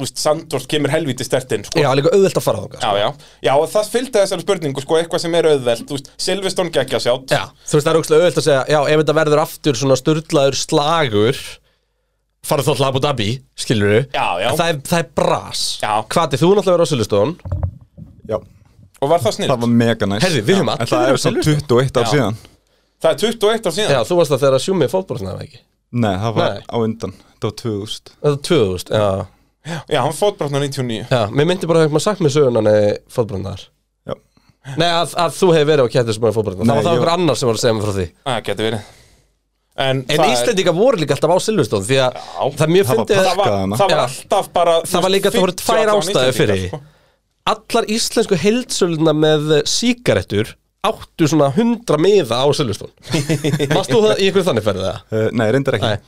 Speaker 7: úst, Sandort kemur helvíti stertinn sko.
Speaker 6: Já, líka auðvelt að fara á
Speaker 7: já, já, já, og það fylgdi þessari spurningu sko, eitthvað sem er auðvelt, úst, Silveston geggja sjátt
Speaker 6: Já, þú veist það er ógstlega auðvitað að segja Já, ef þetta verður aftur svona sturdlaður slagur Farðu þá til Abu Dhabi, skilur við
Speaker 7: Já, já.
Speaker 6: Það er, það er bras
Speaker 7: Já.
Speaker 6: Hvað er þú náttúrulega verður á Silvestón
Speaker 8: Já,
Speaker 7: Og var það snill?
Speaker 8: það var mega næst
Speaker 6: Herri, við höfum allir
Speaker 8: En það
Speaker 6: verið á
Speaker 8: er samt
Speaker 6: Silverstone.
Speaker 8: 21 ár
Speaker 7: Já.
Speaker 8: síðan
Speaker 7: Það er 21 ár síðan
Speaker 6: Já, þú varst það þegar að sjúmi fótbolsna eða ekki
Speaker 8: Nei, það var
Speaker 6: Nei.
Speaker 8: á undan Það var 2000
Speaker 6: Það er 2000, já
Speaker 7: Já, hann fótbrotnar 99
Speaker 6: Já, mér myndi bara að hafa sagt mér sögunan fótbrandar
Speaker 8: Já.
Speaker 6: Nei, að, að þú hefur verið á kjættir sem er fótbrandar Það
Speaker 8: Nei,
Speaker 6: var það
Speaker 8: ég-
Speaker 6: einhver annar sem var að segja mér frá því
Speaker 7: Það getur verið En,
Speaker 6: En
Speaker 7: það er-
Speaker 6: Íslendinga voru líka alltaf á Silveston Því að
Speaker 7: Já.
Speaker 6: það mjög
Speaker 8: Það var
Speaker 6: fyndi
Speaker 7: það var,
Speaker 8: Gana.
Speaker 7: það var
Speaker 6: Já.
Speaker 7: alltaf bara
Speaker 6: Það var líka að það voru tvær
Speaker 7: 50
Speaker 6: ástæður
Speaker 7: Íslendingar,
Speaker 6: fyrir því.
Speaker 7: sko.
Speaker 6: Allar íslensku heildsöluna með sígarettur Áttu svona hundra miða á Silveston Varst þú það í einhverjum þannig ferðið það?
Speaker 8: uh, Nei, reyndar ekki
Speaker 6: Nei.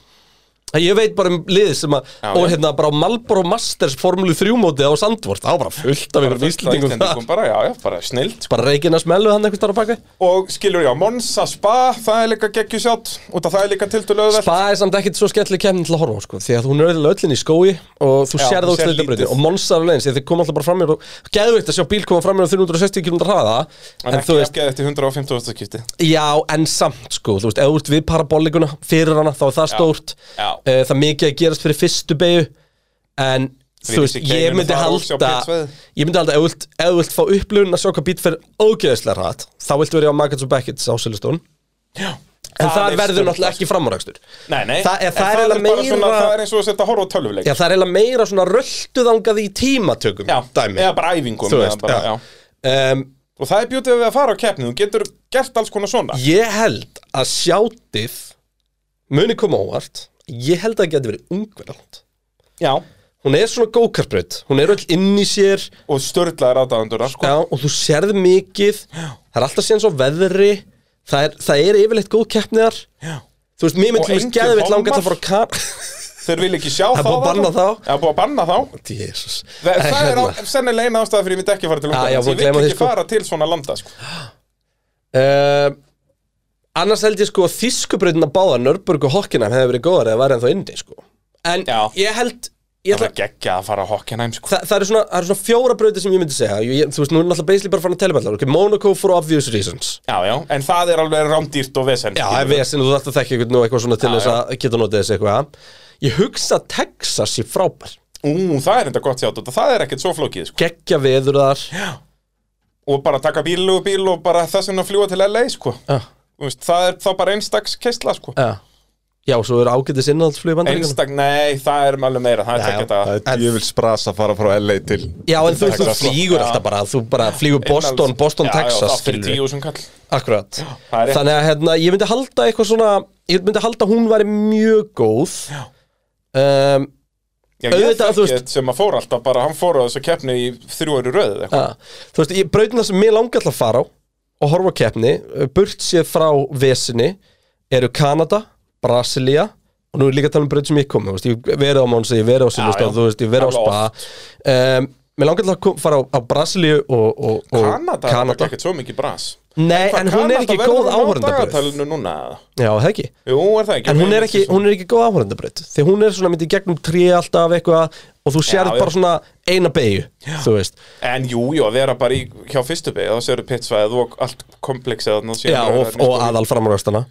Speaker 6: Ég veit bara um liðið sem að
Speaker 7: Já,
Speaker 6: Og
Speaker 7: já.
Speaker 6: hérna bara á Malboro Masters Formúlu 3 mótið á Sandvort Það var bara fullt
Speaker 7: Bara fullt
Speaker 6: af einhverjum
Speaker 7: af
Speaker 6: íslendingum
Speaker 7: Íslendingum
Speaker 6: þar
Speaker 7: bara, já, já, bara snild
Speaker 6: Bara reikina smellu hann einhvers þar á baki
Speaker 7: Og skilur já, Monsa Spa, það er líka geggjusjátt Út af það er líka tildulega vel
Speaker 6: Spa er samt ekkert svo skemmtileg kemni til að horfa á sko, því að hún er öðvitað öllin í skói og þú
Speaker 7: Já,
Speaker 6: sér það
Speaker 7: þú
Speaker 6: út
Speaker 7: sérð
Speaker 6: þetta breytin
Speaker 7: lítið.
Speaker 6: og monsar leginn, því að þið koma alltaf bara fram mér og geðveikt að sjá bíl koma fram mér á 360 km hraða en,
Speaker 7: En
Speaker 6: þú
Speaker 7: ekki
Speaker 6: veist,
Speaker 7: ekki eftir 150. skipti
Speaker 6: já, en samt sko, þú veist, ef þú ert við parabollikuna fyrir hana, þá er það stórt
Speaker 7: já.
Speaker 6: Eh, það er mikið að gerast fyrir fyrstu beigju en
Speaker 7: Því ekki
Speaker 6: þú veist,
Speaker 7: sé
Speaker 6: ég
Speaker 7: keilinu
Speaker 6: myndi
Speaker 7: fara og sjá
Speaker 6: halda
Speaker 7: pitsvæðið.
Speaker 6: ég myndi halda, ef þú vilt- ef þú vilt fá upplifun að sjá hvað bíl fyrir ógeðislega hratt þá viltu verið á Maggots og Beckett's á Silverstone en
Speaker 7: Það
Speaker 6: það
Speaker 7: er
Speaker 6: verður
Speaker 7: sturlað,
Speaker 6: náttúrulega ekki framúrækstur
Speaker 7: Nei, nei,
Speaker 6: Það er-
Speaker 7: en
Speaker 6: það er eiginlega
Speaker 7: bara svona,
Speaker 6: meira-
Speaker 7: Það er eins og að setja horf á tölvuleik
Speaker 6: Já, það er eiginlega meira svona rölduðangað í tímatökum
Speaker 7: Já,
Speaker 6: dæmi
Speaker 7: eða bara æfingum
Speaker 6: Þú
Speaker 7: eða
Speaker 6: veist,
Speaker 7: bara,
Speaker 6: já.
Speaker 7: já.
Speaker 6: um,
Speaker 7: Og það er bjótið við að fara á keppni Þú getur gert alls konar svona
Speaker 6: Ég held að sjátið muni koma óvart Ég held að það geti verið ungverðand
Speaker 7: Já
Speaker 6: Hún er svona gókarbröð Hún er öll inn í sér
Speaker 7: Og störlaðir aðdáðundur sko.
Speaker 6: já, og þú sérð mikið Það er alltaf síðan svo veðri Það er, það er yfirleitt góð keppniðar
Speaker 7: Já.
Speaker 6: Þú veist, mér
Speaker 7: Og
Speaker 6: myndi til
Speaker 7: engir
Speaker 6: þess geðvitt langar til að
Speaker 7: hommar.
Speaker 6: fara á kar
Speaker 7: Þeir vil ekki sjá
Speaker 6: Það er
Speaker 7: þá
Speaker 6: búið að banna
Speaker 7: þarna.
Speaker 6: þá.
Speaker 7: Já, búið að banna þá
Speaker 6: Jesus hérna,
Speaker 7: Það, það er á, sennilega eina ástæða fyrir ég myndi ekki fara til landa
Speaker 6: já, búin að
Speaker 7: Ég
Speaker 6: gleyma
Speaker 7: vil
Speaker 6: því,
Speaker 7: ekki
Speaker 6: sko.
Speaker 7: fara til svona landa sko.
Speaker 6: uh, Annars held ég sko að þýskubröðin að báða Nörburg og Hockenheim hefði verið góðar eða væri ennþá indi sko En
Speaker 7: Já.
Speaker 6: ég held ég
Speaker 7: Það
Speaker 6: ætla,
Speaker 7: er geggja að fara að Hockenheim sko.
Speaker 6: Þa, það, eru svona, það eru svona fjóra bröði sem ég myndi segja ég, ég- Þú veist, nú er náttúrulega basically bara farin að teleballa okay, Monaco for obvious reasons
Speaker 7: Já, já, en það er alveg rándýrt og vesen
Speaker 6: Já,
Speaker 7: skilur
Speaker 6: ef við þú þarft að þekki eitthvað nú eitthvað svona til
Speaker 7: Já,
Speaker 6: þess
Speaker 7: já.
Speaker 6: að geta notið þess eitthvað Ég hugsa að Texas sé frábær
Speaker 7: Ú, það er enda gott sjátt og það er ekkert svo flókið sko.
Speaker 6: Gekkja veður þar
Speaker 7: Og bara taka bíl og bíl og bara þess vegna fljúa til LA sko.
Speaker 6: Já,
Speaker 7: Þú veist, Það er þá bara einstakks keisla sko.
Speaker 6: já Já, svo eru ágætis innhaldsflug í bandaríkjunum
Speaker 7: Einstak, nei, það er alveg meira Það er
Speaker 6: Já,
Speaker 7: tekja þetta
Speaker 8: Það er djöfils bras að fara frá LA til
Speaker 6: Já, en þú, þú
Speaker 7: Texas, sko.
Speaker 6: flýgur
Speaker 7: Já.
Speaker 6: alltaf bara Þú bara flýgur Boston, Boston,
Speaker 7: já, Já,
Speaker 6: Texas
Speaker 7: það fyrir
Speaker 6: skilurðu.
Speaker 7: tíu sem kall
Speaker 6: Akkurat
Speaker 7: það er rétt.
Speaker 6: Þannig að hérna, ég myndi halda eitthvað svona Ég myndi halda að hún væri mjög góð um,
Speaker 7: Já, ég
Speaker 6: Auðvitað, þú
Speaker 7: þekki
Speaker 6: veist-
Speaker 7: eitt sem að fór alltaf bara, hann fór á þessu keppni í þrjóri röð eða eitthvað.
Speaker 6: ja. Þú veist, ég brautina sem mér langar alltaf að fara á Og horfa á keppni uh, Burt séð frá vesinni Eru Kanada, Brasilia Og nú er líka að tala um braut sem ég komi þú veist, Ég hef verið á Mónsi, ég hef verið á
Speaker 7: já.
Speaker 6: Silvestóð Þú veist, ég hef verið á
Speaker 7: Alveg
Speaker 6: Spa um, Mér langar alltaf að kom- fara á, á Brasilíu og, og, og
Speaker 7: Kanada, Kanada. er ekki svo mikið bras
Speaker 6: Nei, en hún er ekki góð áhörundabröð
Speaker 7: dagatalinu núna eða?
Speaker 6: Já, það ekki
Speaker 7: Jú, er það ekki
Speaker 6: En hún
Speaker 7: Mér
Speaker 6: er ekki,
Speaker 7: finnst
Speaker 6: hún er ekki góð áhverjandabraut Því hún er svona myndi í gegnum tré alltaf eitthvað Og þú sér
Speaker 7: Já, já.
Speaker 6: bara svona eina beigju Þú veist
Speaker 7: svo- En jú, jú, að vera bara í, hjá fyrstu beig þá séu pittsvæð og allt kompleksið þarna og síðan
Speaker 6: Já,
Speaker 7: bara
Speaker 6: og,
Speaker 7: þarna,
Speaker 6: og
Speaker 7: sko.
Speaker 6: aðal framröðstana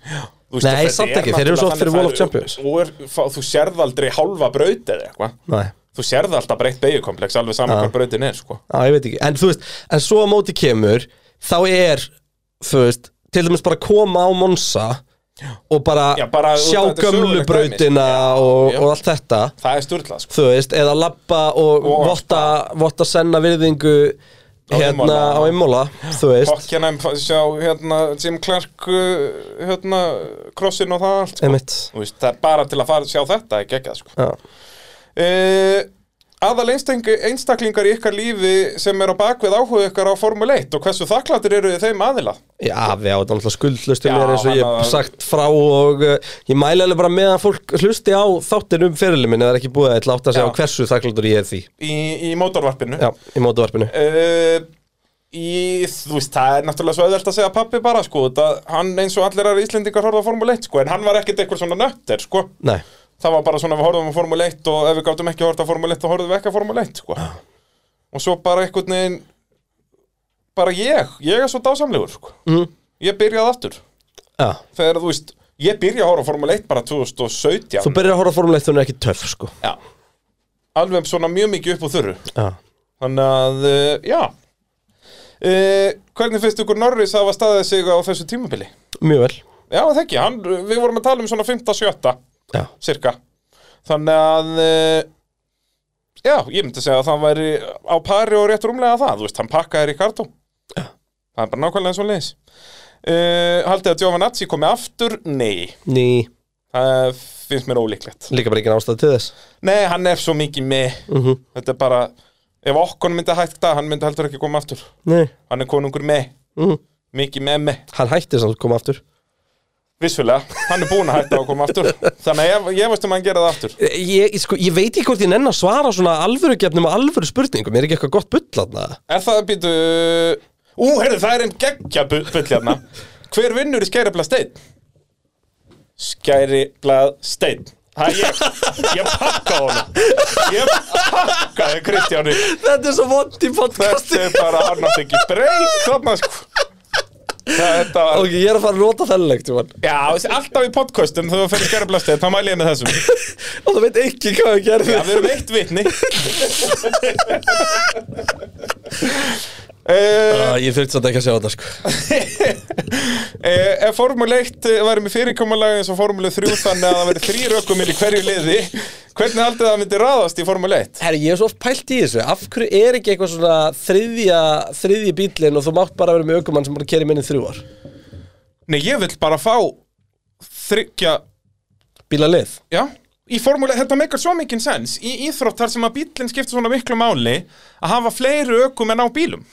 Speaker 7: Þú veist,
Speaker 6: Nei,
Speaker 7: þetta
Speaker 6: samt
Speaker 7: er
Speaker 6: ekki, þeir eru svo oft
Speaker 7: náttúrulega
Speaker 6: fyrir Wall
Speaker 7: þannig,
Speaker 6: of Champions.
Speaker 7: það er- og er- fá- Þú sérð aldrei hálfa braut eða eitthvað
Speaker 6: Nei,
Speaker 7: Þú sérð alltaf breytt beigjukomplex alveg saman hvað brautin er sko.
Speaker 6: á, ég veit ekki En þú veist, en svo að móti kemur Þá er, þú veist Til dæmis bara koma á Monsa Og bara,
Speaker 7: Já, bara-
Speaker 6: sjá
Speaker 7: þetta er
Speaker 6: gömlu
Speaker 7: sögulegt dæmi, sko.
Speaker 6: brautina og,
Speaker 7: já.
Speaker 6: og allt þetta
Speaker 7: Það er sturlað sko.
Speaker 6: Þú veist, eða labba og,
Speaker 7: Og-
Speaker 6: votta, votta senna virðingu Hérna
Speaker 7: Imola.
Speaker 6: á Imola, þú veist
Speaker 7: Hockenheim, fa- sjá hérna, Jim Clark uh, hérna, krossin og það allt sko.
Speaker 6: Einmitt
Speaker 7: Þú veist, það er bara til að fara, sjá þetta ekki ekki sko.
Speaker 6: Já
Speaker 7: uh, aðal einsteng- einstaklingar í ykkar lífi sem er á bakvið áhuga ykkar á Formule 1 og hversu þakklættir eru þið þeim aðila
Speaker 6: Já, við átum alltaf skuldlust til
Speaker 7: Já,
Speaker 6: mér eins og ég
Speaker 7: hann
Speaker 6: hef
Speaker 7: að-
Speaker 6: sagt frá og uh, ég mæla alveg bara með að fólk hlusti á þáttin um fyrirli minn eða er ekki búið að ætla átt að segja
Speaker 7: Já.
Speaker 6: á hversu þakklátur ég er því
Speaker 7: í, í mótorvarpinu
Speaker 6: Já, í mótuvarpinu
Speaker 7: uh, í, þú veist, það er náttúrulega svo auðvelt að segja pappi bara sko, það, hann eins og allir aðra Íslendingar horfða á Formule 1 sko, en hann var ekkert eitthvað svona nötter sko
Speaker 6: Nei,
Speaker 7: það var bara svona við horfðum á Formule 1 og ef við gáttum ekki að horfða á Formule 1 þá horfðum við ekki að Formule 1 sko. og svo bara einhvern veginn bara ég, ég er svo dásamlegur sko. mm. ég byrjaði aftur
Speaker 6: já
Speaker 7: þegar þú veist, ég byrja að horfa á Formule 1 bara 2017
Speaker 6: Þú byrjar að horfa á Formule 1 hún er ekki töff, sko
Speaker 7: já. alveg svona mjög mikið upp úr þurru
Speaker 6: Já
Speaker 7: þannig að, uh, eh, já uh, Hvernig finnst ykkur Norris hafa staðið sig á þessu tímabili?
Speaker 6: mjög vel
Speaker 7: Já, það ekki, hann, við vorum að tala um svona 5-7
Speaker 6: Já.
Speaker 7: Cirka Þannig að uh, Já, ég myndi segja að það væri á pari og rétt rúmlega það, þú veist, hann pakkaði Ricardo Það er bara nákvæmlega svo leiðis uh, Haldið að Giovanazzi komi aftur? Nei,
Speaker 6: Ný,
Speaker 7: það finnst mér ólíklegt
Speaker 6: líka bara ekki nástað til þess
Speaker 7: Nei, hann er svo mikið með
Speaker 6: Mhm.
Speaker 7: Þetta er bara Ef okkon myndi hætta, hann myndi heldur ekki koma aftur
Speaker 6: Nei,
Speaker 7: Hann er konungur með
Speaker 6: Mhm.
Speaker 7: Mikið með með
Speaker 6: hann hætti samt að koma aftur
Speaker 7: Vissulega, hann er búinn að hætta að koma aftur Þannig að ég, ég veist um að hann gera það aftur
Speaker 6: Ég, sko, ég veit ekki hvort ég nenn að svara svona alvörugefnum og alvöru spurningum Er ekki eitthvað gott bulllatna?
Speaker 7: Er það að býtu Ú, heyrðu, það er einn geggja bu- bull hérna Hver vinnur í Skæriblað steinn? Skæriblað steinn Það er ég, ég pakka honum Ég pakkaði Kristjáni
Speaker 6: Þetta er svo vond í
Speaker 7: Þetta er bara, hann átti ekki breyk Þarna sko Þetta var
Speaker 6: Ok, ég er að fara að nota þennilegt
Speaker 7: Já, þessi- alltaf í podcastum þegar þú fyrir skærablastið, þá mæl ég með þessum Já,
Speaker 6: Og það veit ekki hvað ég gerði
Speaker 7: við erum eitt vitni uh,
Speaker 6: Ah, Ég þurfti samt ekki að sjá þetta sko
Speaker 7: eh, Ef Formule 1 væri með fyrirkomulag eins og Formule 3 þannig að það væri þrýr ökumil í hverju liði hvernig haldið það myndi raðast í Formule 1?
Speaker 6: Herri, ég er svo oft pælt í þessu Af hverju er ekki eitthvað svona þriðja, þriðji bílinn Og þú mátt bara vera með aukumann sem bara keri minni þrjú ár
Speaker 7: Nei, ég vill bara fá þryggja,
Speaker 6: Bíla lið
Speaker 7: já Í formúli, þetta meikar svo mikinn sens Í íþrótt þar sem að bílinn skiptir svona miklu máli að hafa fleiri ökum en á bílum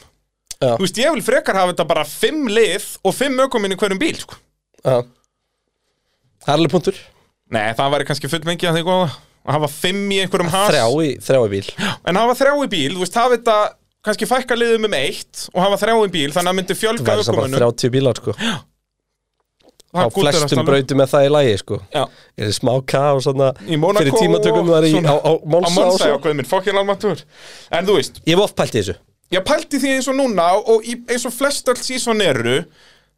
Speaker 6: Já.
Speaker 7: Þú veist, ég vil frekar hafa þetta bara fimm lið og fimm ökuminn í hverjum bíl, sko
Speaker 6: Já Það er alveg punktur
Speaker 7: Nei, það væri kannski full mikið að þið góða sko, að hafa fimm í einhverjum has
Speaker 6: Þrjá í, þrjá í bíl
Speaker 7: en hafa þrjá í bíl, þú veist, hafa þetta kannski fækka liðum um eitt og hafa þrjá í bíl, þannig að myndi
Speaker 6: Það
Speaker 7: fjölga
Speaker 6: er samt
Speaker 7: ökuminu
Speaker 6: bara 30 bílar sko Á flestum brautum með það í lagi sko
Speaker 7: Já,
Speaker 6: Er þið smá kaos svona
Speaker 7: í Monaco
Speaker 6: Fyrir tímatökum þar í, á,
Speaker 7: Monsa, á
Speaker 6: á Monsa og
Speaker 7: Monsa já,
Speaker 6: svo
Speaker 7: hvað minn, fokkin almatur En þú veist,
Speaker 6: Ég hef oft pælt í þessu
Speaker 7: ég pælti því eins og núna og í, eins og flest öll sísón eru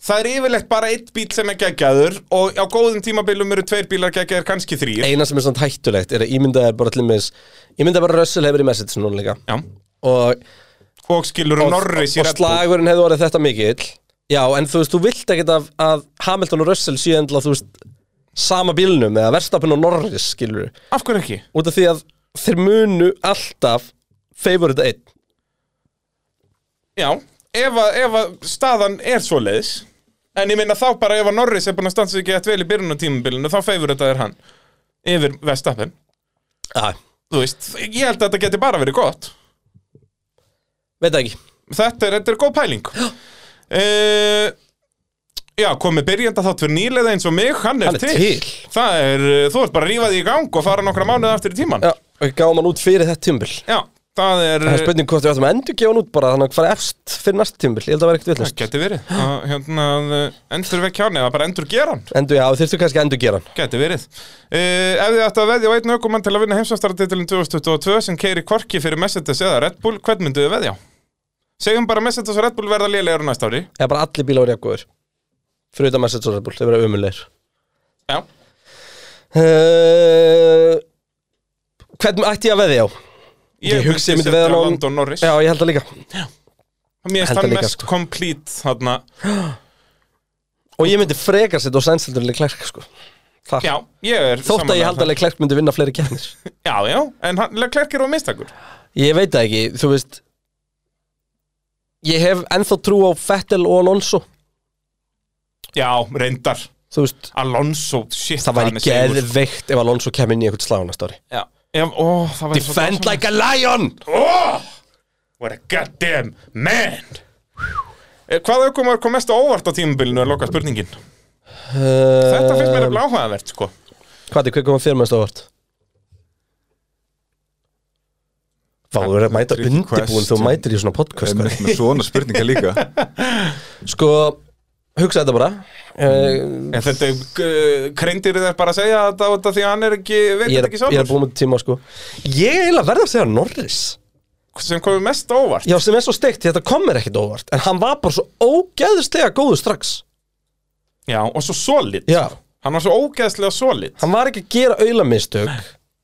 Speaker 7: Það er yfirleitt bara eitt bíl sem er geggjaður og á góðum tímabilum eru tveir bílar geggjaður, kannski þrýr
Speaker 6: Eina sem er svona hættulegt er að ímyndaði bara allir með Ímyndaði bara Russell hefur í message núna líka
Speaker 7: Já,
Speaker 6: Og,
Speaker 7: og skilur
Speaker 6: og,
Speaker 7: Norris í
Speaker 6: og
Speaker 7: Red Bull.
Speaker 6: slagurinn hefði orðið þetta mikill Já, en þú veist, þú vilt ekkert að, að Hamilton og Russell séu endla, þú veist Sama bílnum eða Verstappen og Norris skilur
Speaker 7: Af hverju ekki?
Speaker 6: út af því að þeir munu alltaf favorita einn
Speaker 7: Já, ef að, ef að staðan er svoleiðis En ég minna þá bara ef að Norris er búin að standa sig ekki eftir vel í byrjun á tímabilinu Þá feifur þetta er hann Yfir Vestapen
Speaker 6: Já,
Speaker 7: Þú veist, ég held að þetta geti bara verið gott
Speaker 6: veit það ekki
Speaker 7: Þetta er, þetta er góð pæling uh, Já, komið byrjanda þátt fyrir nýlega eins og mig Hann er,
Speaker 6: Hann er til.
Speaker 7: Það er, eh, þú ert bara að rífa því í gang og fara nokkra mánuð aftur í tíman
Speaker 6: Já, og gáðum hann út fyrir þetta tímbil
Speaker 7: það er
Speaker 6: Það er spurning hvort við ætlum að endur gefa hann út bara þannig að fara efst fyrir næst tímbil, ég held að vera ekkert
Speaker 7: Það
Speaker 6: villast
Speaker 7: geti eh, verið að, hérna, Endur vekk hann eða bara endur gera hann
Speaker 6: Endur, já, þurftu kannski að endur gera hann
Speaker 7: Gæti verið. Uh, ef þið ættu að veðja á einn ökumann til að vinna heimsvæmstaratitilin 2022 sem keiri korki fyrir Mercedes eða Red Bull, hvern myndu þið veðja á? Segjum bara að Mercedes og Red Bull verða lélegur á næsta ári.
Speaker 6: Eða bara allir bílar voru jafngóður Fyrir utan Mercedes og Red Bull, þeir vera umulegir
Speaker 7: Já.
Speaker 6: uh, Hvern ætti ég að veðja á?
Speaker 7: Ég,
Speaker 6: Ég hugsa ég myndi
Speaker 7: setja
Speaker 6: veðja á-
Speaker 7: Lando Norris.
Speaker 6: Já, ég held að líka
Speaker 7: Mér
Speaker 6: held
Speaker 7: finnst hann
Speaker 6: það líka,
Speaker 7: mest
Speaker 6: sko.
Speaker 7: complete þarna.
Speaker 6: Og ég myndi frekar sitt og sænstildurlega klerk sko. Þar.
Speaker 7: Já, ég er
Speaker 6: Þótt að ég held að klerk myndi vinna fleiri kefnir
Speaker 7: Já, já, en hann, Leclerc er á mistakur.
Speaker 6: Ég veit það ekki, þú veist Ég hef ennþá trú á Fettel og Alonso
Speaker 7: Já, reyndar.
Speaker 6: Þú veist,
Speaker 7: Alonso, shit,
Speaker 6: það
Speaker 7: hann er
Speaker 6: væri
Speaker 7: segur.
Speaker 6: geðveikt ef Alonso kemur inn í eitthvað slána stóri
Speaker 7: Já. Já, ó, það væri svo
Speaker 6: Defend
Speaker 7: dásamlegt.
Speaker 6: like a lion
Speaker 7: oh, What a goddamn man Eh, Hvaða aukumar kom mest á óvart á tímabilinu er loka spurningin Þetta finnst
Speaker 6: Ehm.
Speaker 7: mér nefnilega áhugavert sko
Speaker 6: Hvað er, hver komað fyrir mennst ávart? Vá, þú er að mæta
Speaker 8: Tricky
Speaker 6: undirbúin þú
Speaker 8: question.
Speaker 6: mætir í svona podcast
Speaker 8: En
Speaker 6: sko.
Speaker 8: með svona spurningar líka
Speaker 6: Sko, hugsa þetta bara uh,
Speaker 7: En þetta uh, kreindir þér bara að segja þetta út af því að hann er ekki, veit
Speaker 6: ég, er,
Speaker 7: þetta ekki
Speaker 6: ég er
Speaker 7: sjálfur
Speaker 6: búin með tíma sko Ég er eiginlega verða að segja Norris
Speaker 7: sem komið mest á óvart
Speaker 6: Já, sem er svo steikt, þetta kom mér ekkit óvart En hann var bara svo ógeðslega góður strax
Speaker 7: Já, og svo solid
Speaker 6: Já,
Speaker 7: Hann var svo ógeðslega solid
Speaker 6: hann var ekki að gera auðlamistök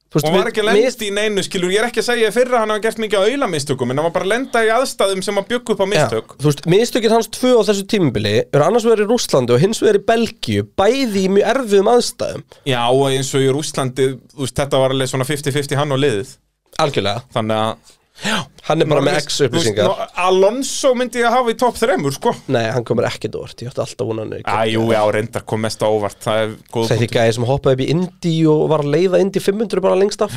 Speaker 6: Þú veist,
Speaker 7: Og
Speaker 6: við-
Speaker 7: var ekki lendst
Speaker 6: mér-
Speaker 7: í neinu, skilur, ég er ekki að segja fyrra að hann hafa gert mikið á auðla mistökum, en hann var bara að lenda í aðstæðum sem að bjöggu upp á mistök.
Speaker 6: Já, þú veist, mistökir hans tvö á þessu tímubili eru annars vegar í Rússlandi og hins vegar í Belgíu bæði í mjög erfiðum aðstæðum
Speaker 7: Já, og eins og í Rússlandi, þú veist, þetta var alveg svona 50-50 hann og liðið.
Speaker 6: algjörlega,
Speaker 7: Þannig að...
Speaker 6: hann er bara með
Speaker 7: Norris-
Speaker 6: X
Speaker 7: þú veist,
Speaker 6: upplýsingar
Speaker 7: Nor- Alonso myndi ég að hafa í topp þremur, sko.
Speaker 6: nei, hann komur ekki dórt, ég ætti alltaf vonan
Speaker 7: Æjú, já, reyndar kom mest á óvart, það er góð
Speaker 6: þessi gæði sem hoppaði upp í Indi og var að leiða Indi 500 bara lengst af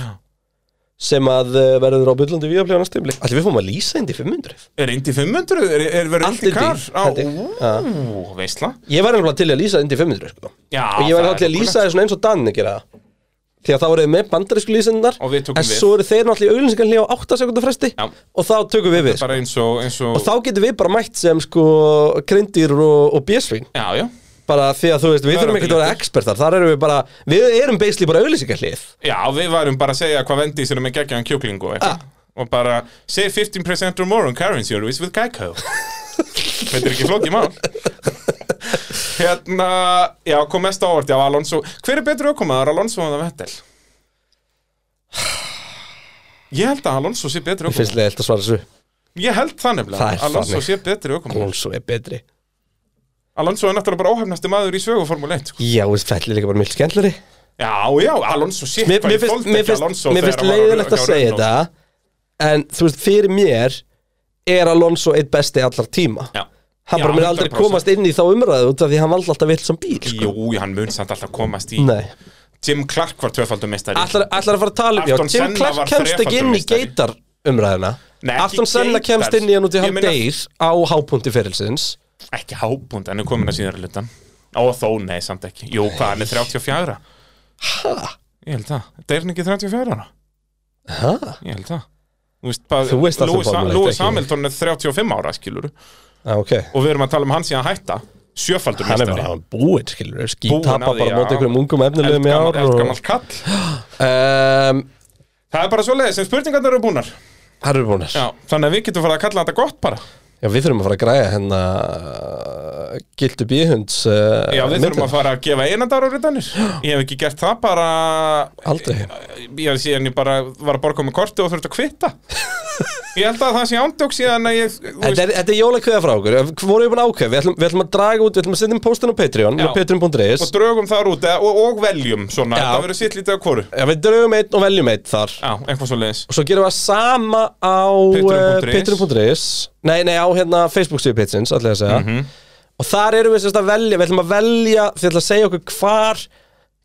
Speaker 6: sem að uh, verður á byllandi við að pljóna stimli Allir við fórum að lýsa Indi 500
Speaker 7: Er Indy 500? Er, er verið
Speaker 6: Allt
Speaker 7: Indy kar?
Speaker 6: Indy,
Speaker 7: Á,
Speaker 6: held ég.
Speaker 7: ú, veistla.
Speaker 6: Ég væri nefnilega til í að lýsa Indi 500 sko.
Speaker 7: Já,
Speaker 6: og ég
Speaker 7: það
Speaker 6: væri þá
Speaker 7: er
Speaker 6: til að lýsa þessu eins og Danni gera það því að þá voru þið með bandarísku lýsendunar
Speaker 7: Og við tökum
Speaker 6: en
Speaker 7: við.
Speaker 6: svo eru þeir náttúrulega í auðlýsingarni á 8 sekundar fresti
Speaker 7: Já.
Speaker 6: og þá tökum við við sko.
Speaker 7: Bara eins og... Eins og,
Speaker 6: og þá getum við bara mætt sem sko kreindir og, og björsvín
Speaker 7: Já, já.
Speaker 6: bara því að þú veist, við
Speaker 7: Það er
Speaker 6: þurfum
Speaker 7: okkur
Speaker 6: ekki að vera
Speaker 7: léttir.
Speaker 6: expertar þar erum við bara, við erum basically bara auðlýsingarlið
Speaker 7: Já, við varum bara að segja hvað vendið sér um með geggjaðan kjúkling og eitthvað.
Speaker 6: Ah.
Speaker 7: Og bara, save 15% or more on currency always with Geico. Þetta er ekki flókið mál. hérna, já, kom mest á óvart, já, Alonso. Hver er betri ökumaður, Alonso eða Vettel? Ég held að Alonso sé betri
Speaker 6: Mér finnst
Speaker 7: ökumaður.
Speaker 6: leiðilt að svara þessu,
Speaker 7: Ég held það nefnilega,
Speaker 6: Það er
Speaker 7: Alonso
Speaker 6: þannig.
Speaker 7: sé betri ökumaður.
Speaker 6: Alonso er betri
Speaker 7: Alonso er náttúrulega bara óhefnasti maður í sögu Formule 1. sko.
Speaker 6: Já, þessi fell er líka bara mjög skemmtlari
Speaker 7: Já, já, Alonso sé
Speaker 6: Mér mér finnst, mér finnst, mér finnst leiðilegt að segja þetta En þú veist, fyrir mér er Alonso eitt besti allar tíma
Speaker 7: Já.
Speaker 6: Hann
Speaker 7: Já,
Speaker 6: bara mér aldrei
Speaker 7: 100%.
Speaker 6: komast inn í þá umræðu út af því hann valdi alltaf vilt sem bíl sko.
Speaker 7: Jú, hann mun samt alltaf komast í
Speaker 6: Nei.
Speaker 7: Jim Clark var tvöfaldum mistari
Speaker 6: Ætlar ætlar að fara að tala um, já,
Speaker 7: Ayrton
Speaker 6: Jim
Speaker 7: Senna
Speaker 6: Clark
Speaker 7: var
Speaker 6: kemst ekki inn
Speaker 7: þrefaldur
Speaker 6: í
Speaker 7: meistari.
Speaker 6: geitar umræðuna
Speaker 7: Nei, ekki
Speaker 6: Afton Senna
Speaker 7: geitar.
Speaker 6: kemst inn í hann út í
Speaker 7: Ég
Speaker 6: hann
Speaker 7: meina-
Speaker 6: deyr á hápunkti ferilsins
Speaker 7: Ekki hábúnd, hann er komin að síðara hlutan Ó, þó, nei, samt ekki Jú, hvað, hann er 34
Speaker 6: Ha?
Speaker 7: Ég held það, deyr hann ekki 34 ára
Speaker 6: Ha?
Speaker 7: Ég held það Þú veist, bara,
Speaker 6: Þú veist allt um
Speaker 7: Lewis-
Speaker 6: Formule 1,
Speaker 7: Lewis
Speaker 6: ekki?
Speaker 7: Hamilton er 35 ára, skilur Og
Speaker 6: Ah, ok
Speaker 7: við erum að tala um hann síðan hætta Sjöfaldur
Speaker 6: Hann er
Speaker 7: mistari
Speaker 6: bara búinn, skilur við
Speaker 7: Búinn
Speaker 6: Skítapa
Speaker 7: að því,
Speaker 6: bara
Speaker 7: já.
Speaker 6: móti einhverjum ungum efnilegum í ár og...
Speaker 7: Eldgammal kall
Speaker 6: um,
Speaker 7: Það er bara svo leiðis, en spurningarnar eru búnar
Speaker 6: Það eru búinir
Speaker 7: Já, þannig að við getum farið að kalla þetta gott bara
Speaker 6: Já, við þurfum að fara að græja hennar Gildu Bíhunds uh,
Speaker 7: Já, við þurfum
Speaker 6: myndina.
Speaker 7: að fara að gefa einandara rítanir Ég hef ekki gert það bara
Speaker 6: Aldrei.
Speaker 7: Ég er síðan ég bara var að borga með korti og þurfti að kvitta Ég held að það sé ándjók síðan að ég þú
Speaker 6: Þetta
Speaker 7: veist,
Speaker 6: er, þetta er jólakveða frá okkur, Ef- vorum við búin að ákveða, við ætlum, við ætlum að draga út, við ætlum að setja um póstinn á Patreon,
Speaker 7: Já.
Speaker 6: á patreon.is
Speaker 7: Og drögum þar út eða- og, og veljum svona
Speaker 6: Já.
Speaker 7: Það verður sitt lítið að hvoru
Speaker 6: Já, við drögum einn og veljum einn þar
Speaker 7: Já, eitthvað svo leiðis
Speaker 6: Og svo gerum við það sama á
Speaker 7: Patreon.is. Mhm.
Speaker 6: eh, patreon.is Nei, nei, á hérna Facebook síðu Patreons, allir að segja Og þar erum við sérst að velja, við ætlum að velja, þið ætlum að segja okkur hvar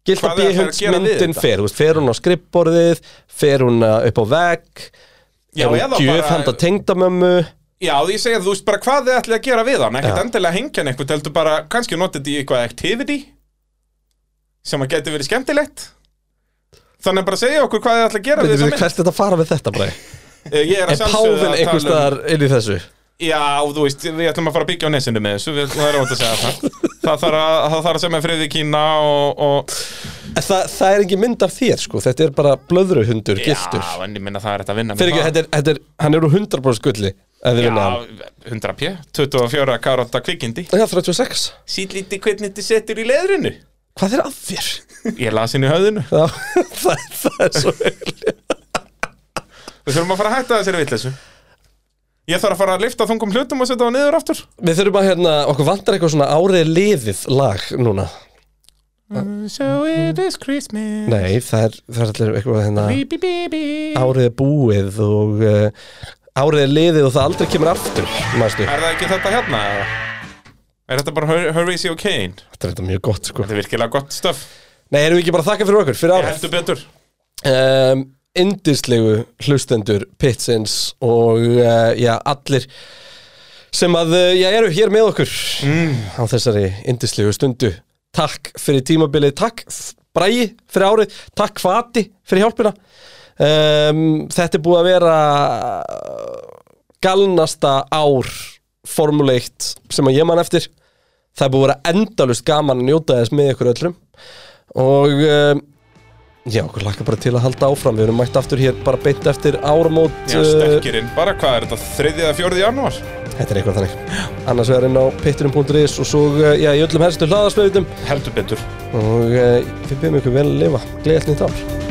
Speaker 6: Gilda
Speaker 7: Hvað þið ætlið að
Speaker 6: Bíhunds
Speaker 7: gera við
Speaker 6: myndin
Speaker 7: þetta?
Speaker 6: fer, þú veist, fer hún á skrippborðið, fer hún eh, upp á vegg
Speaker 7: Já,
Speaker 6: er hún
Speaker 7: eða
Speaker 6: gjöf
Speaker 7: bara-
Speaker 6: handa tengdamömmu
Speaker 7: Já, því ég segja þú veist bara hvað þið ætlið að gera við hann Ekkert
Speaker 6: Já.
Speaker 7: endilega hengja hann eitthvað Heldur bara, kannski notið í eitthvað activity Sem að geti verið skemmtilegt Þannig að bara segja okkur hvað þið ætlið að gera við
Speaker 6: Veitum
Speaker 7: þessa
Speaker 6: við
Speaker 7: mynd.
Speaker 6: hvert þetta fara við þetta bara
Speaker 7: Eh, Ég er að
Speaker 6: Er
Speaker 7: sjálfsögðu
Speaker 6: páfinn
Speaker 7: að tala um-
Speaker 6: einhvers staðar inn í þessu?
Speaker 7: Já, þú veist, við ætlum að fara að byggja á nesinu með þessu, við, það er ótt að segja það. Það þarf að, það þarf að segja með friði í Kína og... og
Speaker 6: En Það, það er ekki mynd af þér sko, þetta er bara blöðruhundur, giltur
Speaker 7: Já, en ég minna það er þetta að vinna
Speaker 6: Fyrir ekki, þetta er, þetta er, hann er úr 100% gulli ef þið vinna hann
Speaker 7: Já, 100 p, 24 karotta kvikindi.
Speaker 6: Já, 36
Speaker 7: Sýtlíti hvernig þetta setur í leðrinu.
Speaker 6: Hvað er að þér?
Speaker 7: Ég las inn í höfðinu.
Speaker 6: Já, það, það er svo heil
Speaker 7: Við þurfum að fara að hætta þessari vitleysu. Ég þarf að fara að lifta þungum hlutum og setja það niður aftur.
Speaker 6: Við þurfum að hérna, okkur vantar eitthvað svona árið liðið lag núna
Speaker 7: So it is Christmas.
Speaker 6: Nei, það er, það er allir eitthvað hérna
Speaker 7: Bí, bí, bí, bí.
Speaker 6: Árið er búið og uh, Árið er liðið og það aldrei kemur aftur Mæstu,
Speaker 7: Er það ekki þetta hérna? eða? Er þetta bara Hur- Horatio Kane?
Speaker 6: þetta er þetta mjög gott sko
Speaker 7: Þetta er virkilega gott stöf.
Speaker 6: Nei, erum við ekki bara að þakka fyrir okkur, fyrir
Speaker 7: Ég
Speaker 6: árið
Speaker 7: heldur betur.
Speaker 6: um, indislegu hlustendur Pitsins og uh, já, allir sem að uh, já, eru hér með okkur á þessari indislegu stundu takk fyrir tímabilið, takk Bræi fyrir árið, takk Fati fyrir hjálpina um, þetta er búið að vera eh, galnasta ár formuleitt sem að ég man eftir það er búið að vera endalust gaman að njóta þess með ykkur öllum og um, Já, okkur lakka bara til að halda áfram Við erum mætt aftur hér bara beint eftir áramót
Speaker 7: Já,
Speaker 6: uh,
Speaker 7: sterkirinn, bara hvað er þetta, 3. eða 4. janúar?
Speaker 6: Þetta er eitthvað þannig Annars vegar inn á pitturinn.is og svo uh, já, í öllum helstu hlaðarsveitum
Speaker 7: Heldur betur
Speaker 6: eh, og uh, við byrjum ykkur vel að lifa Gleðið nýtt ár